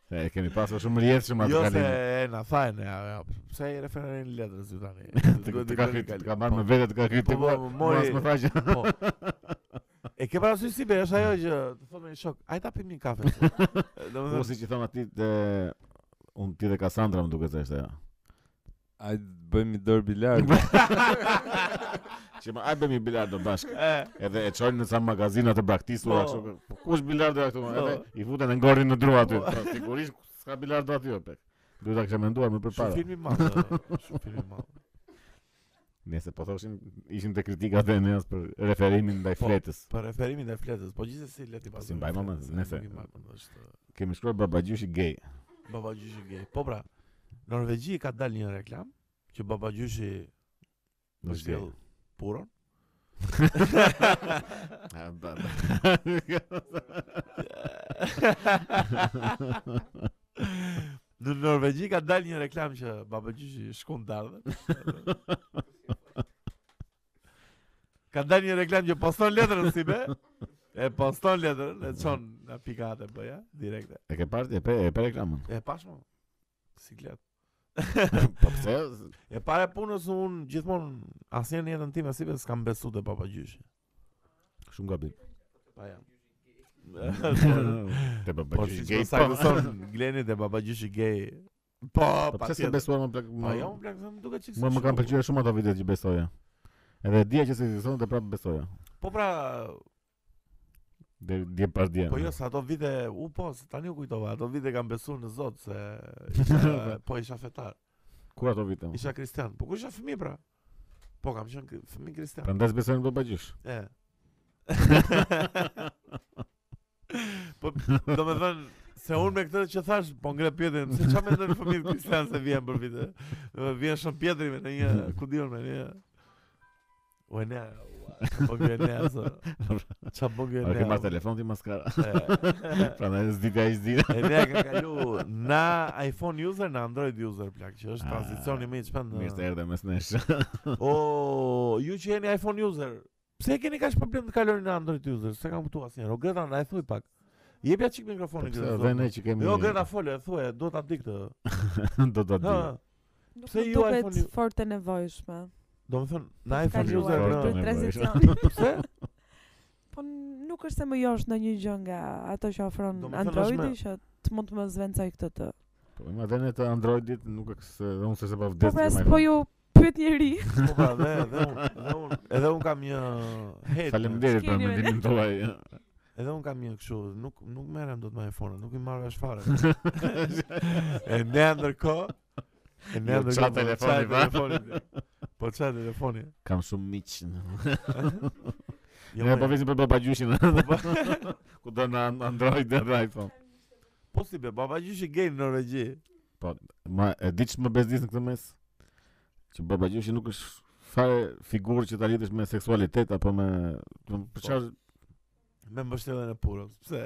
Speaker 1: E kemi pasur shumë rjetëshëm atë
Speaker 2: Jo se
Speaker 1: kalim.
Speaker 2: e na thajnë, ja, ja. Pse i referonin letrës ju tani?
Speaker 1: Të,
Speaker 2: Duhet
Speaker 1: të
Speaker 2: i
Speaker 1: ka
Speaker 2: bëni
Speaker 1: kryt,
Speaker 2: kalim.
Speaker 1: ka marrë
Speaker 2: Po,
Speaker 1: me vete, të ka kryt
Speaker 2: Po,
Speaker 1: të
Speaker 2: po,
Speaker 1: kuar,
Speaker 2: po,
Speaker 1: mos
Speaker 2: mori-
Speaker 1: më tha që
Speaker 2: Po. E ke parasysh si be, është ajo që të thonë shok, ai ta pim një kafe.
Speaker 1: Po si
Speaker 2: Domethënë,
Speaker 1: që thama ti të... Unë ti dhe Kassandra më duke të është ajo.
Speaker 3: Ai bëjmë derbi lart.
Speaker 1: Që ma ajbëm i bilardo bashkë.
Speaker 2: e,
Speaker 1: Edhe e çojnë në sa magazina të braktisura
Speaker 2: Po.
Speaker 1: kështu. Po kush bilardo këtu?
Speaker 2: Po.
Speaker 1: Edhe i futen e ngorin në dru aty.
Speaker 2: Po.
Speaker 1: Po, Sigurisht s'ka bilardo aty o pek. Duhet ta kisha menduar më
Speaker 2: shumë
Speaker 1: përpara.
Speaker 2: film i madh. e, Shumë film i madh.
Speaker 1: Nëse po thoshim ishim te kritikat e Eneas për referimin ndaj
Speaker 2: Po.
Speaker 1: fletës.
Speaker 2: Për referimin e fletës, po gjithsesi le ti pasojmë.
Speaker 1: mbajmë ama,
Speaker 2: fletës, e,
Speaker 1: nëse-
Speaker 2: nuk i mbajmë, Është
Speaker 1: Kemi shkruar babagjyshi gay.
Speaker 2: babagjyshi gay. Po pra, Norvegji ka dalë një reklam që babagjyshi
Speaker 1: Nuk
Speaker 2: është sjell puron. Ah,
Speaker 1: A, ba- ba-
Speaker 2: Në Norvegji ka dalë një reklam që babagjyshi shkon dardhë. ka dalë një reklam që poston letrën si be. E poston letrën, e çon në pikate bëja, direkte.
Speaker 1: E ke parë e pe e pe reklamën.
Speaker 2: E pash më. Siklet.
Speaker 1: Po pse?
Speaker 2: E para e punës unë gjithmonë asnjë në jetën time si be s'kam besu te babagjyshi.
Speaker 1: Shumë gabim.
Speaker 2: Pa jam.
Speaker 1: Te
Speaker 2: Po
Speaker 1: babagjyshi
Speaker 2: si
Speaker 1: gay.
Speaker 2: që
Speaker 1: Po
Speaker 2: sa këson Gleni dhe babagjyshi gay. Po,
Speaker 1: Po
Speaker 2: pa
Speaker 1: pse s'e
Speaker 2: tjetër.
Speaker 1: besuar më plak?
Speaker 2: Po jo, më plakë, më duke qikë
Speaker 1: Më më kanë pëlqyer shumë ato videot që besoja. Edhe dija që ekziston dhe prapë besoja.
Speaker 2: Po pra,
Speaker 1: Deri dje pas dje.
Speaker 2: po jo, sa ato vite, u po, se tani u kujtova, ato vite kam besu në Zot, se
Speaker 1: Po.
Speaker 2: isha, po isha fetar,
Speaker 1: kur ato vite?
Speaker 2: isha kristian, po kur isha fëmi pra? Po kam qenë kri- fëmi kristian,
Speaker 1: Prandaj besojnë babagjysh.
Speaker 2: e. po, do me thënë, se unë me këtë që thash, po ngre pjetin, se qa me ndërë fëmijët kristian se vjen për vite, Dhe vjen shumë pjetri me në një, ku dion me një, u e ne, qa po gjo e ne, qa po gjo e
Speaker 1: A
Speaker 2: ne,
Speaker 1: ke marrë telefon ti maskara?
Speaker 2: e.
Speaker 1: Prandaj s'ditja ai s'dita.
Speaker 2: E ne ka kalu na iPhone user në Android user plak, që është
Speaker 1: Ah,
Speaker 2: tranzicioni më i çmend.
Speaker 1: Mirë se erdhe mes nesh.
Speaker 2: O, Po, ju që jeni iPhone user, pse e keni kaq problem të kaloni në Android user? Se kam kuptuar asnjëherë. O Greta, na e thuj pak. Jepja çik mikrofonin
Speaker 1: Pse Dhe ne
Speaker 2: Greta.
Speaker 1: që kemi.
Speaker 2: Jo Greta fole, thuaj, do ta di këtë.
Speaker 1: do ta di.
Speaker 2: Ha,
Speaker 6: Nuk
Speaker 2: Pse
Speaker 6: më
Speaker 2: ju
Speaker 6: duket
Speaker 2: iPhone-
Speaker 6: fort e nevojshme.
Speaker 2: do të thon na
Speaker 6: Ka
Speaker 2: iPhone user
Speaker 1: kaluar,
Speaker 6: për
Speaker 1: nevojshme.
Speaker 2: në
Speaker 6: tranzicion.
Speaker 2: pse?
Speaker 6: Po nuk është se më josh në një gjë nga ato që ofron
Speaker 2: Do më thënë,
Speaker 6: Androidi
Speaker 2: është
Speaker 6: që të mund të më zvencoj këtë të.
Speaker 1: Po ma dhe ne të Androidit nuk e se dhe unë se se pa
Speaker 6: Po
Speaker 1: vdes.
Speaker 6: pra, s'po ju pyet njëri.
Speaker 2: Po pra, dhe dhe unë, dhe unë, edhe unë kam një hate.
Speaker 1: Faleminderit për
Speaker 6: S'keni me ne.
Speaker 1: mendimin tuaj.
Speaker 2: Edhe un kam një kështu, nuk nuk merrem dot me iPhone, nuk i marr vesh fare. e ne ndërkohë E ne
Speaker 1: Jo,
Speaker 2: ndërkohë,
Speaker 1: qa
Speaker 2: po,
Speaker 1: telefoni,
Speaker 2: qa e
Speaker 1: va?
Speaker 2: telefoni, Po çfarë telefoni?
Speaker 1: Kam shumë miq.
Speaker 2: Jo, Po,
Speaker 1: Ne
Speaker 2: me-
Speaker 1: po vizim për babagjyshin. Ku do në Android dhe në iPhone.
Speaker 2: po si be, babagjyshi gay në Norvegji.
Speaker 1: Ma e di ç'më bezdis në këtë mes? Që babagjyshi nuk është fare figurë që ta lidhësh me seksualitet apo me do të thonë, për çfarë
Speaker 2: Me mbështjellën e purës. Pse?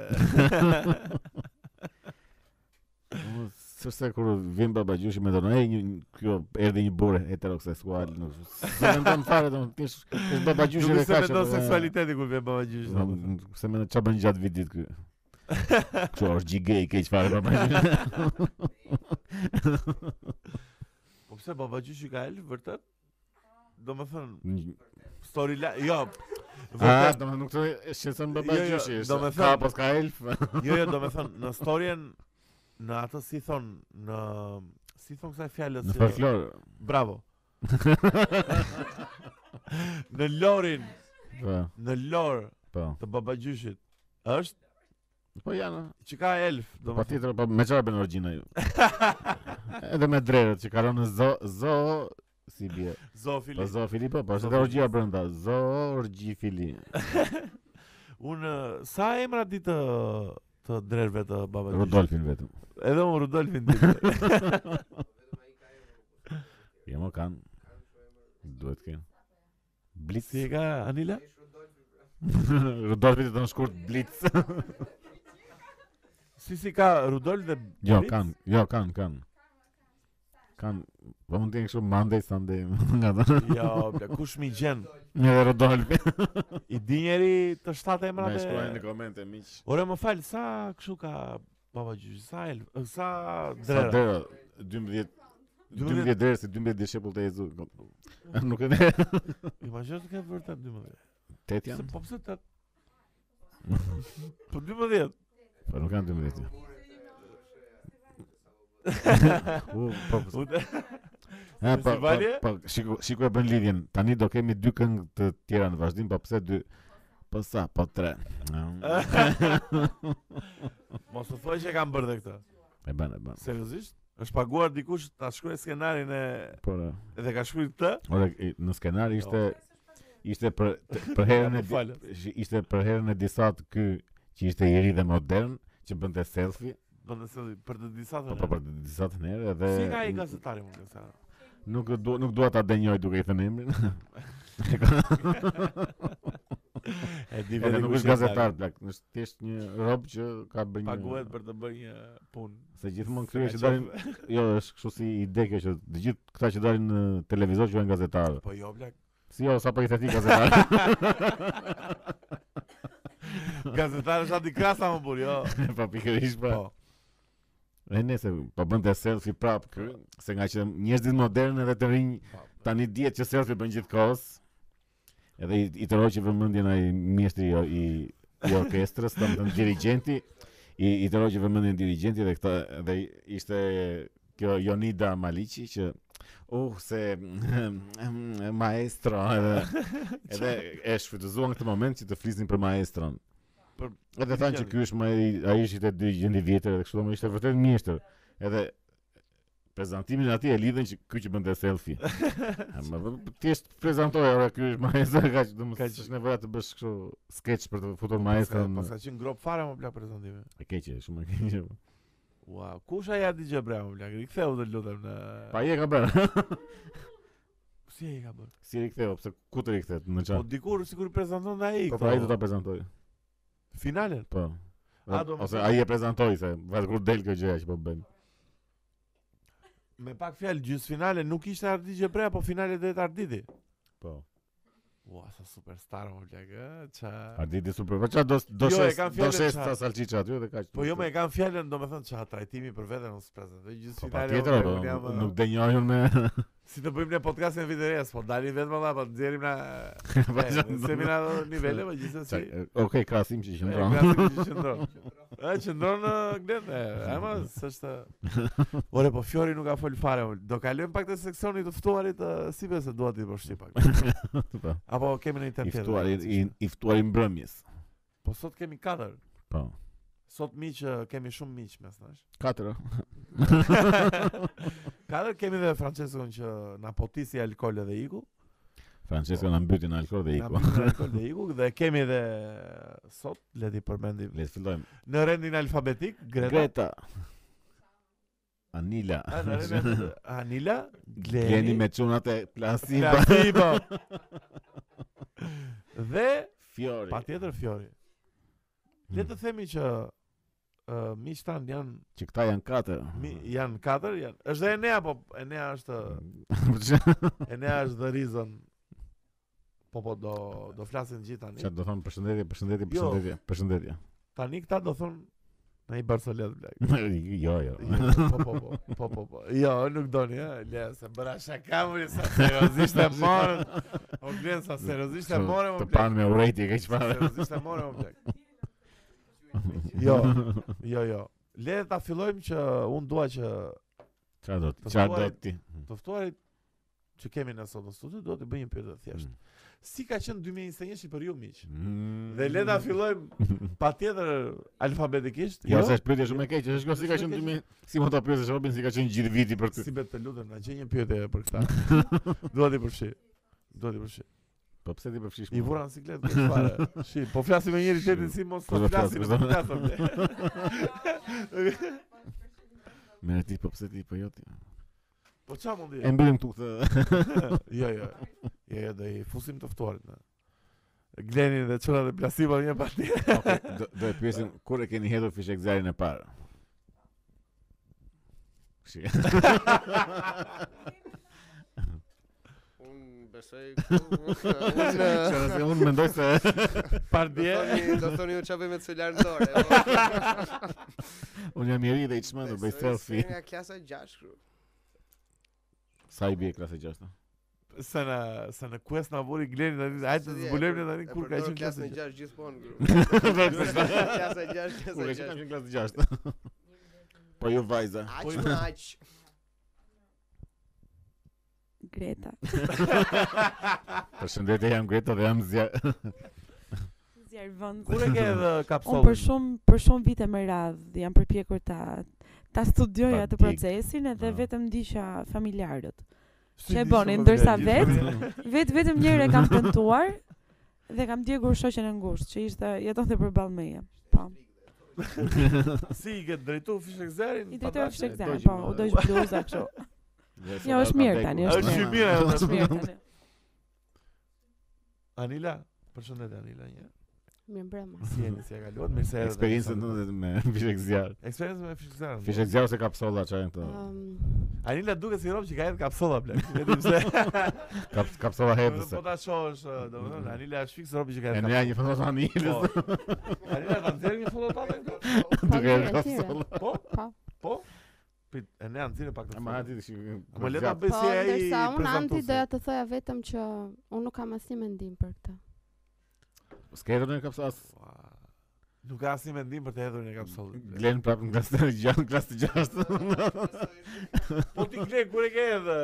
Speaker 1: do të thonë, se kur vjen babagjyshi me donë, "Ej, një- kjo erdhi një burë heteroseksual." Nuk se mendon fare domun, ti je babagjyshi
Speaker 2: Nuk
Speaker 1: dhe
Speaker 2: se
Speaker 1: kaq.
Speaker 2: mendon
Speaker 1: po, e, Po,
Speaker 2: seksualiteti kur vjen babagjyshi.
Speaker 1: do
Speaker 2: domethënë.
Speaker 1: më- Se mendon ç'a bën gjatë vitit ky. po, Kjo është gjigej keq fare babagjyshi.
Speaker 2: Po pse babagjyshi ka el vërtet? Do më thënë,
Speaker 1: Një-
Speaker 2: story la... Jo,
Speaker 1: Ah,
Speaker 2: vërtet,
Speaker 1: do më nuk të shqetëson
Speaker 2: Jo, jo,
Speaker 1: babagjyshi.
Speaker 2: do
Speaker 1: është,
Speaker 2: me
Speaker 1: Ka
Speaker 2: thënë-
Speaker 1: pas ka elf.
Speaker 2: Jo, jo, do me thënë, në storien, në atë si thonë, në... Si thonë kësaj fjallës...
Speaker 1: Në
Speaker 2: që-
Speaker 1: folklor.
Speaker 2: Bravo. në lorin,
Speaker 1: Po,
Speaker 2: në lor
Speaker 1: po.
Speaker 2: të babagjyshit, është
Speaker 1: Po janë.
Speaker 2: që ka elf, do
Speaker 1: Po
Speaker 2: me thënë.
Speaker 1: tjetër, po me çfarë bën orgjina ju? Edhe me drerët që kalon në zo zo si bie. Po
Speaker 2: Zofili.
Speaker 1: zo Filipo, po është
Speaker 2: Zoofili.
Speaker 1: edhe orgjia brenda. Zo orgji fili.
Speaker 2: Unë, sa emra di të, të drerve të babagjyshit?
Speaker 1: Rudolfin vetëm.
Speaker 2: Edhe unë Rudolfin di.
Speaker 1: Jo më kanë. Duhet të kenë. Blitz.
Speaker 2: si e ka Anila?
Speaker 1: Rudolfi të thonë shkurt Blitz.
Speaker 2: Si si ka Rudolf dhe
Speaker 1: jo,
Speaker 2: Blitz?
Speaker 1: kanë, jo, kanë, kanë. Kanë, po mund të jenë kështu Monday, Sunday, nga të.
Speaker 2: Jo, bla, kush mi gjen?
Speaker 1: Një dhe Rudolfi.
Speaker 2: I di njeri të shtatë
Speaker 1: Na
Speaker 2: emrat
Speaker 1: shkruajnë
Speaker 2: e...
Speaker 1: në komente miq.
Speaker 2: Ore, më falë, sa këshu ka Baba gjysh, sa el, sa
Speaker 1: Sa
Speaker 2: drera.
Speaker 1: dera, 12
Speaker 2: Duhet-
Speaker 1: 12 dera se 12 dishepull të Jezu. po- Nuk e di.
Speaker 2: Imagjino se ka vërtet 12.
Speaker 1: Tet
Speaker 2: Se
Speaker 1: janë.
Speaker 2: po pse tat? Po 12.
Speaker 1: Po nuk kanë 12. janë. U, po. po-
Speaker 2: U-
Speaker 1: Ha, po, po,
Speaker 2: festivalje?
Speaker 1: po, shiko, shiko e bën lidhjen. Tani do kemi dy këngë të tjera në vazhdim, po pse dy? Po sa, po tre.
Speaker 2: Mos u thuaj që e kam bërë dhe këtë.
Speaker 1: E bën, e bën.
Speaker 2: Seriozisht? Është paguar dikush ta shkruaj skenarin e
Speaker 1: Por e,
Speaker 2: dhe ka shkruar këtë?
Speaker 1: ore i- në skenar ishte ishte për të- për herën e
Speaker 2: Po falet.
Speaker 1: di- shi- ishte për herën e disa të ky që ishte i ri dhe modern, që bënte selfie,
Speaker 2: Do të thotë për të disa
Speaker 1: po
Speaker 2: të.
Speaker 1: po për disa të herë edhe
Speaker 2: Si ka ai gazetari më kësa?
Speaker 1: Nuk dua nuk dua ta denjoj duke i thënë emrin.
Speaker 2: E di
Speaker 1: Edhe nuk
Speaker 2: Po, kush
Speaker 1: është
Speaker 2: e
Speaker 1: gazetar plak, është thjesht një rob që ka bërë
Speaker 2: tari.
Speaker 1: një
Speaker 2: Paguhet për të bërë një punë.
Speaker 1: se gjithmonë
Speaker 2: Se
Speaker 1: krye
Speaker 2: ka
Speaker 1: që dalin
Speaker 2: qef.
Speaker 1: jo, është kështu si ide kjo që të gjithë këta që dalin në televizor quhen gazetarë.
Speaker 2: Po jo blak.
Speaker 1: Si jo, sa pak i thati gazetarë.
Speaker 2: Gazetari është aty krasa më burr, jo.
Speaker 1: pa pikërisht pra.
Speaker 2: Po.
Speaker 1: E nëse po bën të selfie prap kë, se nga që njerëzit moderne dhe të rinj
Speaker 2: Po,
Speaker 1: tani dihet që selfie bën gjithkohës. Edhe i, i tërhoqi vëmendjen ai mjeshtri i, i, i orkestrës, domethënë dirigjenti, i, i tërhoqi vëmendjen dirigjenti dhe këta dhe ishte kjo Jonida Maliqi që uh se maestro edhe edhe e shfrytëzuan këtë moment që të flisnin për maestron.
Speaker 2: Për-
Speaker 1: Edhe thanë që ky është më i- ai ishte dirigjenti i vjetër edhe kështu domo ishte vërtet mjeshtër. Edhe prezantimin aty e lidhen që ky që bënte selfie. A, Më vë- thjesht prezantoj ora ky është maestro kaq domo
Speaker 2: Kaq.
Speaker 1: s'është nevoja të bësh kështu sketch për të futur
Speaker 2: Po,
Speaker 1: maestron.
Speaker 2: Pas ka qenë grop fare më blak prezantime.
Speaker 1: E keqe, shumë e keqe.
Speaker 2: Wow, kush ai Adi Xhebra më blak? Riktheu të lutem në
Speaker 1: Pa i e ka bërë.
Speaker 2: Si e ka bërë?
Speaker 1: si riktheu, pse ku të rikthehet në
Speaker 2: Po
Speaker 1: çan?
Speaker 2: dikur sikur prezanton ai.
Speaker 1: Po
Speaker 2: këto.
Speaker 1: pra ai do ta prezantoj.
Speaker 2: finalen.
Speaker 1: Po.
Speaker 2: A, do më
Speaker 1: Ose
Speaker 2: thënë-
Speaker 1: ai e prezantoi se vetë kur del kjo gjëja që po bën.
Speaker 2: Me pak fjalë gjysmëfinale nuk ishte Ardi Xhebra, po finale drejt Arditi.
Speaker 1: Po.
Speaker 2: Ua, sa superstar më plak, ë, qa...
Speaker 1: A di di super. Po çfarë do do
Speaker 2: Jo, e
Speaker 1: shes
Speaker 2: kam
Speaker 1: do
Speaker 2: fjalën
Speaker 1: shes
Speaker 2: qa-
Speaker 1: sa salçiça aty dhe kaq.
Speaker 2: Po jo me e kam fjallën, do me thënë qa trajtimi për vete në s'prezën Dhe gjithë
Speaker 1: Po
Speaker 2: finale
Speaker 1: patjetër, po, nuk
Speaker 2: uh,
Speaker 1: denjojun me
Speaker 2: Si të bëjmë në podcastin e vitë rjes, po dalim vetëm Allah, po të djerim na
Speaker 1: Po,
Speaker 2: e,
Speaker 1: çfarë
Speaker 2: në
Speaker 1: do-
Speaker 2: seminar nivele, po pra, gjithë
Speaker 1: Qa-
Speaker 2: si
Speaker 1: e, Okej, krasim që
Speaker 2: E,
Speaker 1: qëndron.
Speaker 2: gratë që qëndron E, qëndron në glenë, e, e ma, s'është
Speaker 1: pra.
Speaker 2: Ore, po Fjori nuk ka fol fare, ol. do kalojmë pak të seksionit të ftuarit e, Si be se duat i përshqip pak
Speaker 1: Po.
Speaker 2: Apo kemi në
Speaker 1: I
Speaker 2: internet
Speaker 1: ftuar i- i i ftuar i mbrëmjes.
Speaker 2: Po sot kemi 4
Speaker 1: Po.
Speaker 2: Sot miq, e, kemi shumë miq mes nash
Speaker 1: Katër.
Speaker 2: Ka dhe kemi dhe Franceskon që na potisi alkool dhe iku.
Speaker 1: Francesco na mbyti në alkool dhe
Speaker 2: Na
Speaker 1: iku.
Speaker 2: potisi alkool dhe iku dhe kemi dhe sot le ti përmendim
Speaker 1: Le të fillojmë.
Speaker 2: në rendin alfabetik Greta.
Speaker 1: Greta. Anila.
Speaker 2: A, në rendin Anila Gleni,
Speaker 1: Gleni me çunat e plasiba.
Speaker 2: Plasiba. dhe
Speaker 1: Fiori.
Speaker 2: patjetër Fiori.
Speaker 1: Mm.
Speaker 2: Le të themi që uh, miq tan janë
Speaker 1: Që këta janë katër.
Speaker 2: mi, janë katër, janë. Është dhe Enea, po Enea është
Speaker 1: Mm.
Speaker 2: Jo. Enea është the reason. Po po do do flasin gjithë tani.
Speaker 1: Çfarë do thon përshëndetje, përshëndetje,
Speaker 2: Jo.
Speaker 1: përshëndetje, përshëndetje.
Speaker 2: Tani këta do thonë Në i Barsolet blek
Speaker 1: Jo, jo.
Speaker 2: Po po po Po po po Jo nuk doni ja Le se bëra shaka më Sa seriozisht e morën O glen sa seriozisht e
Speaker 1: Kështu,
Speaker 2: morën më
Speaker 1: Të
Speaker 2: blek
Speaker 1: pan me urejtje kaq
Speaker 2: Sa
Speaker 1: fare.
Speaker 2: seriozisht e morën më blek Jo Jo jo Le ta fillojmë që unë dua që
Speaker 1: Çfarë do ti?
Speaker 2: Të
Speaker 1: Çfarë do
Speaker 2: ftuarit-
Speaker 1: ti?
Speaker 2: të ftuarit që kemi në sot në studio do të bëj një pyetje të thjeshtë. Si ka qenë 2021 për ju miq?
Speaker 1: Mm.
Speaker 2: Dhe le ta fillojmë patjetër alfabetikisht.
Speaker 1: Jo, se është pyetje shumë e keqe, është kjo si ka
Speaker 2: Shumë e
Speaker 1: qenë
Speaker 2: keqe.
Speaker 1: 2000, si mund ta pyesësh Robin si ka qenë gjithë viti për ty.
Speaker 2: Si bet të lutem, na gjej një pyetje për këtë. Dua ti përfshi. Dua ti përfshi.
Speaker 1: Po pse ti përfshish?
Speaker 2: I
Speaker 1: mua?
Speaker 2: vura siklet për fare. Shi, po flasim me njëri tjetrin si mos
Speaker 1: Po
Speaker 2: të
Speaker 1: do flasim, po
Speaker 2: flasim, po
Speaker 1: do-
Speaker 2: flasim.
Speaker 1: Merë ti, po pse ti, po jo ti.
Speaker 2: Po çfarë mund
Speaker 1: E
Speaker 2: të?
Speaker 1: mbyllim këtu këtë.
Speaker 2: Jo, jo. Jo, jo, do i fusim të ftuarit na. Glenin dhe çuna dhe plasipa një pa tjetër.
Speaker 1: Okej, do- Do e pyesim kur e keni hedhur fishekzarin e parë. Shi.
Speaker 4: Unë unë besoj këtu. Unë
Speaker 1: Çfarë se unë mendoj se
Speaker 4: do
Speaker 2: Pardje.
Speaker 4: thoni, do thoni unë çave me celular në dorë. po.
Speaker 1: unë jam i ri dhe i çmendur bëj
Speaker 4: Besoj
Speaker 1: selfie.
Speaker 4: se Nga klasa 6 kru.
Speaker 1: Sa i bie klasë 6?
Speaker 2: Se në, se në quest na vuri Gleni tani, hajde të zbulojmë ne tani kur ka qenë klasa.
Speaker 4: në
Speaker 2: e
Speaker 4: 6 gjithmonë kru.
Speaker 1: Klasa
Speaker 4: Klasa 6,
Speaker 1: Kur e kam
Speaker 4: klasa 6.
Speaker 1: qenë klasë 6. Po ju vajza.
Speaker 4: Aq
Speaker 2: Po,
Speaker 4: më aq.
Speaker 6: Greta.
Speaker 1: Përshëndetje jam Greta dhe jam zja.
Speaker 6: Zjarr vend.
Speaker 2: gjë. Kur e ke edhe
Speaker 6: Unë
Speaker 2: kapsollën?
Speaker 6: për shumë për shumë vite me radh jam përpjekur ta ta studioj
Speaker 1: Ta
Speaker 6: atë
Speaker 1: dig.
Speaker 6: procesin edhe
Speaker 1: Ah.
Speaker 6: vetëm ndiqja familjarët.
Speaker 2: Si
Speaker 6: që e
Speaker 2: di
Speaker 6: bonin,
Speaker 2: shumë
Speaker 6: ndërsa
Speaker 2: vlerë,
Speaker 6: vetë-
Speaker 2: gjithmonë.
Speaker 6: Vetë vetëm një herë e kam tentuar dhe kam djegur shoqen e ngushtë që ishte jetonte përballë meje. Po.
Speaker 2: Si i ke drejtu fishek zerin?
Speaker 6: I drejtoj fshekzan,
Speaker 2: dojgjim,
Speaker 6: po, u
Speaker 2: e,
Speaker 6: doj bluza kështu. Jo, është mirë tani, është
Speaker 2: Është
Speaker 6: mirë.
Speaker 2: shumë mirë. edhe.
Speaker 6: Është mirë tani.
Speaker 2: Anila, përshëndetje Anila një.
Speaker 7: Mirë mbrëma.
Speaker 2: Si jeni, si e kaluat? Mirë se erdhe.
Speaker 1: Eksperiencën tënde me fishek zjarr.
Speaker 2: Eksperiencën me fishek zerin.
Speaker 1: Fishek zjarr ose kapsolla çfarë këto?
Speaker 6: Ah.
Speaker 7: Um,
Speaker 2: Anila duket si rob që ka erdhë kapsolla blek. Vetëm se.
Speaker 1: Kap kapsolla hedhëse.
Speaker 2: Po ta shohësh, ë, domethënë Anila është fiks rob që ka
Speaker 1: E
Speaker 2: erdhë.
Speaker 1: nea një foto anilës
Speaker 2: kapsolla. Po. Anila ta nxjerr një foto tave këtu.
Speaker 1: duke
Speaker 7: mirë,
Speaker 1: e
Speaker 7: e
Speaker 1: kapsolla.
Speaker 2: Po.
Speaker 7: Po.
Speaker 2: Po. Prit, e ne anxjerr pak të.
Speaker 1: Ma
Speaker 2: foto.
Speaker 1: hati shi.
Speaker 2: Po le ta bëj
Speaker 7: po,
Speaker 2: si ai.
Speaker 7: ndërsa unë anti
Speaker 2: prezantuese.
Speaker 7: doja të thoja vetëm që unë nuk kam asnjë mendim për këtë.
Speaker 1: Sketër në kapsolla.
Speaker 2: Ua, Nuk ka asnjë mendim për të hedhur në kapsollën. blek.
Speaker 1: Glen prapë në klasë të gjatë, në klasë të gjashtë.
Speaker 2: Po ti glen kur e ke edhe.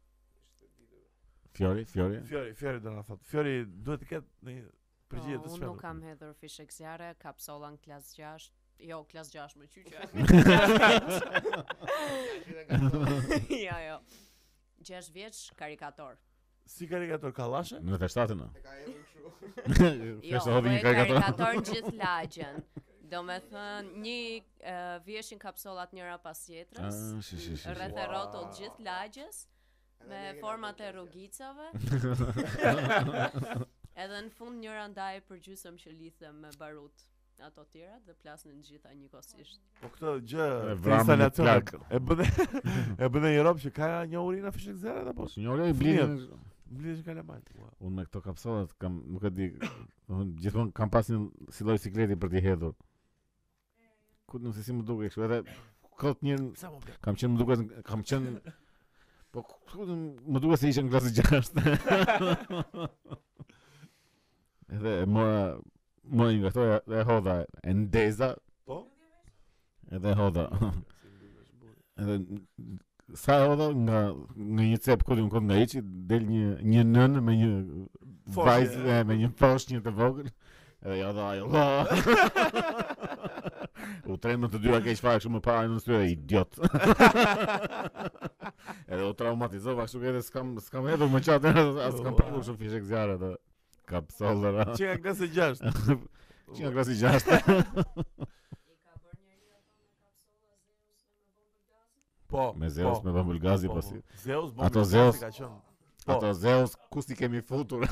Speaker 1: Fjori, Fjori.
Speaker 2: Fiori, Fiori do na thot. Fiori duhet të ketë një përgjigje të
Speaker 5: Po,
Speaker 2: shpejtë.
Speaker 5: Unë nuk kam hedhur fishek zjarre, kapsolla në klas 6, jo, klas 6 më qyqe. ja, jo. 6 vjeç karikator.
Speaker 2: Si karikatur kallashe?
Speaker 1: Në të shtatë në.
Speaker 4: E ka edhe kështu.
Speaker 5: Jo,
Speaker 1: Kështë të hodhi
Speaker 5: bëj
Speaker 1: një karikator.
Speaker 5: karikator në gjithë lagjen. Do me thënë, një eh, vjeshin kapsollat njëra pas
Speaker 1: Ah,
Speaker 5: tjetrës,
Speaker 1: shi, shi, shi, shi.
Speaker 5: rreth e rotull gjithë lagjes, me format e rrugicave. Edhe në fund njëra ndaj për gjysëm që lidhem me barut ato tjera dhe plasnin të gjitha njëkohësisht.
Speaker 2: Po këtë gjë
Speaker 1: E
Speaker 2: këtë
Speaker 1: vramë në
Speaker 2: instalacion
Speaker 1: plak.
Speaker 2: e- e bën e bën një rob që ka një urina fishek zero apo
Speaker 1: Po
Speaker 2: po.
Speaker 1: së njore i blinë.
Speaker 2: Mblidhesh kalamaj. Ua.
Speaker 1: Unë me këto kapsollat kam, nuk e di, unë gjithmonë kam pasin si lloj sikleti për t'i hedhur. Ku nuk se si më duke kështu, edhe kot një
Speaker 2: Sa më blek.
Speaker 1: kam qenë më duket, kam qenë Po ku më duket se isha në klasë 6. edhe e mora mora një nga këto e- e hodha, e ndeza
Speaker 2: Po.
Speaker 1: edhe e hodha. edhe n- sa e hodha nga nga një cep ku diun kot nga hiçi del një një nën me një
Speaker 2: Foshje.
Speaker 1: vajzë e, me një poshnjë të vogël. Edhe ja dha ajo. "La." u tremën të dyra keq fare kështu më para në syre, idiot. edhe u traumatizova kështu që edhe s'kam s'kam hedhur më qatë, as kam patur kështu fishek zjarre atë. Kapsollëra.
Speaker 2: Çi ka klasë 6.
Speaker 1: Që nga klasi 6.
Speaker 2: Po.
Speaker 1: Me Zeus me Bambul Gazi
Speaker 2: po,
Speaker 1: po
Speaker 2: po.
Speaker 1: si.
Speaker 2: Zeus bombi
Speaker 1: Ato
Speaker 2: Gazi
Speaker 1: Zeus-
Speaker 2: ka qenë. Po.
Speaker 1: Ato Zeus ku si kemi futur.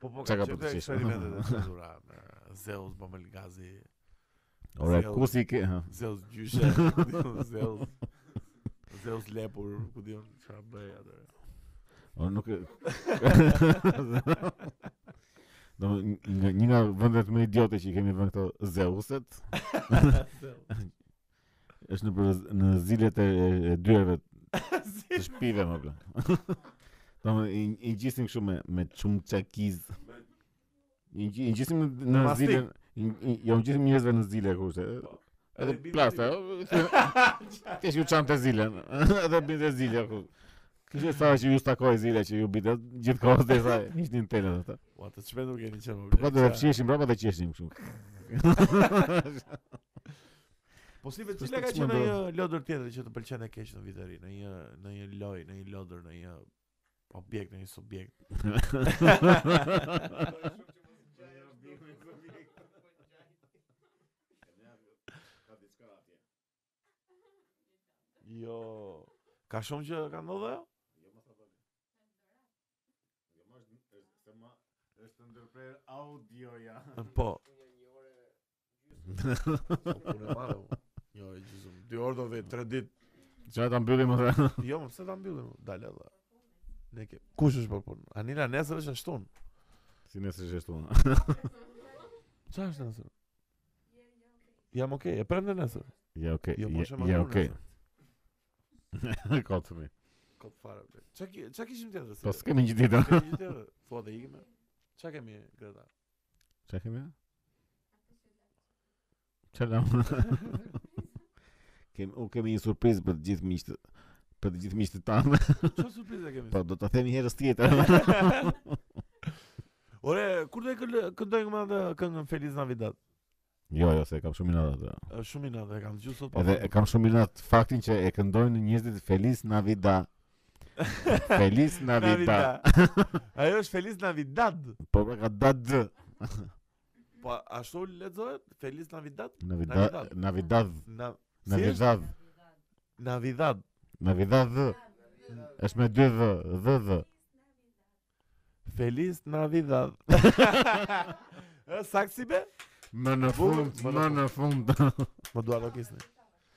Speaker 2: Po po
Speaker 1: Çka ka
Speaker 2: ka qenë
Speaker 1: përgjigjesh?
Speaker 2: eksperimentet e cenzura. me Zeus bombi Gazi,
Speaker 1: Ora
Speaker 2: Zeus.
Speaker 1: ku si ke? ha.
Speaker 2: Zeus gjyshe, Zeus Zeus lepur, ku diun çfarë bëj atë.
Speaker 1: Ora nuk e- Do më- nga një nga vendet më idiote që i kemi vënë këto Zeuset është në Braz- në zilet e, e- e dyerve të shpive më bla. Do më i, i gjisim kështu me me çumçakiz. I, gji- i gjisim në, në
Speaker 2: Mastik.
Speaker 1: zile i- i- Jo, i gjisim njerëzve në zile kurse. Edhe plasta. Ti ju çam të zilen. Edhe bin të zile ku. Kështë sa që ju stakoj tak, zile që ju bitë gjithë kohës dhe sa ishtë në telën ata.
Speaker 2: Ua, të çmendur keni qenë. më
Speaker 1: Po
Speaker 2: blek,
Speaker 1: ka të
Speaker 2: qa.
Speaker 1: fshiheshim brapa dhe qeshim kështu.
Speaker 2: Po si vetë
Speaker 1: S'është
Speaker 2: cila
Speaker 1: të
Speaker 2: ka qenë
Speaker 1: çmendur.
Speaker 2: një lodër tjetër që të pëlqen e keq në vitëri, në një në një loj, në një lodër, në një objekt, në një subjekt. Jo, ka shumë që ka ndodhur ajo?
Speaker 1: Është ndërprer audioja.
Speaker 2: Po. Po, Punë e madhe. u. Jo, e gjizum. Dy orë do vetë, tre ditë.
Speaker 1: Çfarë ta mbyllim atë?
Speaker 2: Jo, më pse ta mbyllim? Dale valla. Ne ke. Kush është për punë? Anila nesër është ashtu.
Speaker 1: Si nesër është ashtu.
Speaker 2: Çfarë është nesër? Jam okay, e prende nesër.
Speaker 1: Ja, okay.
Speaker 2: Jo, po
Speaker 1: ja-
Speaker 2: është
Speaker 1: Ja,
Speaker 2: marrë
Speaker 1: okay. Kot fëmi.
Speaker 2: Kot fare. bre. Çka ki- çka kishim tjetër?
Speaker 1: Po
Speaker 2: si?
Speaker 1: s'kemi gjë tjetër.
Speaker 2: Kemi gjë tjetër? Thua dhe ikëm. Çka kemi Greta?
Speaker 1: Çfarë kemi? Çfarë? Kem, u kemi një surprizë për të gjithë miqtë, për të gjithë miqtë tanë,
Speaker 2: Çfarë surprizë kemi?
Speaker 1: po do ta themi herës tjetër.
Speaker 2: Ore, kur do e këll- këndojmë më atë këngën Feliz Navidad?
Speaker 1: jo, jo, se e kam shumë inat atë.
Speaker 2: Është shumë inat, e kam dëgjuar sot po. pa.
Speaker 1: Edhe
Speaker 2: fund.
Speaker 1: e kam shumë inat faktin që e këndojnë njerëzit Feliz Navidad. Feliz Navidad.
Speaker 2: Ajo është Feliz Navidad.
Speaker 1: po pra ka dat d.
Speaker 2: Po ashtu lexohet Feliz Navidad?
Speaker 1: Navidad, Navidad,
Speaker 2: Na si është?
Speaker 1: Navidad,
Speaker 2: Navidad.
Speaker 1: Navidad. d. Është me dy dh, dh dh.
Speaker 2: Feliz Navidad. Ë saksi be?
Speaker 1: Më në fund,
Speaker 2: Bukur,
Speaker 1: më në fund.
Speaker 2: Më dua do kisni.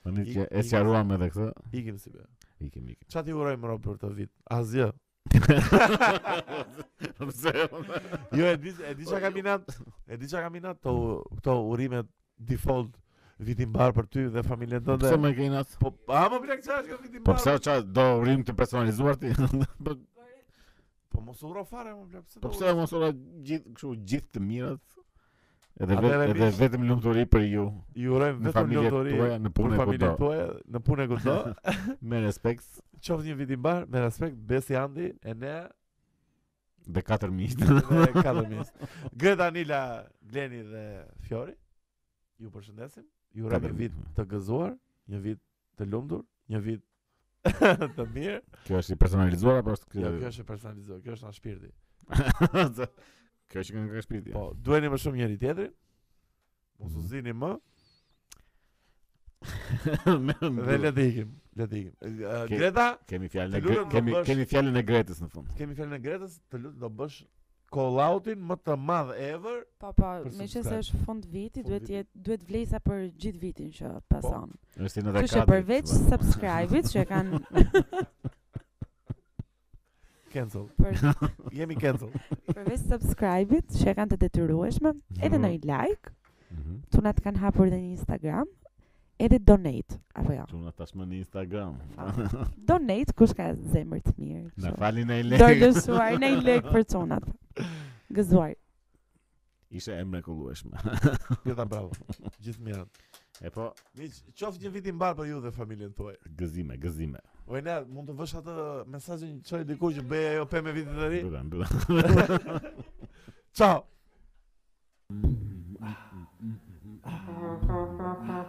Speaker 1: Tani
Speaker 2: Ik-
Speaker 1: që e
Speaker 2: ik-
Speaker 1: sqaruam edhe këtë.
Speaker 2: Ikim si be.
Speaker 1: Ikim, ikim.
Speaker 2: Çfarë ti urojmë rob për këtë vit? Asgjë.
Speaker 1: Pse?
Speaker 2: Jo, e di e di çka kam inat. E di çka kam inat to këto urime default vitin mbar për ty dhe familjen
Speaker 1: Pse
Speaker 2: tënde.
Speaker 1: më ke inat?
Speaker 2: Po a më blek çfarë është kjo vitin
Speaker 1: Po
Speaker 2: mbar?
Speaker 1: pse ça do urim të personalizuar ti? Po
Speaker 2: Po mos uro fare më blek.
Speaker 1: po pse mos ora gjithë kështu gjithë të mirat? Edhe vetë
Speaker 2: Atëherë,
Speaker 1: edhe
Speaker 2: miq.
Speaker 1: vetëm lumturi për ju.
Speaker 2: Ju urojmë
Speaker 1: Në
Speaker 2: vetëm
Speaker 1: familjet
Speaker 2: lotori.
Speaker 1: tuaja, në
Speaker 2: Për
Speaker 1: punën e
Speaker 2: familjen
Speaker 1: kudo.
Speaker 2: tuaj, në punë e kudo.
Speaker 1: Me respekt
Speaker 2: Qoftë një vit i mbar, me respekt Besi Andi, Enea
Speaker 1: dhe katër miq.
Speaker 2: dhe Kalomis. Greta Anila, Gleni dhe Fiori. Ju përshëndesim. Ju urojmë një vit të gëzuar, një vit të lumtur, një vit të mirë.
Speaker 1: Kjo është i personalizuar apo është kjo?
Speaker 2: Jo, kjo është e personalizuar, kjo është nga shpirti.
Speaker 1: është. Kjo është këngë nga shpirti.
Speaker 2: Po, duheni më shumë njëri tjetrin.
Speaker 1: Mhm.
Speaker 2: Mos u zini më dhe le të ikim, le të ikim. Eh,
Speaker 1: Mm, Ke-
Speaker 2: Greta,
Speaker 1: kemi fjalën e
Speaker 2: Të lutem
Speaker 1: Gre-
Speaker 2: do
Speaker 1: kemi
Speaker 2: bësh-
Speaker 1: kemi fjalën e Gretës në fund.
Speaker 2: kemi fjalën e Gretës, të lutem do bësh call outin më të madh ever
Speaker 6: Po, po,
Speaker 2: Për
Speaker 6: me që se
Speaker 2: subscribe.
Speaker 6: është fund viti,
Speaker 2: Fund
Speaker 6: duhet,
Speaker 2: viti. Po.
Speaker 6: jet, duhet vlej sa për gjithë vitin që pason.
Speaker 1: Është në
Speaker 6: Kështu që përveç subscribe-it që e kanë
Speaker 2: cancel.
Speaker 6: për,
Speaker 2: Jemi cancel.
Speaker 6: përveç subscribe-it që e kanë të detyrueshme, edhe në një like,
Speaker 1: Mhm.
Speaker 6: tunat kanë hapur edhe një Instagram, edhe donate, apo jo.
Speaker 1: Çuna tashmë në Instagram.
Speaker 6: Donate kush ka zemër të mirë.
Speaker 1: Na
Speaker 6: kështu.
Speaker 1: falin e ai lek.
Speaker 6: Dorëzuar në një lek për tunat. Gëzuar.
Speaker 1: Ishte e mrekullueshme.
Speaker 2: Greta, bravo. Gjithë mirë.
Speaker 1: E po,
Speaker 2: Miq, qoftë një vit i mbar për ju dhe familjen tuaj.
Speaker 1: gëzime, gëzime.
Speaker 2: O ne mund të vësh atë mesazhin çoj diku që bëj ajo pemë vitin të ri.
Speaker 1: Mbyllem, mbyllem.
Speaker 2: Ciao.
Speaker 1: Mm, mm, mm, mm, mm, mm.